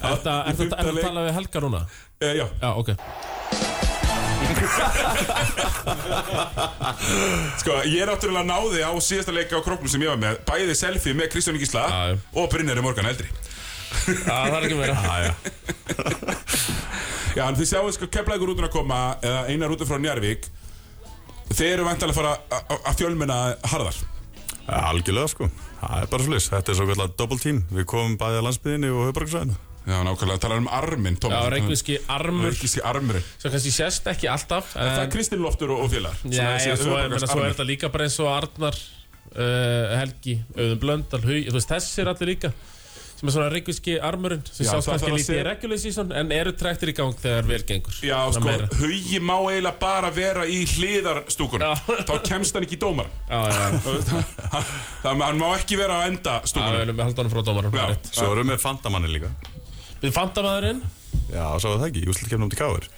C: Þetta er þetta að tala við Helga núna
B: e, Já,
C: Já, ok
B: sko, ég náttúrulega náði á síðasta leika á króknum sem ég var með Bæði selfie með Kristján Gísla
C: Já, já.
B: og Brynjari Morgan Eldri
C: Já, það er ekki meira
B: Já, en þið sjáum sko kefla ykkur út að koma eða eina rútu frá Njarvík Þið eru vantilega að fara að- að- að fjölmenna harðar
E: Ja, algjörlega sko, það er bara svolítið þetta er svo kallar double team, við komum bæði að landsbyðinni og höfbruksvæðinu
B: Já, nákvæmlega, talar um arminn,
C: Já,
B: Tómas
C: reykvíski armur
B: Reykjavíski armurinn
C: Svo kannski sést ekki alltaf
B: Það er
C: en-
B: Kristinn Loftur og, og félagar Svona
C: Já,
B: þessi
C: já, svo er
B: höfuðborgars-
C: meina, svo er
B: armur.
C: þetta líka bara eins og Arnar uh, Helgi, Auðun Blöndal Hug, þú veist, þessi er allir líka sem er svona reykvíski armurinn sem
B: Já, það
C: sást
B: þarf
C: kannski
B: að
C: lítið
B: sé-
C: í regular season en eru trektir í gang þegar vel gengur
B: Já,
C: Svona
B: sko,
C: meira.
B: hugi má eiginlega bara vera í hliðarstúkunum
C: Já.
B: Þá kemst hann ekki í dómar
C: Já, já, já,
B: Það hann má ekki vera á enda
C: við
B: stúkunum
C: viljum halda honum frá dómarum
B: Já,
C: rétt.
E: svo erum við fantamanni líka
C: Við fantamaðurinn
E: já, sá það ekki, Júslit kemur um til káður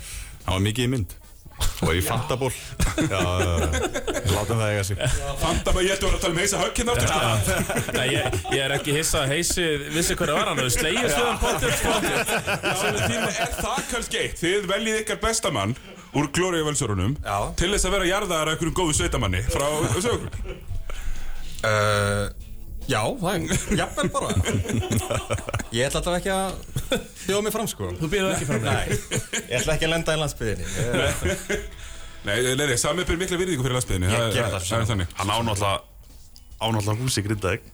E: hann var mikið í mynd og í fantaból já, já, já. látum það eiga sig
B: Fanta maður, ég ætti að vera að tala um heisa högg hérna aftur
C: Nei, ég, ég er ekki hissa að heisi vissi hverju var hann og slegið sko. stöðan pottir
B: Já, en tíma er það kannski eitt Þið veljið ykkar bestamann úr glóriðu velsörunum
F: Já.
B: Til þess að vera jarðaðar að einhverjum góðu sveitamanni Frá sögur
F: Uh, já, það er jafnvel bara Ég ætla alltaf ekki að bjóða mig fram sko
C: Þú býður ekki frá mig
F: Nei, ég ætla ekki að lenda í landsbyðinni Ég-
B: Nei, nei, nei, sami ber mikla virðingu fyrir landsbyðinni
F: Ég geri það
B: Það er þannig
A: Hann ánáttúrulega ánáttúrulega húsi grindaðeg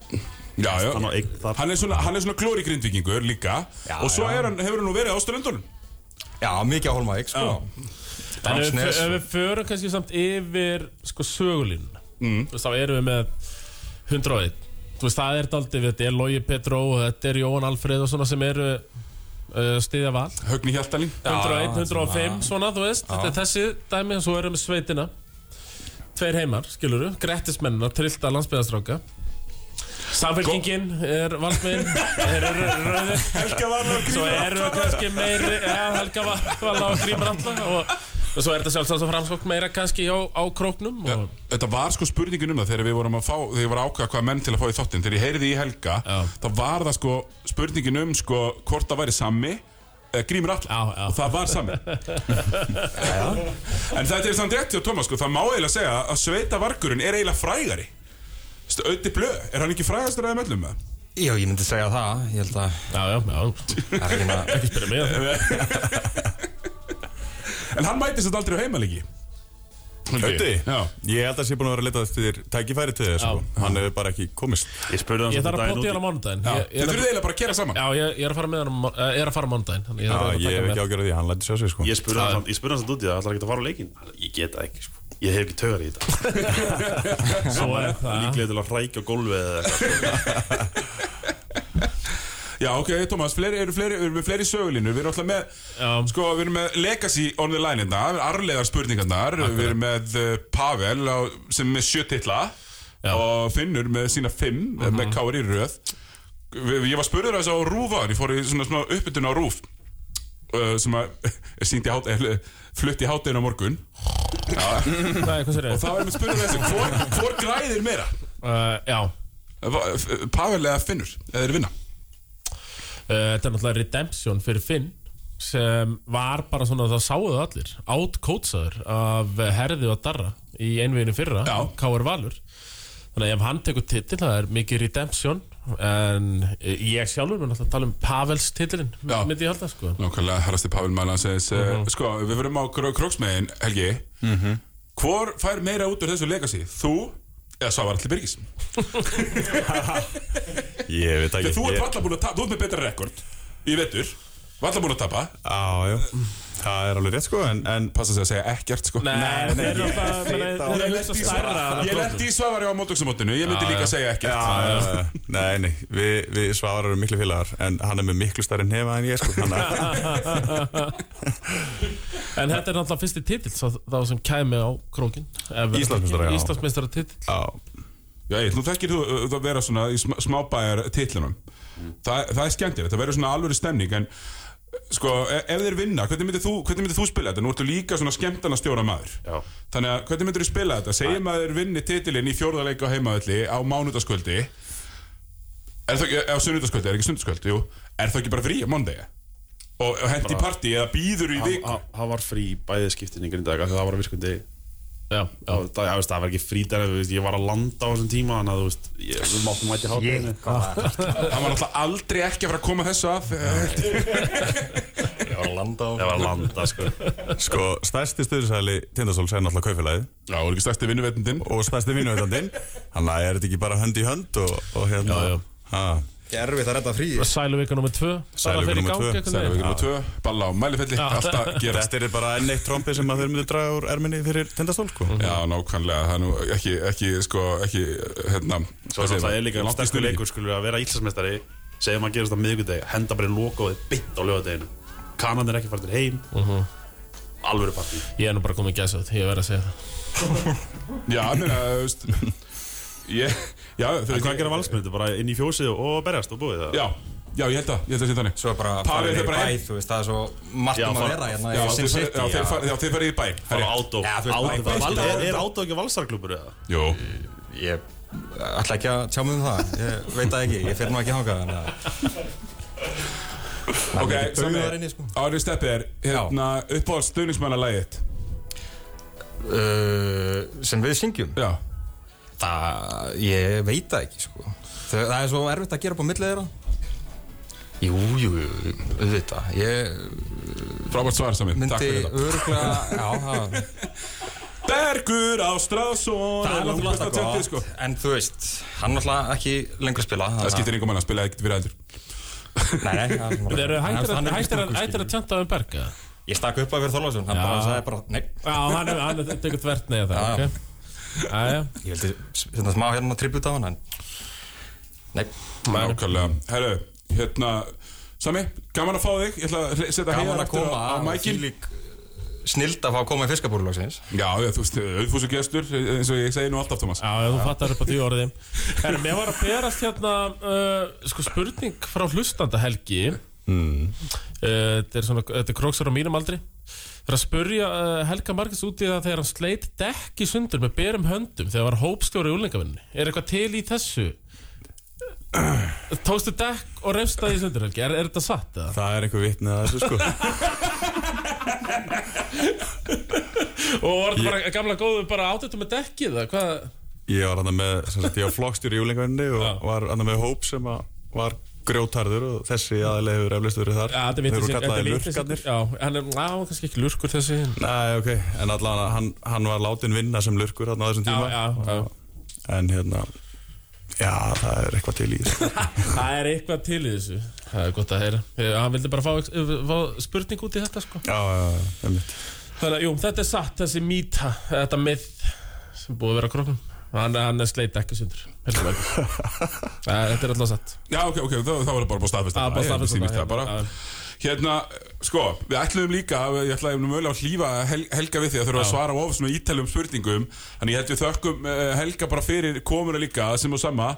B: Já, já
A: Hann á eign þar
B: Hann er svona, hann er svona glóri grindvikingur líka
F: Já,
B: Og svo
F: já.
B: er hann, hefur hann nú verið á Sturlundunum
F: Já, mikið á Holmavík sko
C: En ef við,
F: Drangsnes.
C: ef við förum kannski samt yfir sko sögulínuna Þú veist, þá erum við með 101 Þú veist, það er daldið, þetta er Logi Petró og þetta er Jóhann Alfreð og svona sem eru uh, stiðja val
B: Högni Hjaltalín
C: 101, 105, svona, þú veist Þetta er þessi dæmi, svo erum við sveitina Tveir heimar, skiluru Grettismennina, trillta landsbyðastráka Samfélkingin er valsminn Er rauðir
B: Helga Varnar og
C: Svo
B: Grímur
C: erum við kannski meiri Já, Helga var, var lág að gríma alltaf og, og svo er þetta sjálfsagt að framsókn meira kannski á, á króknum og,
B: Þetta var sko spurningin um það þegar við vorum að fá þegar ég var að ákvaða hvaða menn til að fá í þáttinn þegar ég heyrði í Helga
C: Já.
B: þá var það sko spurningin um sko hvort það væri sami eða grímur allan
C: Já, já.
B: og það var sami En þetta er samt rétt hjá Tómas sko það má eiginlega segja að sveita vargurinn er eiginlega frægari Stu, Ötti Blö, er hann ekki frægastur aðeim öllum með?
F: Já, ég myndi segja það Ég held að
C: Já, já, já,
F: það er hérna- ekki maður
C: ekki spyrja mig að það
B: En hann mætist þetta aldrei á heimalegi
E: Ötti,
B: Já.
E: ég held að sé búin að vera að leta eftir tækifæri til þér sko. hann hefur bara ekki komist
A: Ég spurði hann
C: Ég
A: samt
C: þarf að plotta í
A: daginn úti.
C: hann á mánudaginn
B: Já,
C: Ég-
B: Þið
C: ég er
B: þurfið
C: að-
B: eiginlega bara að gera saman
C: Já, ég ég er að fara með hann á má- eh, Ég er að fara á mánudaginn þannig ég
E: Já,
C: þarf að taka
E: ég hef
C: með.
E: ekki ágjörðið því, hann lætur sjá sig sko
A: Ég spurði hann samt- ég spurði hann samt út í það Það ætlar ekki að fara á leikin Ég get það ekki sko Ég hef ekki tögar í þetta
C: Svo er það
A: Líklega til að hrækja á gólfið eða eitthvað
B: Ég Já, ok, Tómas, fleiri, eru fleiri, eru við fleiri sögulínur Við erum alltaf með,
C: Já.
B: sko, við erum með Legacy on the line hérna, arlegar spurningarnar Við erum með uh, Pavel á, sem er með sjö titla og Finnur með sína fimm eh, með Kári í röð Vi, Ég var spurður þess á rúfan, ég fór í svona, svona uppbytun á rúf uh, sem að er sýnt í hát, er, flutt í hátdeinu á morgun
C: Hvað er, hvað sér
B: og
C: ég?
B: það var með spurður þessu, hvor, hvor græðir meira? Eh,
C: Uh, já,
B: Va- F- Pavel eða Finnur, eða þeir vinna
C: uh, þetta er náttúrulega redemption fyrir Finn sem var bara svona það sáuðu allir átkótsaður af herði og darra í einveginu fyrra
B: Já.
C: K.R. Valur þannig að ef hann tekur titil það er mikið redemption en ég sjálfur mun alltaf að tala um Pavels titilin
B: Já.
C: myndi ég halda sko
B: Nákvæmlega, herrasti Pavel Mælan segis
C: Mhm.
B: uh, Sko, við verum á kró króksmegin, Helgi
E: Mhm.
B: Hvor fær meira út úr þessu legacy? Þú eða Svavar Alli Birgis?
E: Ég veit ekki
B: Þegar þú ert
E: ég-
B: valla búin að tapa, þú ert með betra rekord Í vetur, valla búin að tapa
E: Já, já Það er alveg rétt sko En, en
B: Passa sig að segja ekkert, sko
C: Nei, þeir eru alltaf þeir
B: Ég
C: eru
B: lendi
C: alltaf
B: í
C: stærra
B: Svavari- Ég lendi í Svavari á mótöksamótinu Ég myndi líka segja ekkert
E: Já, já, já. Nei, nei, við, við svarar eru miklu félagar En hann er með miklu stærri nefa en ég sko hann er-
C: En þetta er náttúrulega fyrsti titill sá- þá sem kæmi á krókin
E: Íslandsmeistara, já.
C: Íslandsmeistara titill
E: Já,
B: Já, ég, nú þekkir þú uh, það vera svona í sm smábæjar titlunum Þa, það er skemmtilegt, það verður svona alvöru stemning en sko, e- ef þeir vinna hvernig myndir þú, hvernig myndir þú spila þetta? Nú ertu líka svona skemmtana stjóra maður
A: Já.
B: Þannig að hvernig myndir þú spila þetta? Segjum að þeir vinni titilinn í fjórðarleik á heimaðalli á mánudaskvöldi Er það ekki, á sunnudaskvöldi, er ekki sunnudaskvöldi, jú Er það ekki bara frí á mondegi? Og, og hendi í partí eða býður í
A: Hann-
B: viku
A: hann- Hann var frí í bæði skiptin í grindag Það var virkundi
C: Já, já
A: Það það- já, veist, það var ekki frítar Ég var að landa á þessum tíma Þannig að þú veist ég- Við máttum mæti
F: hérna.
A: hátinu
B: Hann var náttúrulega aldrei ekki að fara að koma þessu af eh,
F: Ég var að landa á
A: Ég var að landa sko
E: sko, stærsti stöðsæli Tindastóls er náttúrulega kaufélagið
B: Já, er ekki stærsti vinnuvetndin
E: Og stærsti vinnuveitandinn Þannig að er þetta ekki bara hönd í hönd Og, og hérna
C: Já, já.
E: Ha,
F: Gerfið að redda frí
C: Sæluvika nr. 2
E: Sæluviku númer tvö,
B: Sæluvík nummer 2, balla á mælifelli Alltaf gerast
E: Þetta er bara enn eitt trombi sem að þeir myndu draga úr erminni fyrir Tindastól sko
A: Mhm.
B: Já, nákvæmlega, það er nú ekki, ekki, sko, ekki, hérna
A: Svo
B: hvað segir
A: það
B: maður?
A: er líka
B: Langt í
A: Sterkur
B: stuðningi.
A: leikur skulur að vera íslensmestari Segjum að gerast á miðvikudegi Henda bara í logoðið Bitt á lögadeginu Kanan er ekki fartir heim Alvöru partí
C: Ég er nú bara komið gæsa þetta, ég verð að segja það
B: Já, mér að, þú veist Ég, já, þau
A: En hvað gera valsmyndu? Bara inn í fjósið og berjast og búið það?
B: Já, já, ég held að, ég held að sé þannig
F: Svo bara
B: Pavið
F: farið
B: er
F: í
B: bara
F: bæ,
B: einn
F: þú veist, það er svo margt
A: Já,
F: um að
A: fara-
F: vera hérna
B: Já,
F: í Sin
B: þeir
F: City,
B: farið- já, þeir
F: já.
B: farið- já, þeir farið í bæ
A: Bara
B: Herri,
A: átó
F: Já, þú veist,
A: Átó-
F: bara-
A: Val- Er er átó ekki valsarklubur eða?
B: Jú,
F: Ég ætla ekki að tjá mig um það Ég veit það ekki, ég fer nú ekki hangað þannig að
B: ok,
F: ekki
B: sem
F: bugðar
B: er
F: inni, sko.
B: Árið steppið er, hérna, uppáhald stuðningsmannalægið
F: Uh, sem við syngjum
B: Já,
F: það, ég veit það ekki sko. Þau, það er svo erfitt að gera upp á millið þeirra jú, jú, jú, auðvitað ég
B: frábært svar sami, takk
F: myndi
B: fyrir þetta
F: öruglega já, það,
B: Bergur Ástrásson
F: það er náttúrulega
B: alltaf
F: gott
B: gott sko.
F: en þú veist, hann náttúrulega ekki lengur að spila
B: Það
F: þannig
B: skiptir einhver mann að spila ekkert fyrir eldur
F: að- nei, nei, hann-
C: Þeir eru
F: hann-
C: hættir að,
F: hann
C: hættir
F: er ekki
C: að,
F: stúlku,
C: hættir að tjanta um berga
F: skilur. ég stakk upp að vera Þorlásson hann bara sagði bara, nei,
C: Já, hann er, hann er tekur tvert neða það,
F: Já.
C: ok Æja,
F: ég vildi þetta smá hérna tribut á hann en nei,
B: Nákvæmlega Herru, hérna Sami, gaman að fá þig Ég ætla að setja
F: gaman
B: heiðar
F: að
B: aftur á,
F: koma
B: á
F: og
B: mækin
F: þvílík snild að fá að koma í fiskabúrulagsins
B: Já, já, þú veist, auðfúsu gestur eins og ég segi nú alltaf, Thomas
C: já, þú fattar upp á því orði En mér var að berast hérna uh, sko spurning frá hlustanda Helgi mm. Þetta er svona, þetta er króksar á mínum aldri Það er að spurja uh, Helga Margis út í það þegar hann sleit dekki sundur með berum höndum þegar var hópstjóri í úlingavinni Er eitthvað til í þessu? Tókstu dekk og refstaði í sundur, Helgi, er, er þetta satt? Eða?
E: Það er einhver vitnið að þessu sko
C: Og var þetta bara gamla góðu bara átötu með dekkið eða hvað?
E: Ég var hann með, sem sagt, ég var flokkstjóri í júlingavinni og
C: Já.
E: var hann með hóp sem að var grjótarður og þessi aðlega hefur eflust verið þar.
C: Já, þetta er
E: Þeir
C: vitið
E: voru kallaðir lurkarnir.
C: Já, hann er, á, kannski ekki lurkur þessi Já,
E: Nei, ok, en allan hann, hann var látin vinna sem lurkur hann á þessum tíma.
C: já, já
E: En hérna, já, það er eitthvað til í þessu.
C: Það er eitthvað til í þessu Það er gott að heyra Eh, Hann vildi bara fá, fá spurning út í þetta sko
E: já, já, já, einmitt.
C: Þannig að, jú, þetta er satt, þessi mýta Þetta myth sem búið að vera á króknum Hann, hann sleit ekki sundur heldur vel. Það- Þetta er alltaf satt
B: Já, ok, ok, þá, þá var það bara búið að staðfesta
C: Já, bara
B: Ég held að
C: staðfesta
B: ég misti
C: það,
B: það bara.
C: já.
B: Hérna, sko, við ætluðum líka að- Ég ætlaði mögulega að hlýfa hel, Helga við því að þurfa að svara of svona ítalum spurningum Þannig ég held við þökkum eh, Helga bara fyrir komuna líka sem og sama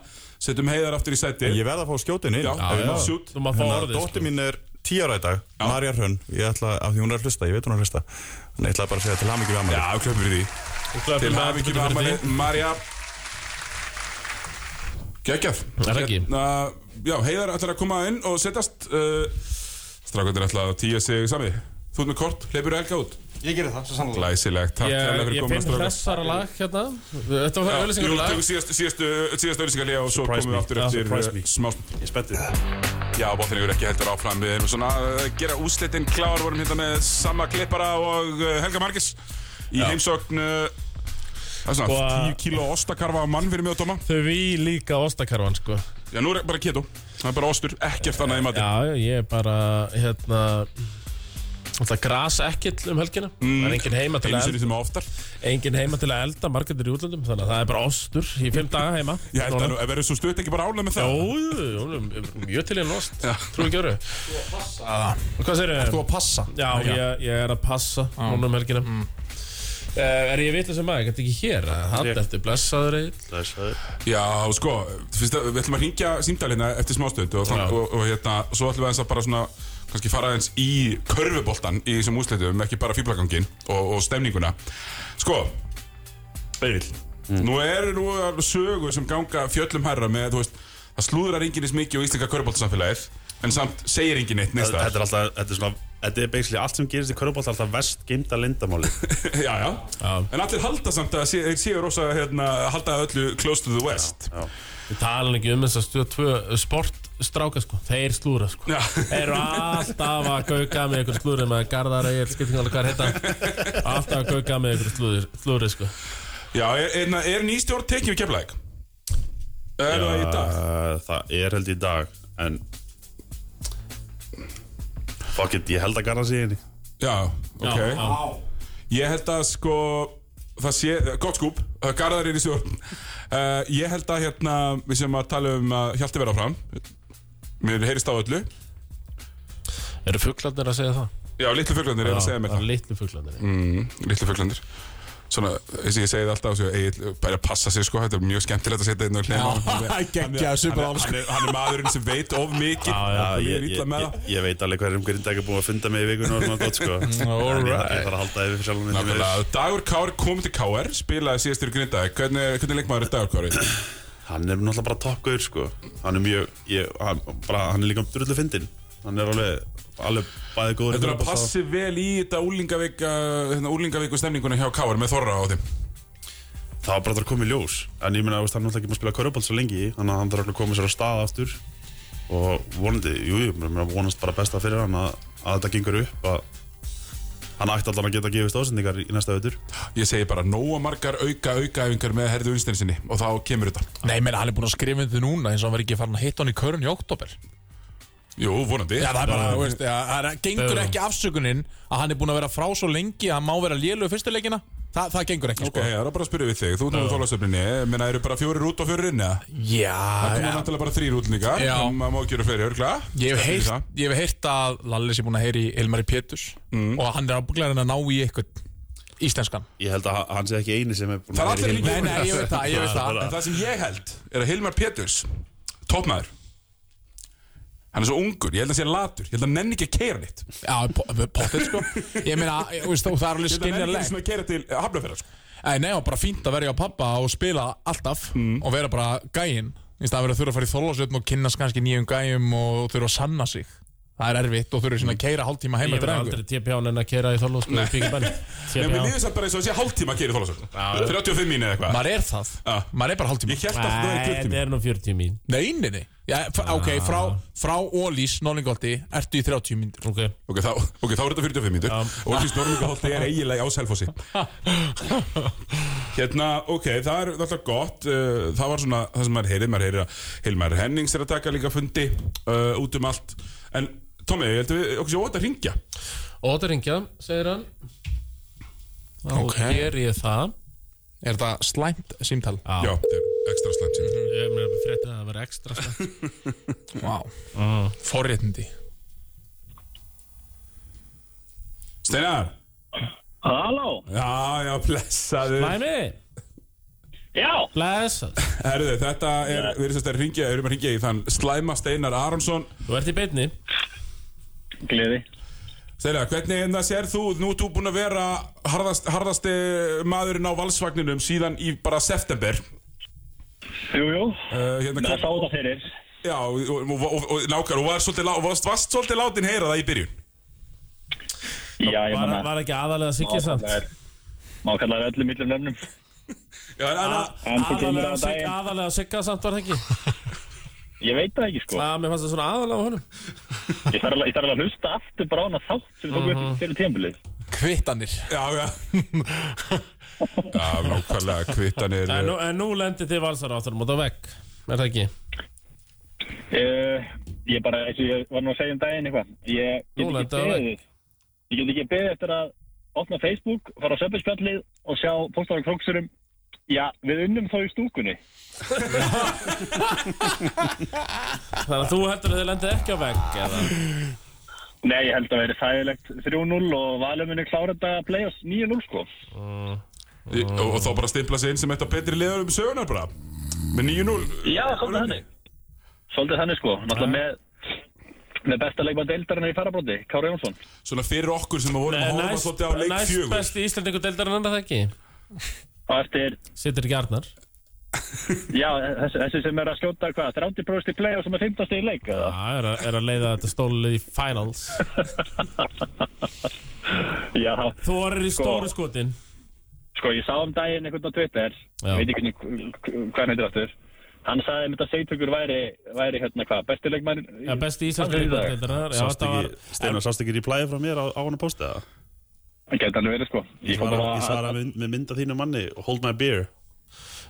B: Settum heiðar aftur í seti
E: Ég verð að fá skjótin inn
B: Já,
E: Ef ég má.
B: já, já.
C: Þú maður fá
E: Hennar
C: orðið sko.
E: Hérna, dóttir mín er tíara í dag Marja Hrönn, ég ætla, af því hún er að hlusta, ég veit hún er að hlusta Þannig ég ætla bara að segja til hamingju við
B: Já,
E: ammali
B: klöfum fyrir því Til hafi
C: Til
B: ekki
C: hamingju með afmælið.
B: afmæli Marja Gægjaf
C: það ekki?
B: Hérna, Já, Heiðar ætlar að koma inn og setjast uh, Strákandir ætlar að tíja sig sami Þú ert með kort, hleypur Helga út
F: Ég gerir það, svo sannlega
B: Læsilegt, takk
C: Ég,
B: fyrir
C: ég
B: komuna
C: finn
B: strákar
C: hressara lag hérna Þetta var það
B: Jú,
C: öllisengarlag
B: tökum síðast, síðastu, síðastu auðlýsingarlega og svo
A: Surprise
B: komum við
A: me.
B: aftur
A: Já,
B: eftir
A: surprise
B: eh,
A: me.
B: smá stund.
A: Ég er spenntið
B: Já, bóttin ykkur ekki heldur áfram Við erum svona að gera úslitin klár Vorum hérna með sama klippara og eh, Helga Margis Í heimsókn eh, Það er svona
C: Og- uh,
B: 10 kíló ostakarfa á mann fyrir mig að doma
C: Þau við líka ostakarvan sko
B: Já, nú er bara keto Það er bara ostur, ekkert annað í matinn
C: Já, já, ég er bara hérna Það grasa ekkert um helgina Það er engin heima til
B: Einu
C: að
B: sinni sem oftar
C: Engin heima til að elda margættir í útlöndum Þannig að það er bara ostur í fimm daga heima
B: Ég held að nú, ef verður svo stutt ekki bara álega með
C: Jó,
B: það
C: jú, jú, mjög til ég en ost Trú ekki öru Hvað segir
D: Þú að passa
C: Já, ég, ég er að passa núna um helgina Eh, Er ég vitlega sem maður, ég gæti ekki hér Það er eftir blessaður eitt
A: Það er sæður
B: Já, sko, fyrst að við ætlum að ringja símdalina eftir smástund og,
C: Já.
B: og, og, hérna, svo ætlum við aðeins að bara svona kannski fara aðeins í körfuboltan í þessum úslitum, ekki bara fýblagangin og, og stemninguna Sko, Egil Nú eru nú alveg sögur sem ganga fjöllum herra með, þú veist, það slúðrar enginn eins mikið og íslenska körfuboltasamfélagið en samt segir enginn eitt neist
A: Þetta
B: það
A: er alltaf, þetta er svona Þetta er beinslega allt sem gerist í körubólt alltaf vest geimda lindamáli
B: já, já. En allir halda samt að þeir séu rosa hérna, halda öllu close to the west
C: Við tala ekki um þess að stuða tvö sportstráka sko Þeir slúra sko
B: Já.
C: Þeir eru alltaf að gauka með einhver slúri með Garðar Egil, skiptingalega hvað er þetta Alltaf að gauka með einhver slúri, slúri sko
B: Já, er, er, er nýstjórn tekið við keflæk? Er það í dag?
A: Uh, Það er held í dag En Fuck it, ég held að hérna. garra sig henni
B: Já, ok
C: já.
B: Ég held að sko Það sé, gott skúp, uh, Garðar er í stjórn uh, Ég held að hérna Við sem að tala um að Hjalti vera fram Mér heyrist á öllu
C: Eru fuglarnir að segja það?
B: Já, litlu fuglandir er að segja mér það
C: Littlu fuglarnir
B: mm, Litlu fuglandir Svona, eins og ég segi það alltaf svo, Egil, bara passa sig sko, þetta er mjög skemmtilegt að setja inn og hlena
D: geggjaður svipur á honum, sko.
B: hann, er- hann er maðurinn sem veit of mikið
A: Já,
B: og ég
A: Ah, ég,
B: er
A: ég,
B: illa með
A: ég,
B: það
A: ég veit alveg hverjum grindæk er búin að funda mig í vikun og svona gott sko En ég, ég þarf að halda yfir sjálfum minn
B: Nákvæmlega, Dagur Kár kom til KR, spilaði síðastur í Grindavík Hvernig, hvernig leikmaður er Dagur Kár?
A: Hann er náttúrulega bara toppgauður sko Hann er mjög, ég, hann, bara, hann er líka drullu fyndin Hann er alveg, alveg bæði góður í
B: Þetta er að
A: fótbolta.
B: passi vel í þetta úlingavík hérna, úlingavík og stemninguna hjá Káar með Þorra á þeim
A: Það var bara að koma í ljós En ég meina, þú veist, hann er náttúrulega ekki búin að spila körubald svo lengi Þannig að hann þarf alveg að koma sér á stað aftur Og vonandi, jú, ég meina, vonast bara besta fyrir hann að, að þetta gengur upp að Hann ætti alltaf að geta að gefist ásendingar í næsta veitur
B: Ég segi bara nóa margar auka aukaæfingar með Herðu Unnsteinsinni og þá kemur þetta
D: Nei, menn, hann er búin að skrifa þetta núna eins og hann var ekki farin að hitta hann í körun í oktober
B: Jú, vonandi
D: Já, það er bara, þú veist, já, það er- gengur
C: Böðvar.
D: ekki afsökunin að hann er búin að vera frá svo lengi að hann má vera lélug fyrstuleikina Þa, Það gengur ekki, sko.
B: Ok, það Sko, er bara að spyrja við þig, þú erum þólasöfninni Menna, eru bara fjórir út og fjórir inn eða?
D: sko Já,
B: Það hérna- koma
D: já,
B: náttúrulega bara þrýr út líka
D: Já.
B: Má gera fleiri, örgla
D: ég hef heyrt, ég hef heyrt að Lalli sé búin að heyri Elmari Péturs og hann er ábygglega að reyna að ná í eitthvað íslenskan
A: Ég held að hann sé ekki eini sem er búin
B: Það er
A: að vera í
B: allir
A: heilum-
B: líka
D: Nei, nei, ég veit það, ég veit það
B: En það sem ég held er að Hilmar Peturs Tópmaður Hann er svo ungur, ég held að hann sé latur Ég held að hann nenni ekki að keira nýtt Ég
D: Já, pottir sko Ég meina, ég veist, og það er
B: held að
D: alveg
B: hann nenni
D: skinjalegt
B: ekki svona að keira til Hafnafjörðar sko.
D: Nei, nei, og bara fínt að verja á pappa og spila alltaf
B: Mm.
D: og vera bara gæinn í stað að vera að þurfa að fara í þólasöfn og kynnast kannski nýjum gæjum og þurfa að sanna sig Það er erfitt og þurfa svona að keira hálftíma
C: Ég
D: heima til
C: verði
D: ræðingu
C: aldrei TPH-n en að kera í Þorlóð sko í Bíkabæn
B: Nei, mér líður
C: TPH
B: samt bara eins og þessi hálftíma að keira í Þorlásöfn 35 mínu eða eitthvað
D: Maður er það,
B: Já.
D: maður er bara hálftíma
B: Ég held að það er
C: Nei, þetta
B: klukkutíma
C: er nú 40 mín
D: Nei, nei, nei, já, f-
B: Ah.
D: ok, frá, frá Ólís, Nólingolti, ertu í 30 myndir
C: Ok,
B: Ok, þá, ok, þá er þetta 45 mínútur Og því Snorlungaholti er eiginlega á selfossi Hérna, ok, það er alltaf gott uh, Það var svona, það sem maður heyri Maður heyri að Hilmar Hennings er að taka líka fundi uh, Út um allt En Tommi, ég held að við okkur séu ótt að ringja
C: Óta ringja, segir hann Þá
D: Ok.
C: ger ég það
D: Er þetta slæmt símtal?
B: Já, þetta er ekstra slæmt símtal.
C: Ég meina að frétta að það var ekstra sko. slæmt.
D: Vá
C: Ah.
D: Forréttindi
B: Steinar
G: Halló?
B: Já, já, blessaður
C: Læmi,
G: Já,
C: blessað.
B: Herðu, þetta er, við erum sérst að ringja, við erum að ringja í þann Slæma Steinar Aronsson
C: Þú ert í beinni.
G: gleði.
B: Steinar, hvernig hérna sér þú, nú ert þú búinn að vera harðast, harðasti maðurinn á valsvagninum síðan í bara september
G: Jú, jú,
B: uh, hérna,
G: það sá
B: kom,
G: það fyrir.
B: Já, og, og, og, og, og nákar, og varst svolítið, lá, varst, varst svolítið látin heyra það í byrjun
G: Já,
C: Var,
G: ég manna,
C: var ekki aðalega Siggi samt?
G: má kalla það öllum yllum nöfnum.
B: Já, en, en,
G: En þú kemur
C: Aðalega
G: á
C: Sigga,
G: daginn.
C: aðalega Sigga samt var það ekki?
G: Ég veit það ekki, sko.
C: Já, mér fannst það svona aðalega á honum.
G: Ég þarf alveg- ég þarf alveg að hlusta aftur bara á hana þátt sem þú tókum upp fyrir tímbilið.
D: Kvittanir
B: já, já Já, nákvæmlega, kvittanir
C: En nú, en nú lendir þið valsar áttur móta vekk. Er það ekki?
G: Uh, ég bara, eins og ég var nú að segja um daginn eitthvað. Ég
C: Nú
G: get ekki
C: lentaði það.
G: beðið. Ég get ekki beðið eftir að opna Facebook, fara á söpinspjallið og sjá póstafar króksurum. Já, við unnum þá í stúkunni.
C: Þannig að þú heldur að þið lendir ekki á vekk eða?
G: Nei, ég held að veri þægilegt 3-0 og valið muni klára þetta að play-offs 9-0 sko.
B: eh, og, og þá bara stimpla sig inn sem eitt af betri liður um sögunar bara Með 9-0
G: Já, svolítið þannig. Svolítið þannig sko, náttúrulega með, með besta leikmann deildarinn í farabróti, Kári Jónsson.
B: Svona fyrir okkur sem að vorum að horfa
C: Næst,
B: svolítið á leik
C: næst
B: fjögur
C: besti íslendingu deildarinn er það ekki?
G: Og eftir,
C: Sittir ekki Arnar?
G: já, þessi, þessi sem er að skjóta hvað, 30% í play-offs sem er 15 í leik eða?
C: Já, er, að- er að leiða þetta stólið í finals.
G: Já,
C: Þú eru í
G: Sko.
C: stóru skotin.
G: sko ég sá um daginn einhvern á Twitter,
C: Já.
G: veit ekki hvernig- hvað hann heitir aftur. Hann sagði einmitt að Seytökur væri, væri hérna hvað, besti leikmann í...
C: Já, besti íslenska
G: Þannig í dag.
C: deildarinn. Já,
A: Sást
C: þetta var...
A: ekki, Steinar, sást ekki replyið frá mér á, á hann að posta það?
G: Hann gæti alveg verið sko. Ég
A: Ég
G: kom
A: svara, ég
G: bara
A: svara með, með mynda þínu manni Hold my beer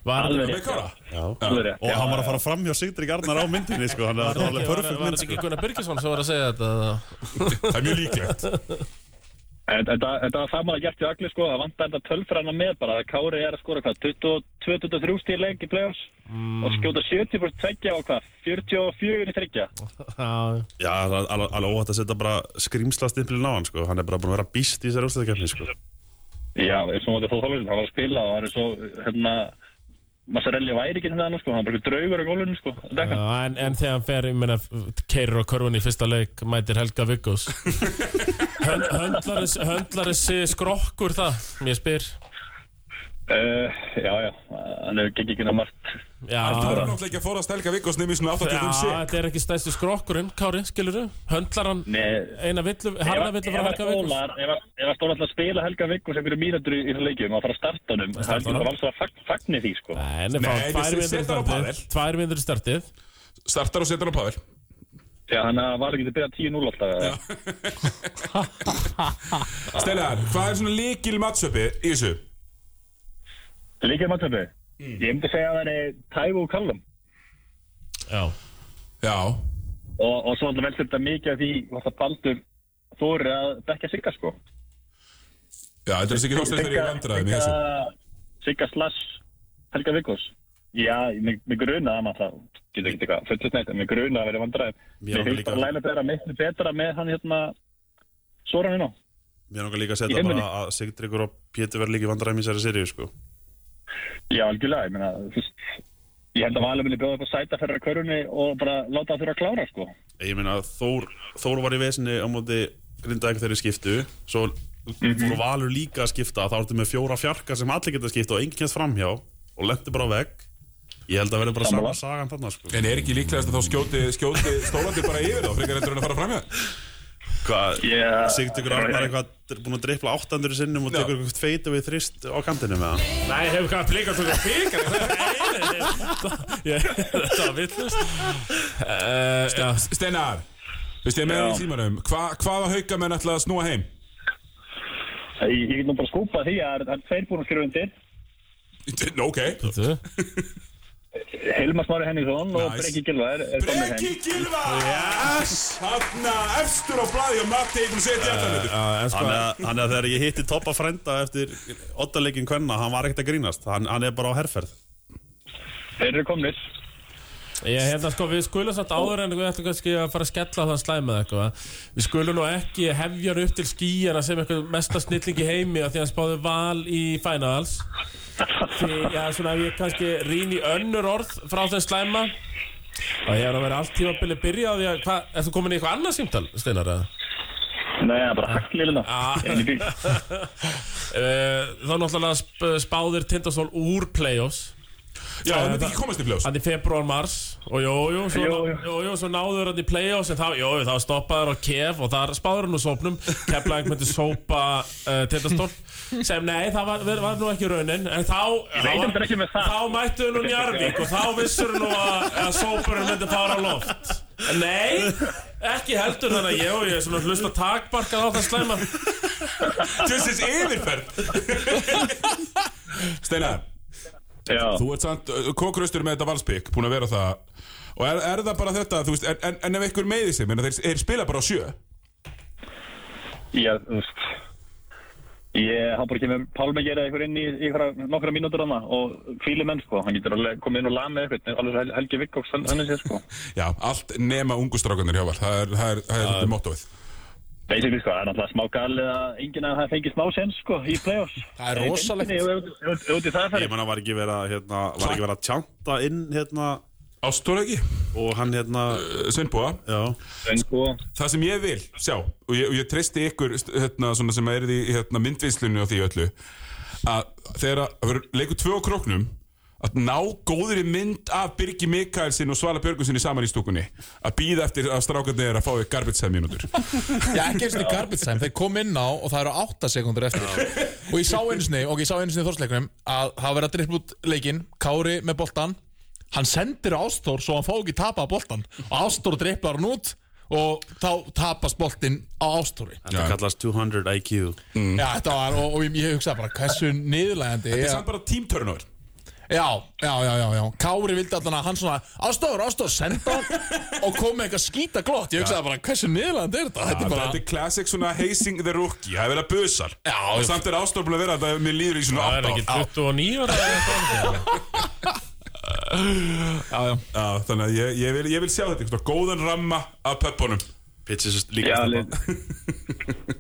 C: Var
G: alveg
B: Með
G: rétt.
B: Kára?
A: Já.
G: Alveg rétt.
A: Og hann var að fara fram hjá Sigdrik Arnar á myndinni sko, Þannig að það var alveg
C: Var
A: perfekt
C: var
A: mynd sko.
C: þetta ekki Gunnar Byrkesson sem var að segja þetta? eða?
B: Það er mjög líklegt
G: En Þetta þetta var það maður gert í allir sko, það vantar þetta tölfræna með bara að Kári er að skora hvað, 22-23 stíl leik í play-offs
C: Mm.
G: og skjóta 70% tveggja og hvað, 44 í þryggja.
C: Já,
A: Já, það er alveg alveg óhætt að setja bara skrýmsla stimplin á hann sko. Hann er bara búin að vera býst í þessari úrslæðikeppni sko.
G: Já, eins og mótið þó þólurinn, það var að spila og það er svo, hérna, Massarelli væri ekki hérna sko, hann var bara draugur á gólunum sko, að dekka.
C: Já, en, en þegar hann fer, ég meina, keirir á körfunni í fyrsta leik, mætir Helga Viggós Hönd- höndlar þessi- Höndlar þessi skrokkur það, mér spyr
G: Uh, já, já, hann hefur gengið ekki ná margt.
C: Já,
B: Það er
C: já,
B: náttúrulega ekki að fóra að stelga Viggos nefnir svona 85 sig
C: þetta er ekki stæsti skrokkurinn, Kári, skilur þú? Höndlar hann
G: Nei,
C: eina villu, harða villu frá Helga Viggós
G: Ég var stóla alltaf að spila Helga Vikus einhverju mínútur í þessu leikjum og fara að starta honum. Það er ekki bara alls að fag- fagni því, sko.
C: Nei, nei,
B: Nei,
C: fá tvær
B: þessi
C: vindur í
B: setur á
C: startið
B: Pavel.
C: Tvær vindur í startið
B: Startar og setur á Pavel
G: Já, hann var ekki til að byrja 10-0 alltaf. eða?
B: Steinar, hvað er svona líkil mattsöpi í þessu?
G: Líkið matthöfu.
B: Mm.
G: Ég myndi segja að það er Tævo og Callum.
C: Já,
B: Já
G: Og, og svo alltaf velst þetta mikið af því hvað það baldur þóri að bekka sigga, sko.
B: Já, þetta er þessi ekki þóstæðist þegar ég vandraði með þessu
G: sigga slash Helga Vikus. Já, mig, mig gruna að maður það, getur ekki eitthvað, fullist neitt, en mig gruna að vera vandræðum.
A: Mér
G: Mér
A: langar
G: finnst
A: líka-
G: bara að læna betra, miklu betra með hann hérna, Soran hérna.
A: Mér langar líka að
G: Í
A: setja
G: heiminum.
A: bara að Sigdrikur og Pétur verður líka vandræmi í þessari seríu sko.
G: Já, algjörlega, ég meina, þú veist, ég held að Valur minni bjóða upp á sæta fyrir að körunni og bara láta það þurfa að klára, sko.
A: Ég meina að Þór, Þór var í vesinni á móti Grindavík þegar þeir skiptu Svo voru Valur líka að skipta Þá ertu með fjóra fjarka sem allir geta skipta Og enginn kemst framhjá og lendi bara á vegg Ég held að verður bara sama
G: Sammála.
A: sagan þarna sko.
B: En er ekki líklegast að þá skjóti, skjóti stólandi bara yfir þá Frekar endur hann að fara fram í það
A: Hvað,
G: Yeah.
A: Sigdrikur Arnar eitthvað er búin að dreipla 800 sinnum og
B: Já.
A: tekur eitthvað feitu við þrist á kantinu með hann
C: Nei, hefur hvað að blika svo hvað píkar Þetta var villust Já,
B: Steinar, veist ég er með
G: Já.
B: það í tímanum hva, Hvaða hauka menn ætla að snúa heim?
G: Ég, ég get nú bara skúpað því að það er tveir búin að skrifa undir
B: Nú, Ok,
C: Þú?
G: Hilmar Smári Henningsson og
B: Nice.
G: Breki Gilva er, er komið heim.
B: Breki Gilva yes. Eh, Hanna efstur á blaði og Matti hefur setið þetta hlutur
C: en sko,
A: Þannig að, þannig að þegar ég hitti Toppa frænda eftir ottalegin kvenna, hann var ekkert að grínast hann, hann er bara á herferð
G: Þeir eru komnir.
C: Ég hérna sko, við skulum samt áður en við ætlum kannski að fara að skella á þann slæmið eitthvað Við skulum nú ekki hefja hann upp til skýjana sem eitthvað mesta snilling í heimi af því að hann spáði val í finals Því, já, svona ef ég kannski rýn í önnur orð frá þeim slæma Það hefur að vera allt tímabili byrja á því að, hvað, er þú komin í eitthvað annað símtal, Steinar, eða?
G: Nei, það er bara haglilina. Ég er í bíl.
C: Eh, Þá náttúrulega sp- spáðir Tindastól úr play-offs
B: Já, það myndi ekki komast í pljós
C: Hann í februar, mars og jú, jú, svo, jú,
G: Jú,
C: jú.
G: jú.
C: svo náður hann í play-offs en þá, jú, jú, þá stoppaður á kef og þar spáður hann úr sópnum Keflæk myndi sópa uh, Tindastól sem nei, það var, var, var nú ekki raunin en þá, þá,
G: veit heldur ekki með það.
C: þá mættu hann úr Njarvík og þá vissur hann nú að, að sópurinn myndi fara á loft En Nei, ekki heldur þannig að ég og ég er svona að hlusta takbarkað á það slæma
B: Tjóðsins yfirferð Steinar,
G: Já.
B: þú ert samt uh, kókraustur með þetta valsbygg Búin að vera það Og er, er það bara þetta, þú veist, en, en, en ef einhver meiði sig Menna þeir, þeir spila bara á sjö
G: Já, þú veist. Ég hafa bara kemur Pálmi að gera inn í í einhverja nokkra mínútur hana og fíli menn sko. Hann getur alveg komið inn og lamið eitthvað. Alveg Hel- Helgi Vikkóks, hann, hann er sér sko.
B: Já, allt nema ungustrákanir hjá val Það er, það er, það er, það er mottóið
G: Basically sko, það er náttúrulega smá galið að enginn að það fengi smá sens sko í play-offs.
D: Það er rosalegt.
G: Úti það
A: ég
G: færi.
A: menna var ekki verið að hérna, var ekki verið að tjanta inn hérna
B: Ástóra ekki,
A: og hann hérna
B: eh, Sveinbúa
A: já,
G: En sko,
B: Það sem ég vil sjá og ég, og ég treysti ykkur st- hérna, svona sem er í hérna, myndvinslunni og því öllu að þegar að það verður leikur tvö á króknum að ná góðri mynd af Birgi Mikaelsin og Svala Björgunsinni saman í stúkunni að býða eftir að strákarnir er að fá við garbage mínútur
D: Já, ekki eins og í garbage time, þeir kom inn á og það eru 8 sekundur eftir Og ég sá einu sinni, og ég sá einu sinni í þorsleikunum að það verið að drifta út leikinn, Kári með boltan Hann sendir Ástór svo hann fá ekki tapa boltan og Ástór driftar hann út og þá tapast boltinn á Ástóri
A: það kallast 200 IQ
D: Já, þetta var, og, og ég, ég hugsaði bara hversu niðurlægandi
B: Það er
D: Já,
B: samt bara tímtörnur
D: já, já, já, já, já Kári vildi allan að hann svona Ástór, Ástór, senda hann og kom með eitthvað skýta glott Ég hugsaði bara hversu niðurlægandi er þetta Þetta er bara
B: Þetta er classic svona hazing the rookie Það er verið að busar
D: Já,
B: og
D: já.
B: samt er Ástór búin að vera þetta mér líður í svona
C: Það er
B: 8
C: ekki
B: ár
C: 29 ára eða eitthvað.
B: Já, Þannig að ég, ég, vil, ég vil sjá þetta einhvern góðan ramma af pöppunum
A: pitches
G: já,
A: líka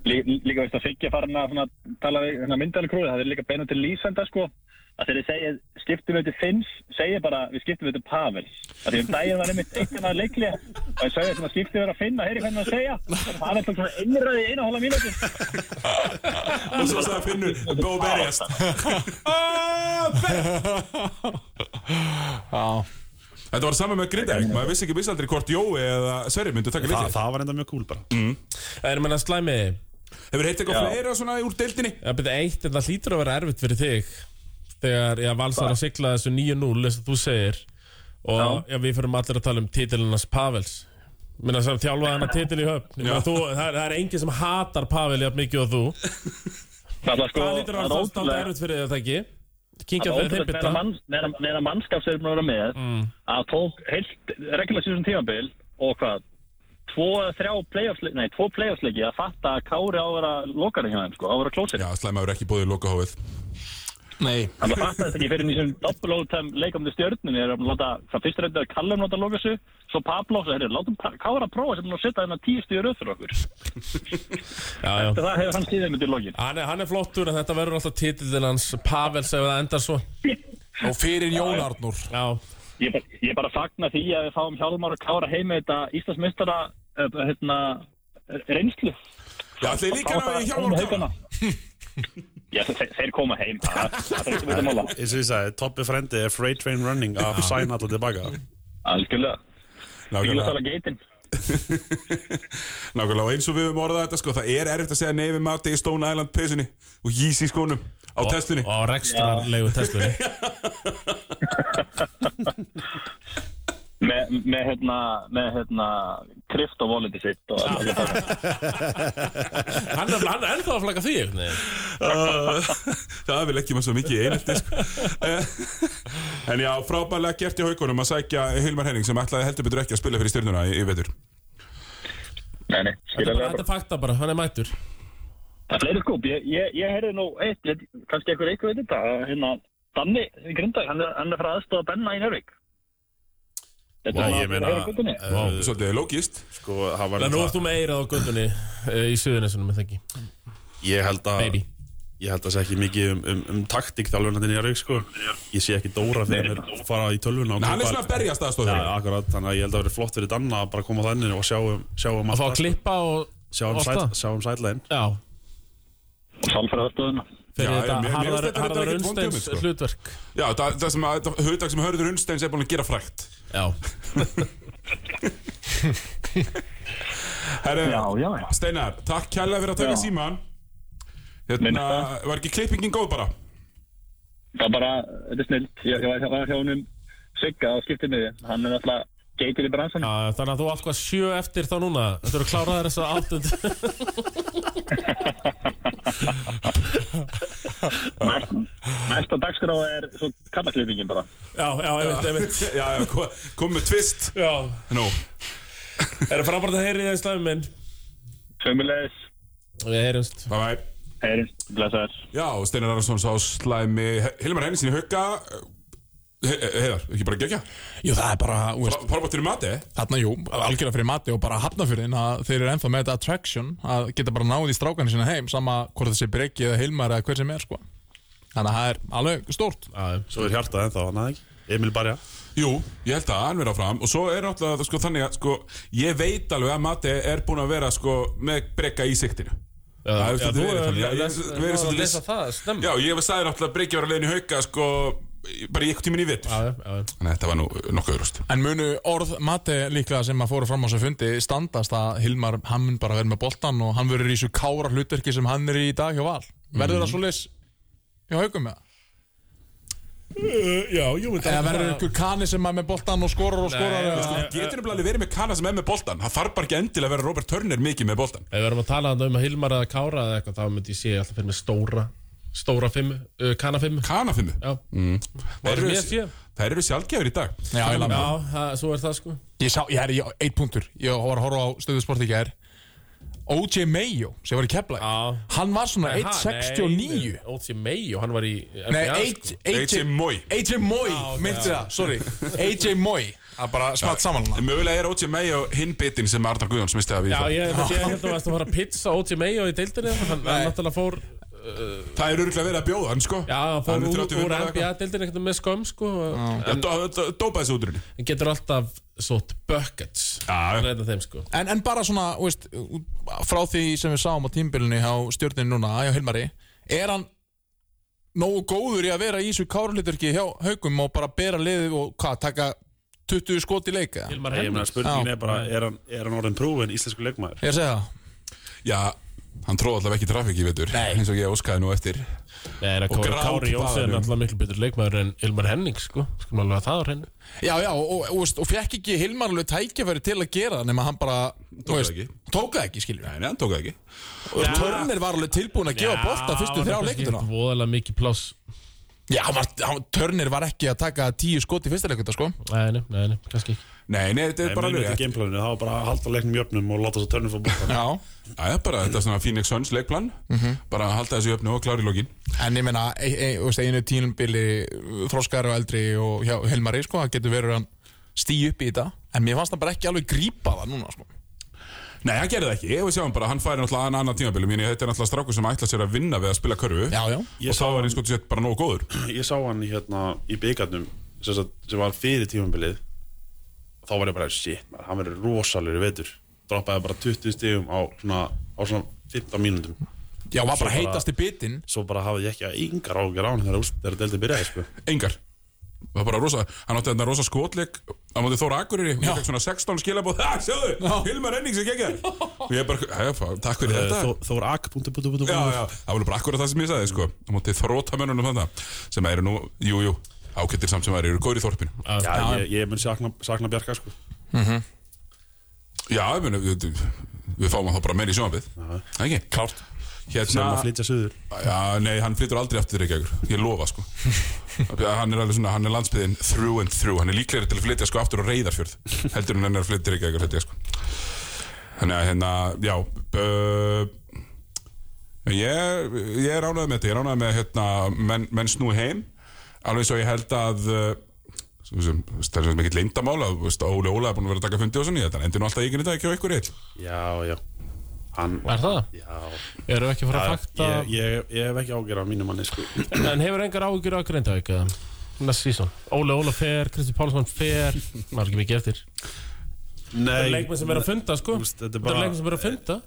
G: lí- lí- líka veist að Siggi farin að svona, tala við hérna, myndalkrúið, það er líka beinu til lýsenda sko. Að þegar ég segi, skiptum við til Finns, segi bara, við skiptum við til Pavel. Það því um daginn var einmitt eitt en að leikli og ég sagði svona, skiptum við að finna, heyri hvernig það segja. Og Pavel tók svona einræði í eina hóla mínúti.
B: og svo sagði Finnur Bó berjast Þetta var saman með Grindavík, maður vissi ekki vissaldri hvort Jói eða Sverri myndu taka
A: það,
B: litið
A: það var enda mjög cool bara
C: Það er meina slæmiði
B: Hefur heitt eitthvað fleira svona úr deildinni?
C: Það byrja eitt, en það hlýtur að vera erfitt fyrir þig Þegar ég valsar að sigla þessu 9-0 eins og þú segir Og já. við fyrir allir að tala um titilunars Pavels Minna sem þjálfaði hann að titil í höfn Ég meina, þú, það, er- það er enginn sem hatar Pavel jafn mikið og þú
G: Það var sko,
C: Það hlýtur að vera
G: það er
C: státt
G: ótrúlega.
C: erfitt fyrir þig að ekki Kingja
G: Það
C: fyrir
G: var
C: þeim
G: ótrúlegt meira
C: bita
G: manns- meira- meira mannskap sem við erum að vera með að tók heilt reglulega síðan tímabil og hvað tvo eða þrjá playoffsleiki nei, tvo playoffsleiki að fatta að Kári á að vera lokari hjá þeim sko, á að vera klósir
B: Já, slæmaður ekki búið í lokahófið
D: Nei
G: hann bara fatta þetta ekki fyrir nýjum double overtime leikamni stjörnum er að láta, það fyrst reyndi að kalla um láta loka þessu, svo Pablo svo herri, látum Pa- Kári að prófa sem hann að setja þennan tíu stíður öð fyrir okkur,
C: já, já.
G: það hefur hann síðan myndið lokin
C: Hann, er, hann er flottur en þetta verður alltaf titilunars Pavels ef það endar svo
D: Og fyrir Jón Arnur
C: Já,
G: Ég, bara- ég bara fagna því að við fáum Hjálmar og Kára heim með þetta Íslandsmeistara eh, hérna, reynslu.
B: Já, ætli líka að ná í Hjálmar og Kára?
G: Já, þeir, þeir koma heim. Það það er ekki verið að um mála.
A: eins og ég sagði, Toppi frendi er freight train running að sæna alltaf tilbaka
G: Algjörlega. Ég vil að
B: Nákvæmlega,
G: tala geitin.
B: nákvæmlega, og eins og við höfum orðað þetta sko, það er erfitt að segja neyfi mati í Stone Island peysunni og Yeezy skónum á testunni
C: og rekstrarlegu testunni
G: Með, með hérna, með hérna, kryft og volindi sitt og alveg það.
C: Hann er hann er ennþá að flagga því Nei.
B: Uh, það vil ekki maður svo mikið í einelti sko. Eh, En já, frábærlega gert í haukunum að sækja Hilmar Henning sem ætlaði heldur betur ekki að spila fyrir styrnuna í, í vetur
G: Nei,
C: Þetta er
G: nei,
C: bara-
G: skiljaðlega
C: þetta er fakta bara, hann er mættur
G: Það er fleiri skóp, ég, ég, ég heyrði nú eitt, ég, kannski eitthvað eitthvað veit þetta, að hérna, Danni í Grindag, hann er, hann er frá aðstofa Benna í Njörvík.
A: Vá, ég meina,
G: Þetta
A: uh,
B: Svolítið lógist
A: sko, það var
C: Þannig að nú ert
A: það,
C: þú með eirað á göndunni í Suðunesunum, er það ekki?
A: ég held að
C: Baby.
A: ég held að það sé ekki mikið um, um, um taktík þjálfurnandinn í Járvík sko ég sé ekki Dóra þegar hann er fara í tölvuna og
B: Hann er
A: kaupa-
B: svona að berjast
A: Já,
B: aðstofður
A: akkurat, þannig að ég held að það verið flott fyrir Danna að bara koma þannig og sjá um, sjá um
C: Að fá að
A: allt-
C: klippa og
A: sjá um,
C: og
A: sæt,
C: allt það.
A: sjá um sætlegin
C: Já,
G: Sálfræða aðstofuna.
C: fyrir
B: Já, já, mér- mér
C: þetta
B: finnst
C: Harðar
B: þetta
C: Harðar
B: reyndar ekkert vond
C: Unnsteins
B: hugmynd, sko.
C: hlutverk
B: Já, það, það sem að hugtak sem hörður Unnsteins er búin að gera frækt
C: Já,
B: Herre,
G: Já, já, já.
B: Steinar, takk kærlega fyrir að taka
G: Já.
B: síman
G: Minni
B: Hérna,
G: það.
B: var ekki klippingin góð bara?
G: Það er bara, þetta er snilt, ég, ég var, var hjá honum Sigga á skiptinni, hann er náttúrulega geitur í bransan.
C: já, þannig að þú átt hvað sjö eftir þá núna Þetta eru kláraðar þess að áttund
G: Næsta dagskrá er svo kallaklippingin bara.
C: Já, já, einmitt, einmitt
B: Já, já, kom, kom með tvist
C: Já,
B: Nú,
C: það er frábært að heyri þér slæmi minn
G: Sömulegis,
C: Við heyrumst
B: það væri
G: heyrins, blessaður.
B: Já, Steinar Arason sá slæmi Hilmar Henningsin í hauka Heiðar, ekki bara gegja
D: Jú, það er bara, þú veist,
B: Parbáttur í mati
D: þarna, jú, algjörlega fyrir mati og bara hafna fyrir þinn að þeir eru ennþá með þetta attraction að geta bara náði strákan sína heim sama hvort þessi Breki eða Hilmar eða hver sem er, sko. Þannig að það er alveg stórt.
A: svo er hjartað ennþá, hann aðeins Emil Barja
B: Jú, ég held að hann vera fram og svo er náttúrulega sko, þannig að sko, ég veit alveg að Mati er búin að vera sko, með brekka í siktinu Það hefur svolítið verið þannig. Ég- ég- verið svolítið
C: verið svolítið
B: viss-
C: lesa það, stemma
B: Já, ég hef sagði náttúrulega að brekki var að leiðin í hauka sko, í- bara í eitthvað tíminn í vitt
C: Já, já, já
B: Nei, þetta var nú nokkuð öðrust
D: En munu orð Mati líklega sem að fóru fram á þessu fundi standast að Hilmar, hann mun bara verið með boltan og hann verður í þessu kára hlutverki sem hann er í í dag hjá Val. Verður
C: Mhm.
D: það svo leys hjá haugum með það?
C: Já, jú, myndi
D: Eða verður ykkur kani sem er með boltan og skorar og skorar?
C: Nei,
D: eða-
B: Það getur nefnilega alveg verið með Kana sem er með boltan Það þarf bara ekki endilega að vera Robert Turner mikið með boltan
C: Ef við erum að tala þarna um að Hilmar eða Kára eða eitthvað þá myndi ég sé alltaf fyrir með stóra stóra fimmu, uh, kana fimmu
B: Kana fimmu
C: Já,
B: Þær
C: Varum ég að sé?
B: eru- þær eru sjálfgefur í dag
D: Já, ég
C: já það, svo er það sko
D: Ég sá, ég er í eitt punktur Ég var að horfa á stöðusport í gær OJ Mayo, sem var í Keflæk
C: Já.
D: Hann var svona
C: Ha, nei,
D: 1.69
C: O.T. May og hann var í
D: Nei,
C: NBA, sko.
D: 8
B: AJ Moy.
D: AJ Moy,
C: Ah,
D: myndi það, sorry AJ Moy Það er bara smatt saman
B: En
D: hann
B: Mögulega er OJ May og hinn bitin sem Arnar Guðjóns misti af í
C: Já,
B: það.
C: ég, ég, ég held að varst að fara að pizza O.T. May og í deildinni hann, hann náttúrulega fór Já,
B: Það er örgulega verið að bjóða hann sko
C: hann fór
B: er 30
C: úr, úr
B: vinnar eða eitthvað.
C: NBA-deildinni eitthvað með skömm sko
B: Já, dó- dó- Dópaði þessu útrunni
C: en getur alltaf sótt buckets
B: Já.
C: Hann er einn af þeim sko
D: en, en bara svona, þú veist Frá því sem við sáum á tímbilinu hjá stjórninu núna Hjá Hilmari Er hann nógu góður í að vera í þessu kárlíturki hjá haugum Og bara bera liðið og hvað, taka 20 skot í leika Ég
C: Hilmar
A: ég
C: Henning
A: meina
D: Já.
A: spurningin er bara, er hann, er hann orðin prúfin íslensku leikmaður?
D: er að segja það
B: Já, hann tróði allavega ekki trafík í vetur eins og ég óskaði nú eftir
C: Nei, það Kári,
B: grát
C: Kári
B: í
C: Jónsson er
B: baðinu.
C: alltaf miklu betur leikmaður en Hilmar Henning sko Skulum alveg að það á hreinu
D: Já, já, og, og, og, og fekk ekki Hilmar alveg tækjafæri til að gera það nema hann bara
B: það
D: þú veist,
B: ekki.
D: Tók það ekki, skiljum
B: Nei, nei, hann tók það ekki
D: Og Törnir var alveg tilbúin að gefa bolta fyrstu þrjá leikunduna
C: Voðalega mikið pláss
D: Já, hann var, hann, Törnir var ekki að taka tíu skot í fyrsta leikunda, sko
C: Nei, nei, nei, nei, kannski ekki
B: Nei, nei, þetta er
A: Nei,
B: bara
A: munið
B: alveg
A: þetta
B: rétt.
A: gameplaninu, það var bara að halda leiknum jöfnum og láta þess að törnum fór bóttan
D: Já
B: Já, já, bara þetta er svona Phoenix Suns leikplan Bara að halda þessu jöfnu og klára í lokin
D: En ég meina, e, e, þú veist, einu tílumbili þroskar og eldri og hjá Hilmari, sko það getur verið að hann stíu upp í þetta En mér fannst hann bara ekki alveg grípa það núna, sko
B: Nei, hann gerði það ekki, við sjáum bara, hann færi náttúrulega annan annan tímabilum Ég þetta er náttúrulega strákur sem ætla sér að vinna við að spila körfu
D: Já, já
B: Og þá er eins og þetta bara nógu góður
A: Ég sá hann í, hérna, í byggarnum sem, sagt- sem var fyrir tímambilið þá var ég bara, shit, maður, hann verður rosalegur í vetur droppaði bara 20 stigum á svona, á svona 15 mínúndum
D: Já, var bara
A: Svo bara-
D: heitast í bitin
A: svo bara hafði ég ekki engar ágjör á hann þegar, úst- þegar deildið byrjaði sko.
B: Engar Það var bara rosa, hann átti þarna rosa skotleik á móti Þóra Akureyri, ég fekk svona 16 skilabóð Það, sjáðu, Hilmar Henning sem geggar Og ég bara, "Jæja, fá- takk fyrir þetta
A: Eh, Þó- Þór Ak punktu, punktu, punktu,
B: Já,
A: punktu.
B: já, það var bara akkurat það sem ég sagði, sko Á móti þrótamönnunum þarna Sem eru nú, jú, jú, ákettir samt sem eru eru góður í þorpinu
A: Já, ég, ég mun sakna, sakna Bjarka sko.
B: Já, ég meni, við, við fáum hann þá bara meira í sjónabið Ekki? Klárt hérna,
A: sem að flytja suður
B: Já, nei, hann flyttur aldrei aftur til Reykjavíkur Ég lofa, sko Hann er alveg svona, hann er landsbyðin through and through Hann er líklegri til að flytja sko aftur á reyðarfjörð Heldur en hann er að flytja til Reykjavíkur held ég, sko. Þannig að hérna, já uh, Ég, ég er ánægð með þetta Ég er ánægð með hérna, menn, menn snú heim Alveg svo ég held að uh, svo sem, Það er svo mikill leyndamál að þú veist, Óli Óla er búin að vera að taka fundi og svona í þetta En endur nú alltaf ekki nýtt að ekki á ykkur eitt
A: já, já hann,
C: Er það?
A: já,
C: Erum við ekki að fara að fakta?
A: ég, ég, ég hef ekki ágjör á mínu manni sko.
C: En hefur engar áhugjur á Grindavík eða? Næst sísón Óli Óla fer, Kristi Pálsson fer Maður er ekki mikið eftir Það
A: Nei,
C: er leikmenn sem er að funda sko
A: Þú veist, þetta er
C: Það er
A: bara-
C: leikmenn sem er að funda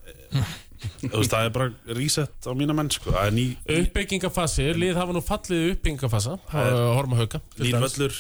A: þú veist, það er bara reset á mínu menn sko. það er ný,
C: Uppbyggingafasi, lið hafa nú fallið uppbyggingafasa Horma hauka til
A: nýr
C: dæmis.
A: völlur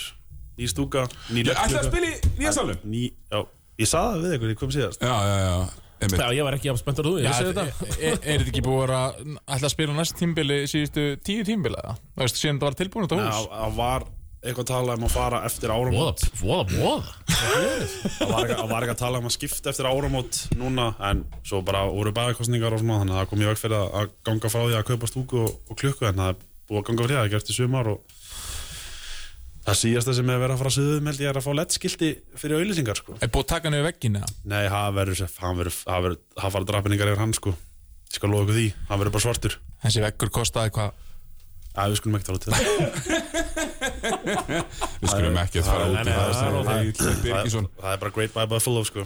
A: ný stúka, ný
B: Ég ætla að
A: leikklukka,
B: spila í nýja salum
A: ný, já, ég saði það við ykkur, ég kom síðast
B: Já, já, já, einmitt
C: Já, ég var ekki jafn spenntur og þú, ég
D: Er
C: vissi
D: er-
C: þetta
D: er þetta ekki búið að vera ætla að spila næst tímbili síðustu tíu tímbili eða? Þú veist, síðan þetta var tilbúin þetta
A: Já,
D: hús
A: það var eitthvað að tala um að fara eftir áramót
C: Voða, voða, voða
A: það var, eitthvað- það var ekki að tala um að skipta eftir áramót núna en svo bara voru bæðakostningar og svona þannig að það kom ég veg fyrir að- að ganga frá því að kaupa stúku og, og klukku en það er búið að ganga frá því að það er gert í sumar og það síðasta sem er verið að fara að suðum held ég er að fá lettskilti fyrir auðlýsingar sko.
D: Er búið að taka niður veggin eða?
A: Nei, það verður sem- hann verður, það verður, það fara drapningar yfir hann sko ég skal lofa ykkur því, hann verður bara svartur
D: Þessi veggur kostaði hvað
A: að við skulum ekki tala um til það
B: Við skulum ekki að fara út í það
A: það er-
B: Það er Egill Birgisson
A: það er bara great by Buffalo sko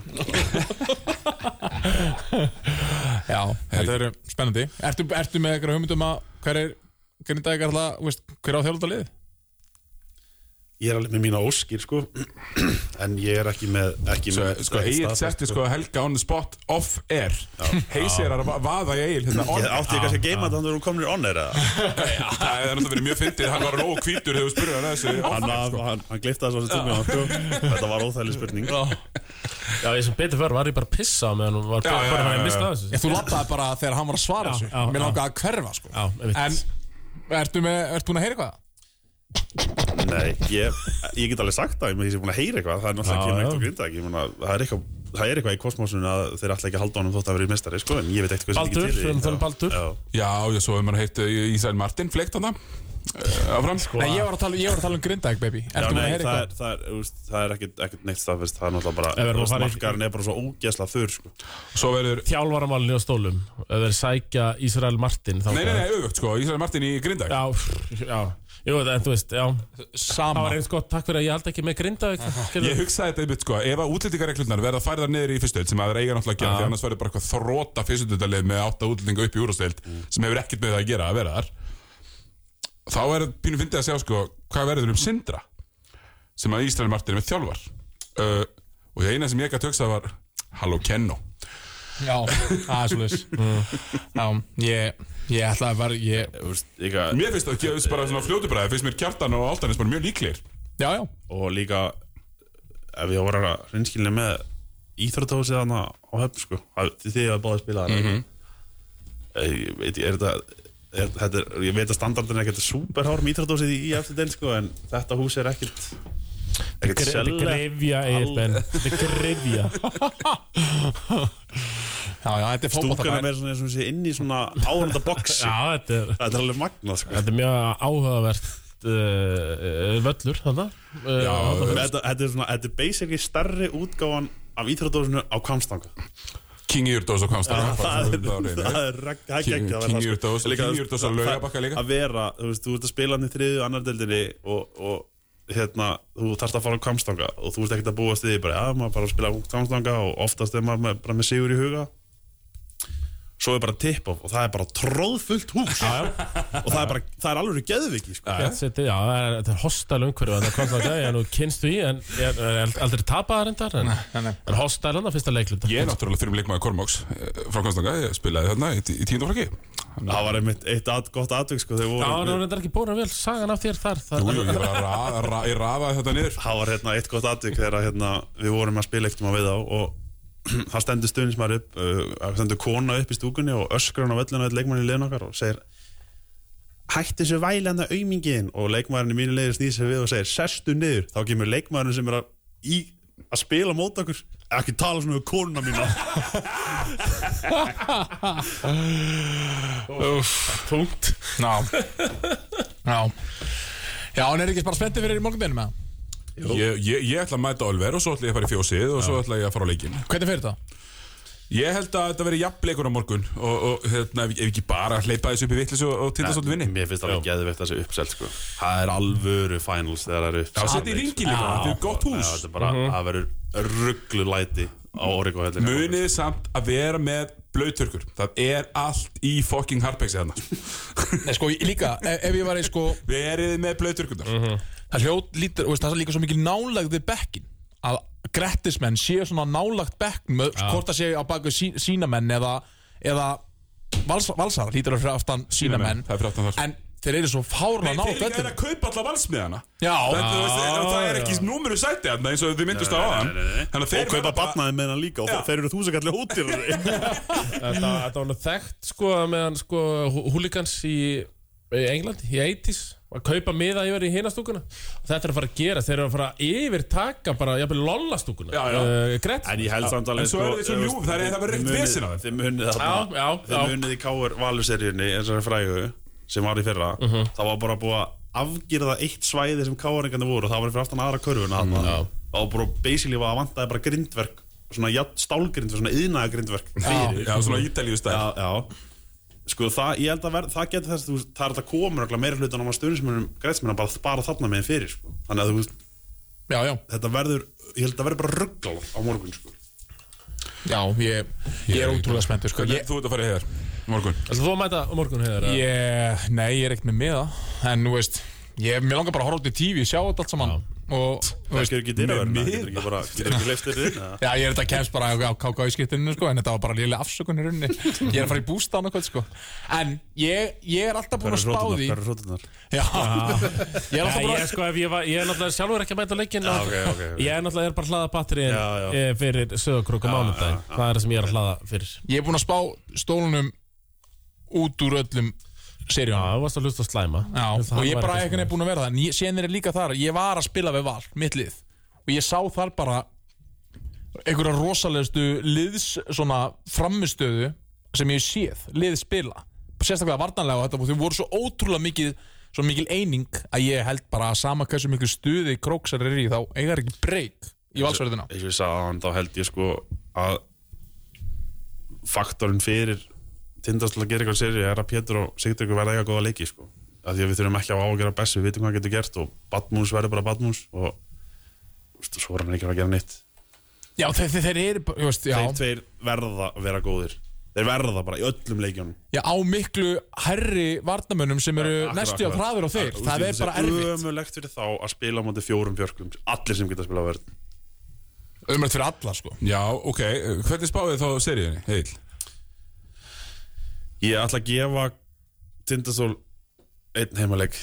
D: Já, þetta er spennandi Ertu, ertu með eitthvað hugmyndum að hver er hvernig dag er alltaf, veist, hver á þjálfunda lið?
A: ég er alveg með mína óskir sko en ég er ekki með ekki
B: Svo,
A: með,
B: Sko,
A: ekki
B: Egil
A: staðfest,
B: setti sko Helga on the spot off air Heisi er að va- vaða í Egil hérna on
A: Ég átti ég kannski að
C: Ah,
A: geima þetta þannig að þú komnir on air eða
B: Það er náttúrulega verið mjög fyndið Hann var nógu hvítur þegar við spurðum hann að þessu off
A: Hann,
B: air,
A: hann,
B: sko.
A: hann, hann glifta þessu tími á sko. Þetta var óþægileg spurning
C: Já, ég sem betur fyrr var ég bara að pissa á meðan hún var
B: Já, já, já,
C: bara að
B: já,
C: mista
B: já.
C: þessu
D: Ég, þú labbaði bara þegar hann var að svara þessu
C: já,
D: Mér
C: já.
D: langaði að hverfa, sko
C: Já, einmitt.
D: En ertu, með, ertu búin að heyra eitthvað?
A: Nei, ég, ég get alveg sagt það Ég með því sem búin að heyra eitthvað Það er
C: Já,
A: náttúrulega ekki
C: já.
A: neitt og grinda ekki muna, það, er eitthvað, það er eitthvað í kosmosunum að þeir ætla ekki að halda honum þótt að vera í mestari sko, En ég veit eitthvað
C: Baldur,
A: sem
C: um
A: ekki
C: þannig Baldur.
A: Já.
B: Já, já, svo hefur maður heitt Ísæl Martin Fleikt hann það Áfram
D: Nei, ég var að tala, ég var að tala um Grindag, baby
A: Já,
D: Ertu búin að
A: nei, það,
D: heyra
A: er,
D: eitthvað?
A: það, er, þú veist, það er ekkit, ekkit neitt staðfest Það er náttúrulega
C: Ef við
A: bara
C: erum
A: þú
C: að
A: veist,
C: fara í-
A: Markarinn er bara svo ógesla þurr sko.
B: Svo verður
C: Þjálfaramálinni á stólum Ef þeir sækja Ísrael Martin
B: Nei, nei, nei, auðvögt sko Ísæl Martin í Grindag
C: Já, já Jú, en þú veist, já Það
D: Sama
C: var eins gott, takk fyrir að ég held ekki með Grindavík
B: Ég
C: skilurðu.
B: hugsaði þetta einmitt sko, ef að útlendingareglurnar verða færðar niður í fyrstöld sem að það er eiga náttúrulega að gera því annars verður bara eitthvað þróta fyrstöldalið með átta útlendinga upp í úrstöld
A: Mm.
B: sem hefur ekkert með það að gera að vera þar þá er pínu fyndið að sjá sko hvað verður um Sindra sem að Ísrael Martin er með þjálfar uh, og það eina sem ég gæti hugsað var Halló Kenno
D: Já, það er svolítið
C: Mm.
D: Já, ég, ég ætlaði bara ég,
A: Þú veist, líka,
B: Mér finnst það ekki að bara svona fljótubræði finnst mér Kjartan og Altanis bara mjög líklir
D: Já, já,
A: Og líka Ef ég voru að reynskilja með Íþrótthósið hann á höfn sko, að- Þið hefur báðið spilað mm
C: Mhm.
A: -hmm. Ég veit, er þetta Er, þetta er, ég veit að standardin er ekkert superhár mítradósið í eftir del sko en þetta hús er ekkert
C: Gre-
A: ekkert
C: Þetta er
A: sjálf
C: grefja, Egil Ben Þetta er grefja
D: já, já, þetta er
A: stúkan er
D: fótboltabær
A: meira svona eins og hún sé inn í svona áhanda boksi
C: Já, þetta er
A: þetta er alveg magnað sko
C: Þetta er mjög áhugavert uh, völlur þarna uh,
B: Já,
C: þarna.
A: þetta, þetta er svona, þetta er basically starri útgáfan af ítradósinu á kamstanga
B: King Júrdós og Kvamstad
A: það er, það er regg- það er
B: King-
A: geggjað
B: King
A: að vera það, sko.
B: Júrdós-
A: Líka,
B: King
A: þú veist,
B: Júrdós á
A: það-
B: Laugarbakka líka.
A: að vera, þú veist, þú ert að spila hann í þriðu annar deildinni og, og hérna, þú þarft að fara á kamstanga og þú ert ekkert að búast við því, bara, já, maður bara að spila á kamstanga og oftast er maður með, bara með sigur í huga svo er bara tip-off og það er bara tróðfullt hús og það er bara, það er alveg geðviki sko.
C: Fjallseti, já, það er, þetta er hostal umhverju Þetta komst að gæja, nú kynstu í En ég er er aldrei tapaðar endar En, en hostal hann að fyrsta leiklut
B: Ég er náttúrulega fyrir leikmaður Kormáks eh, frá Kvamstanga, ég spilaði þarna í, í tíundaflokki
A: það var einmitt eitt at, gott atvik sko, þegar
C: Já, nú
A: voru
C: er þetta ekki búin að vel Sagan af þér þar það,
B: Jú, jú, ég bara ra, ra, ég rafaði þetta niður
A: það var hérna eitt gott atvik þegar hérna, við vorum að spila ekkert um að við á og það stendur stuðnismar upp uh, það stendur kona upp í stúkunni og öskrar hann á vellinu eitt leikmann í liðin okkar og segir hætti þessu vælenda aumingiðin og leikmæðurinn í mínu leiði snýr sér við og segir sestu niður, þá kemur leikmæðurinn sem er að í að spila mót okkur ekki tala svona um konuna mína
C: Punkt
D: Já Já Já, hann er ekki bara spenntið fyrir í morgundinu með það
B: ég, ég, ég ætla að mæta Olver og svo ætla ég að fara í fjósið og svo ætla ég að fara á leikinn
D: Hvernig fyrir það?
B: Ég held að þetta veri jafnleikur á morgun og, og hérna, ef, ef ekki bara að hleypa þessu upp í vittlis og, og tindastóttu vinni
A: mér finnst alveg geðveikt þessi uppselt sko. það er alvöru finals þegar það er
B: Já,
A: uppselt
B: setja í ringi líka, þetta er gott
A: Já,
B: hús Mhm.
A: þetta er bara, það verður rugglu læti á Origo hellinu
B: Munið samt að vera með blauturkur Það er allt í fucking harpegsi þarna
D: Nei, sko, ég- líka, ef, ef ég var í sko
B: Verið með blauturkunar mm
A: Mhm.
B: -hmm.
D: Það hljóð lítur, og veist, það er líka svo mikil nálægð við bekkin Að grettismenn séu svona nálægt bekkin með, Hvort það séu á baku sí, sínamenn eða, eða vals, valsar Lítur að fyrir aftan sínamenn
B: Það er fyrir aftan þar.
D: En þeir eru svo fárna
B: Þeir
D: nálægt
B: líka er
D: vellinum.
B: að kaupa alla valsmiðana
D: Já.
B: Þetta, þú veist, en Það er ekki númuru sæti þarna eins og þið myndust á hann Þannig að
A: og
B: þeir
A: kaupa batnaði með hann líka og
B: Já.
A: þeir eru þúsakalli útir
C: Þetta, þetta var nú þekkt sko meðan sko hú- hooligans í í Englandi, í 80s að kaupa miða yfir í hinastúkuna og þetta er að fara að gera, þeir eru að fara að yfir taka bara, jafnvel lollastúkuna
B: Já, já.
C: uh, Grett
A: en ég held samt alveg sko,
B: En svo eru þeir svo ljúf, það er- það verður ekkert vesen á þeim.
A: þeim munið
C: Já, já,
A: þarna
C: já.
A: þeim munið í Káur valuseríunni eins og þeir frægu sem var í fyrra
C: Mhm.
A: það var bara búið að afgýrða eitt svæði sem Káuringarnir voru og það var fyrir aftan aðra körfuna mm, og bara basically var að vantaði bara grindverk svona jafn- stálgrindverk, svona yðnaða grindverk fyrir
B: Já, svona ítalíu stæl
A: já, já. Sko það, ég held að verð, það getur þess að þú veist, það er þetta komur okkur meira hlutan á maður stjórnismunum grætsmunum bara, bara þarna meðin fyrir sko. þannig að þú veist,
D: Já, já,
A: þetta verður ég held að verður bara ruggl á morgun sko.
D: já, ég, ég er ótrúlega spenntur sko. ég,
B: Þú ert að fara í hér morgun
C: Þú að mæta á morgun hefur
D: Ég, nei, ég er ekkert með miða En, þú veist, ég, mér langar bara að horfa út í tífi Sjá þetta allt saman Og, þú
A: það
D: veist,
A: getur ekki dyraverðina, getur ekki bara getur ekki leifst þér inn eða?
D: já, ég er þetta kemst bara á káka í skiptinu, sko En þetta var bara lélega afsökunni runni Ég er að fara í bústa annað kvöld, sko En, ég, ég er alltaf búin að spá því
A: Hvar eru hróturnar?
D: Já, ég er
C: Nei,
D: alltaf
C: ég,
D: búin að
C: sko, ef ég, var, ég er náttúrulega sjálfur ekki að mæta á leikinn
A: Já, ok, ok, ok.
C: Ég er náttúrulega er bara að hlaða batterið
A: Já, já.
C: fyrir sögurkrúk á mánudaginn Það er það sem ég er að hlaða fyrir Já,
D: Ég er búin að spá stólunum Út úr öllum seríunum
C: þú varst að hlusta á slæma
D: Já,
C: Ég held að
D: og
C: hann væri
D: ég bara
C: ekki
D: eitthvað er búin að vera það En ég- síðan er ég líka þar, ég var að spila við val Mitt lið, og ég sá þar bara Einhverja rosalegustu Liðs svona framistöðu Sem ég hef séð, lið spila Sérstaklega vartanlega og þetta og Þau voru svo ótrúlega mikið Svo mikil eining að ég held bara að sama hversu miklu stuði Króksar er í þá eiga þeir ekki breyk Í valsverðina
A: eins og ég sagði hann, þá held ég sko að faktorinn fyrir tindast til að gera eitthvað seri er að Pétur og Sigtryggur verða eitthvað góða leiki sko. að því að við þurfum ekki að ágjöra best við vitum hvað hann getur gert og Batmús verður bara Batmús og veist, svo er hann ekki að fara að gera neitt
D: Já þeir, þeir, þeir eru bara, ég veist, já,
A: þeir tveir verða að vera góðir þeir verða bara í öllum leikjunum
D: já á miklu Herri varnamönnum sem eru
A: Akkurat,
D: næstu á
A: akkurat.
D: hraður á þeir
A: Akkurat,
D: Það
A: úst,
D: er bara
A: þessi
D: erfitt
A: ömurlegt fyrir þá að spila á móti fjórum fjörklum allir sem geta að spila á verð
D: Umrætt fyrir alla sko
B: Já, ok, hvernig spáðu þið þá seríunni, Egil?
A: ég ætla að gefa Tindastól einn heimaleik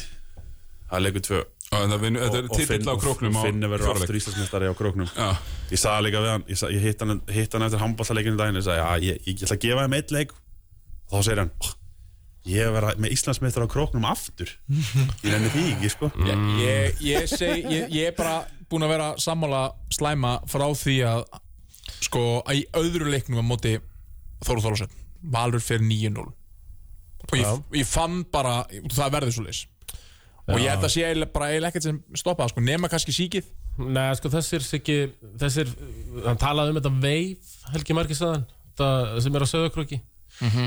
A: það er leikur tvö
B: Það vinu, þetta er
A: Og- og Finn-
B: titill á
A: og
B: króknum á
A: Finn verður
B: fjórleik.
A: aftur Íslandsmeistari á króknum
B: Já,
A: Ég sagði líka við hann, ég, sa- ég hitt hann, hitt hann eftir handballaleikinu daginn Ég sagði, já, ég, ég ætla að gefa þeim eitt leik Og þá segir hann, "Oh, ég er að vera með Íslandsmeistari á króknum aftur Ég nenni því ekki, sko
D: ég, ég, seg, ég, ég er bara búin að vera sammála slæma frá því að sko að í öðru leiknum að móti Þóru Þólusson Valur fyrir 9-0 og ég, ég fann bara það verður svo leis og ég held að sé eiginlega- bara eiginlega ekkert sem stoppaða sko, nema kannski síkið
C: Nei, sko, þessir Siggi, þessir, hann talaði um þetta veif, Helgi Markisaðan, sem er á söðakröki.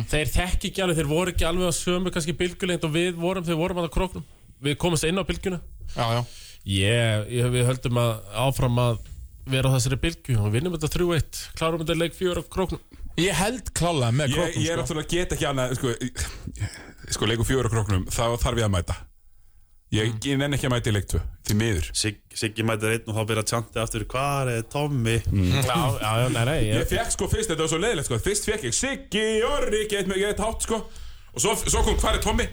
C: Þeir þekki ekki alveg, þeir voru ekki alveg á sömu kannski bylgjulengt og við vorum, þeir vorum að það króknum. Við komumst inn á bylgjuna.
D: já, já.
C: Yeah, ég, við höldum að áfram að vera á þessari bylgju og vinnum þetta 3-1, klárum þetta leik 4 á króknum.
D: ég held klálega með
B: Ég,
D: krókum
B: ég er
D: sko.
B: náttúrulega get ekki annað sko, sko leiku fjóra króknum þá þarf ég að mæta ég, ég nenn ekki að mæta í leik 2 því miður
A: Sig, Siggi mætir einn og þá byrja að tjanta aftur Hvar er Tommy?
C: Já, já, já, nei, nei,
B: ég fekk sko fyrst, þetta var svo leiðilegt sko fyrst fekk ég Siggi Orri get mig get hátt sko og svo, svo kom hvar er Tommy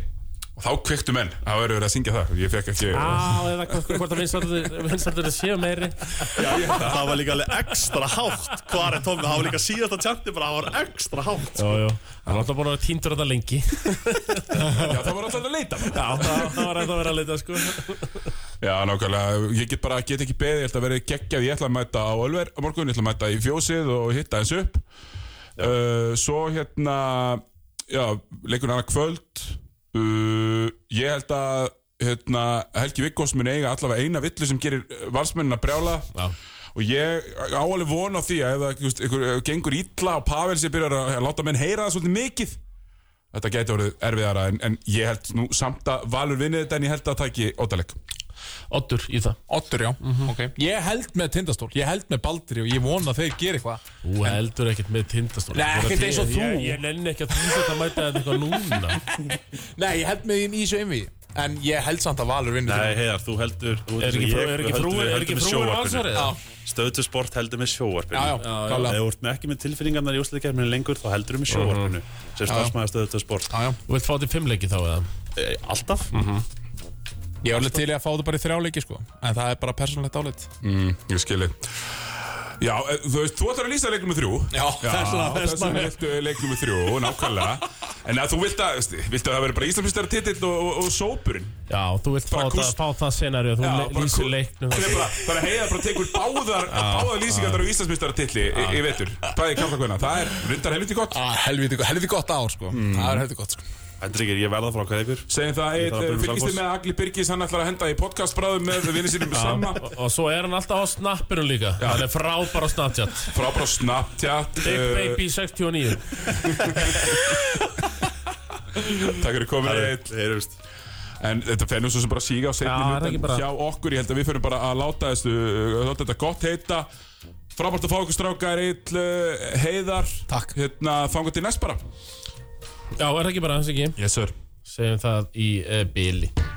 B: og þá kviktu menn það verður verið að syngja það ég fekk ekki
C: Á, eða hvort, hvort að vinsaldur séu meiri
A: Það var líka alveg ekstra hátt Hvar er Tommy? Það var líka síðasta tjanti bara, það var ekstra hátt
C: Jó, jó, hann var alltaf búin að vera tíndur þetta lengi
B: já, það var alltaf að leita bara.
C: Já, það, það var alltaf að vera að leita sko
B: Já, nákvæmlega, ég get bara, get ekki beðið, ég ætla að vera geggjað, ég ætla að mæta á Ölver á morgun, ég ætla að mæta í fjósið og hitta eins upp uh, Svo hérna, já, leikur annað kvöld uh, Ég held að hérna, Helgi Viggós mun eiga allavega eina villu sem gerir valsmennina brjála
C: Já.
B: Og ég á alveg von á því að ef það just, ykkur, ef eh, gengur illa og Pavel sér byrjar að að láta menn heyra það svolítið mikið Þetta gæti orðið erfiðara en, en ég held nú samt að Valur vinnið þetta en ég held að það taki óttaleg
C: Oddur í það
D: Ottur, já, ok Ég held með tindastól, ég held með Baldri og ég vona að þeir gera eitthvað
C: Þú heldur ekkert með tindastól
D: Nei, ekkert eins og þú.
C: Ég, ég nenni ekki að þú setja að mæta þetta eitthvað núna
D: Nei, ég held með þeim í þessu einvi En ég held samt að Valur vinnur
A: Nei, heiðar, þú heldur þú
C: Er ekki
A: ég-
C: frú- er ekki
A: höldum-
C: frúin- er
A: höldum
C: ekki
A: með
C: frúin
A: sjónvarpinu.
C: Valsarið?
D: Já,
A: Stöðtu sport heldur með sjóvarpinu
D: já, já, klálega.
A: Ef þú ert með ekki með tilfinningarnar í úrslitakeppninu lengur þá heldur með sjóvarpinu sem starfsmæður stöðtu sport
D: já, já
C: Þú vilt fá til fimmleiki þá eða
A: e, Alltaf?
D: Ég er alveg til í að fá það bara í þrjáleiki, sko En það er bara persónlegt álit
B: Mm, ég skilji Já, eh, þú veist, þú ætlar að lýsa leiknum með þrjú
D: Já, þess vegna- þess
B: þess vegna viltu leiknum með þrjú, nákvæmlega En að þú vilt að, veist, vilt að það veri bara Íslandsfyrstara titill og, og, og sópurinn
C: Já, þú vilt fá,
B: Bara
C: það,
B: kúst-
C: fá það senari og þú
B: Já,
C: le-
B: bara
C: lýsir
B: kú-
C: leiknum
B: Það er bara, bara heiða bara tekur báðar, báðar lýsingarnar á Íslandsfyrstara titli í, í vetur Það er kampakvæðna, það er rundar helviti gott
D: ah, helviti, helviti gott ár, sko Það er helviti gott, sko
A: Hendrikir, ég verða frá hvað ykkur
B: Segjum það,
A: Það er
B: Egill, eh,
A: bara
B: fylgist þið
A: Selfoss.
B: með að Agli Birgis, hann ætlar að henda í podcastbráðum með vinni sínum sama
C: og, og svo er hann alltaf á snappinu líka Hann er frábær á Snapchat
B: Frábara Snapchat
C: Big
B: eh,
C: Baby 69
B: Takk fyrir komin, Egill
A: Heyrumst
B: En þetta fer nú svo sem bara að síga á
C: Já, það er
B: seinni
C: ekki
B: hlutan
C: bara-
B: hjá okkur Ég held að við fyrir bara að láta, þessu, uh, láta þetta gott heita Frábært að fá okkur strákar Eill heiðar
D: Takk.
B: Hérna fangum til næst bara
C: Já, er það ekki bara hans ekki
B: Yes sir
C: Segjum það í uh, Bili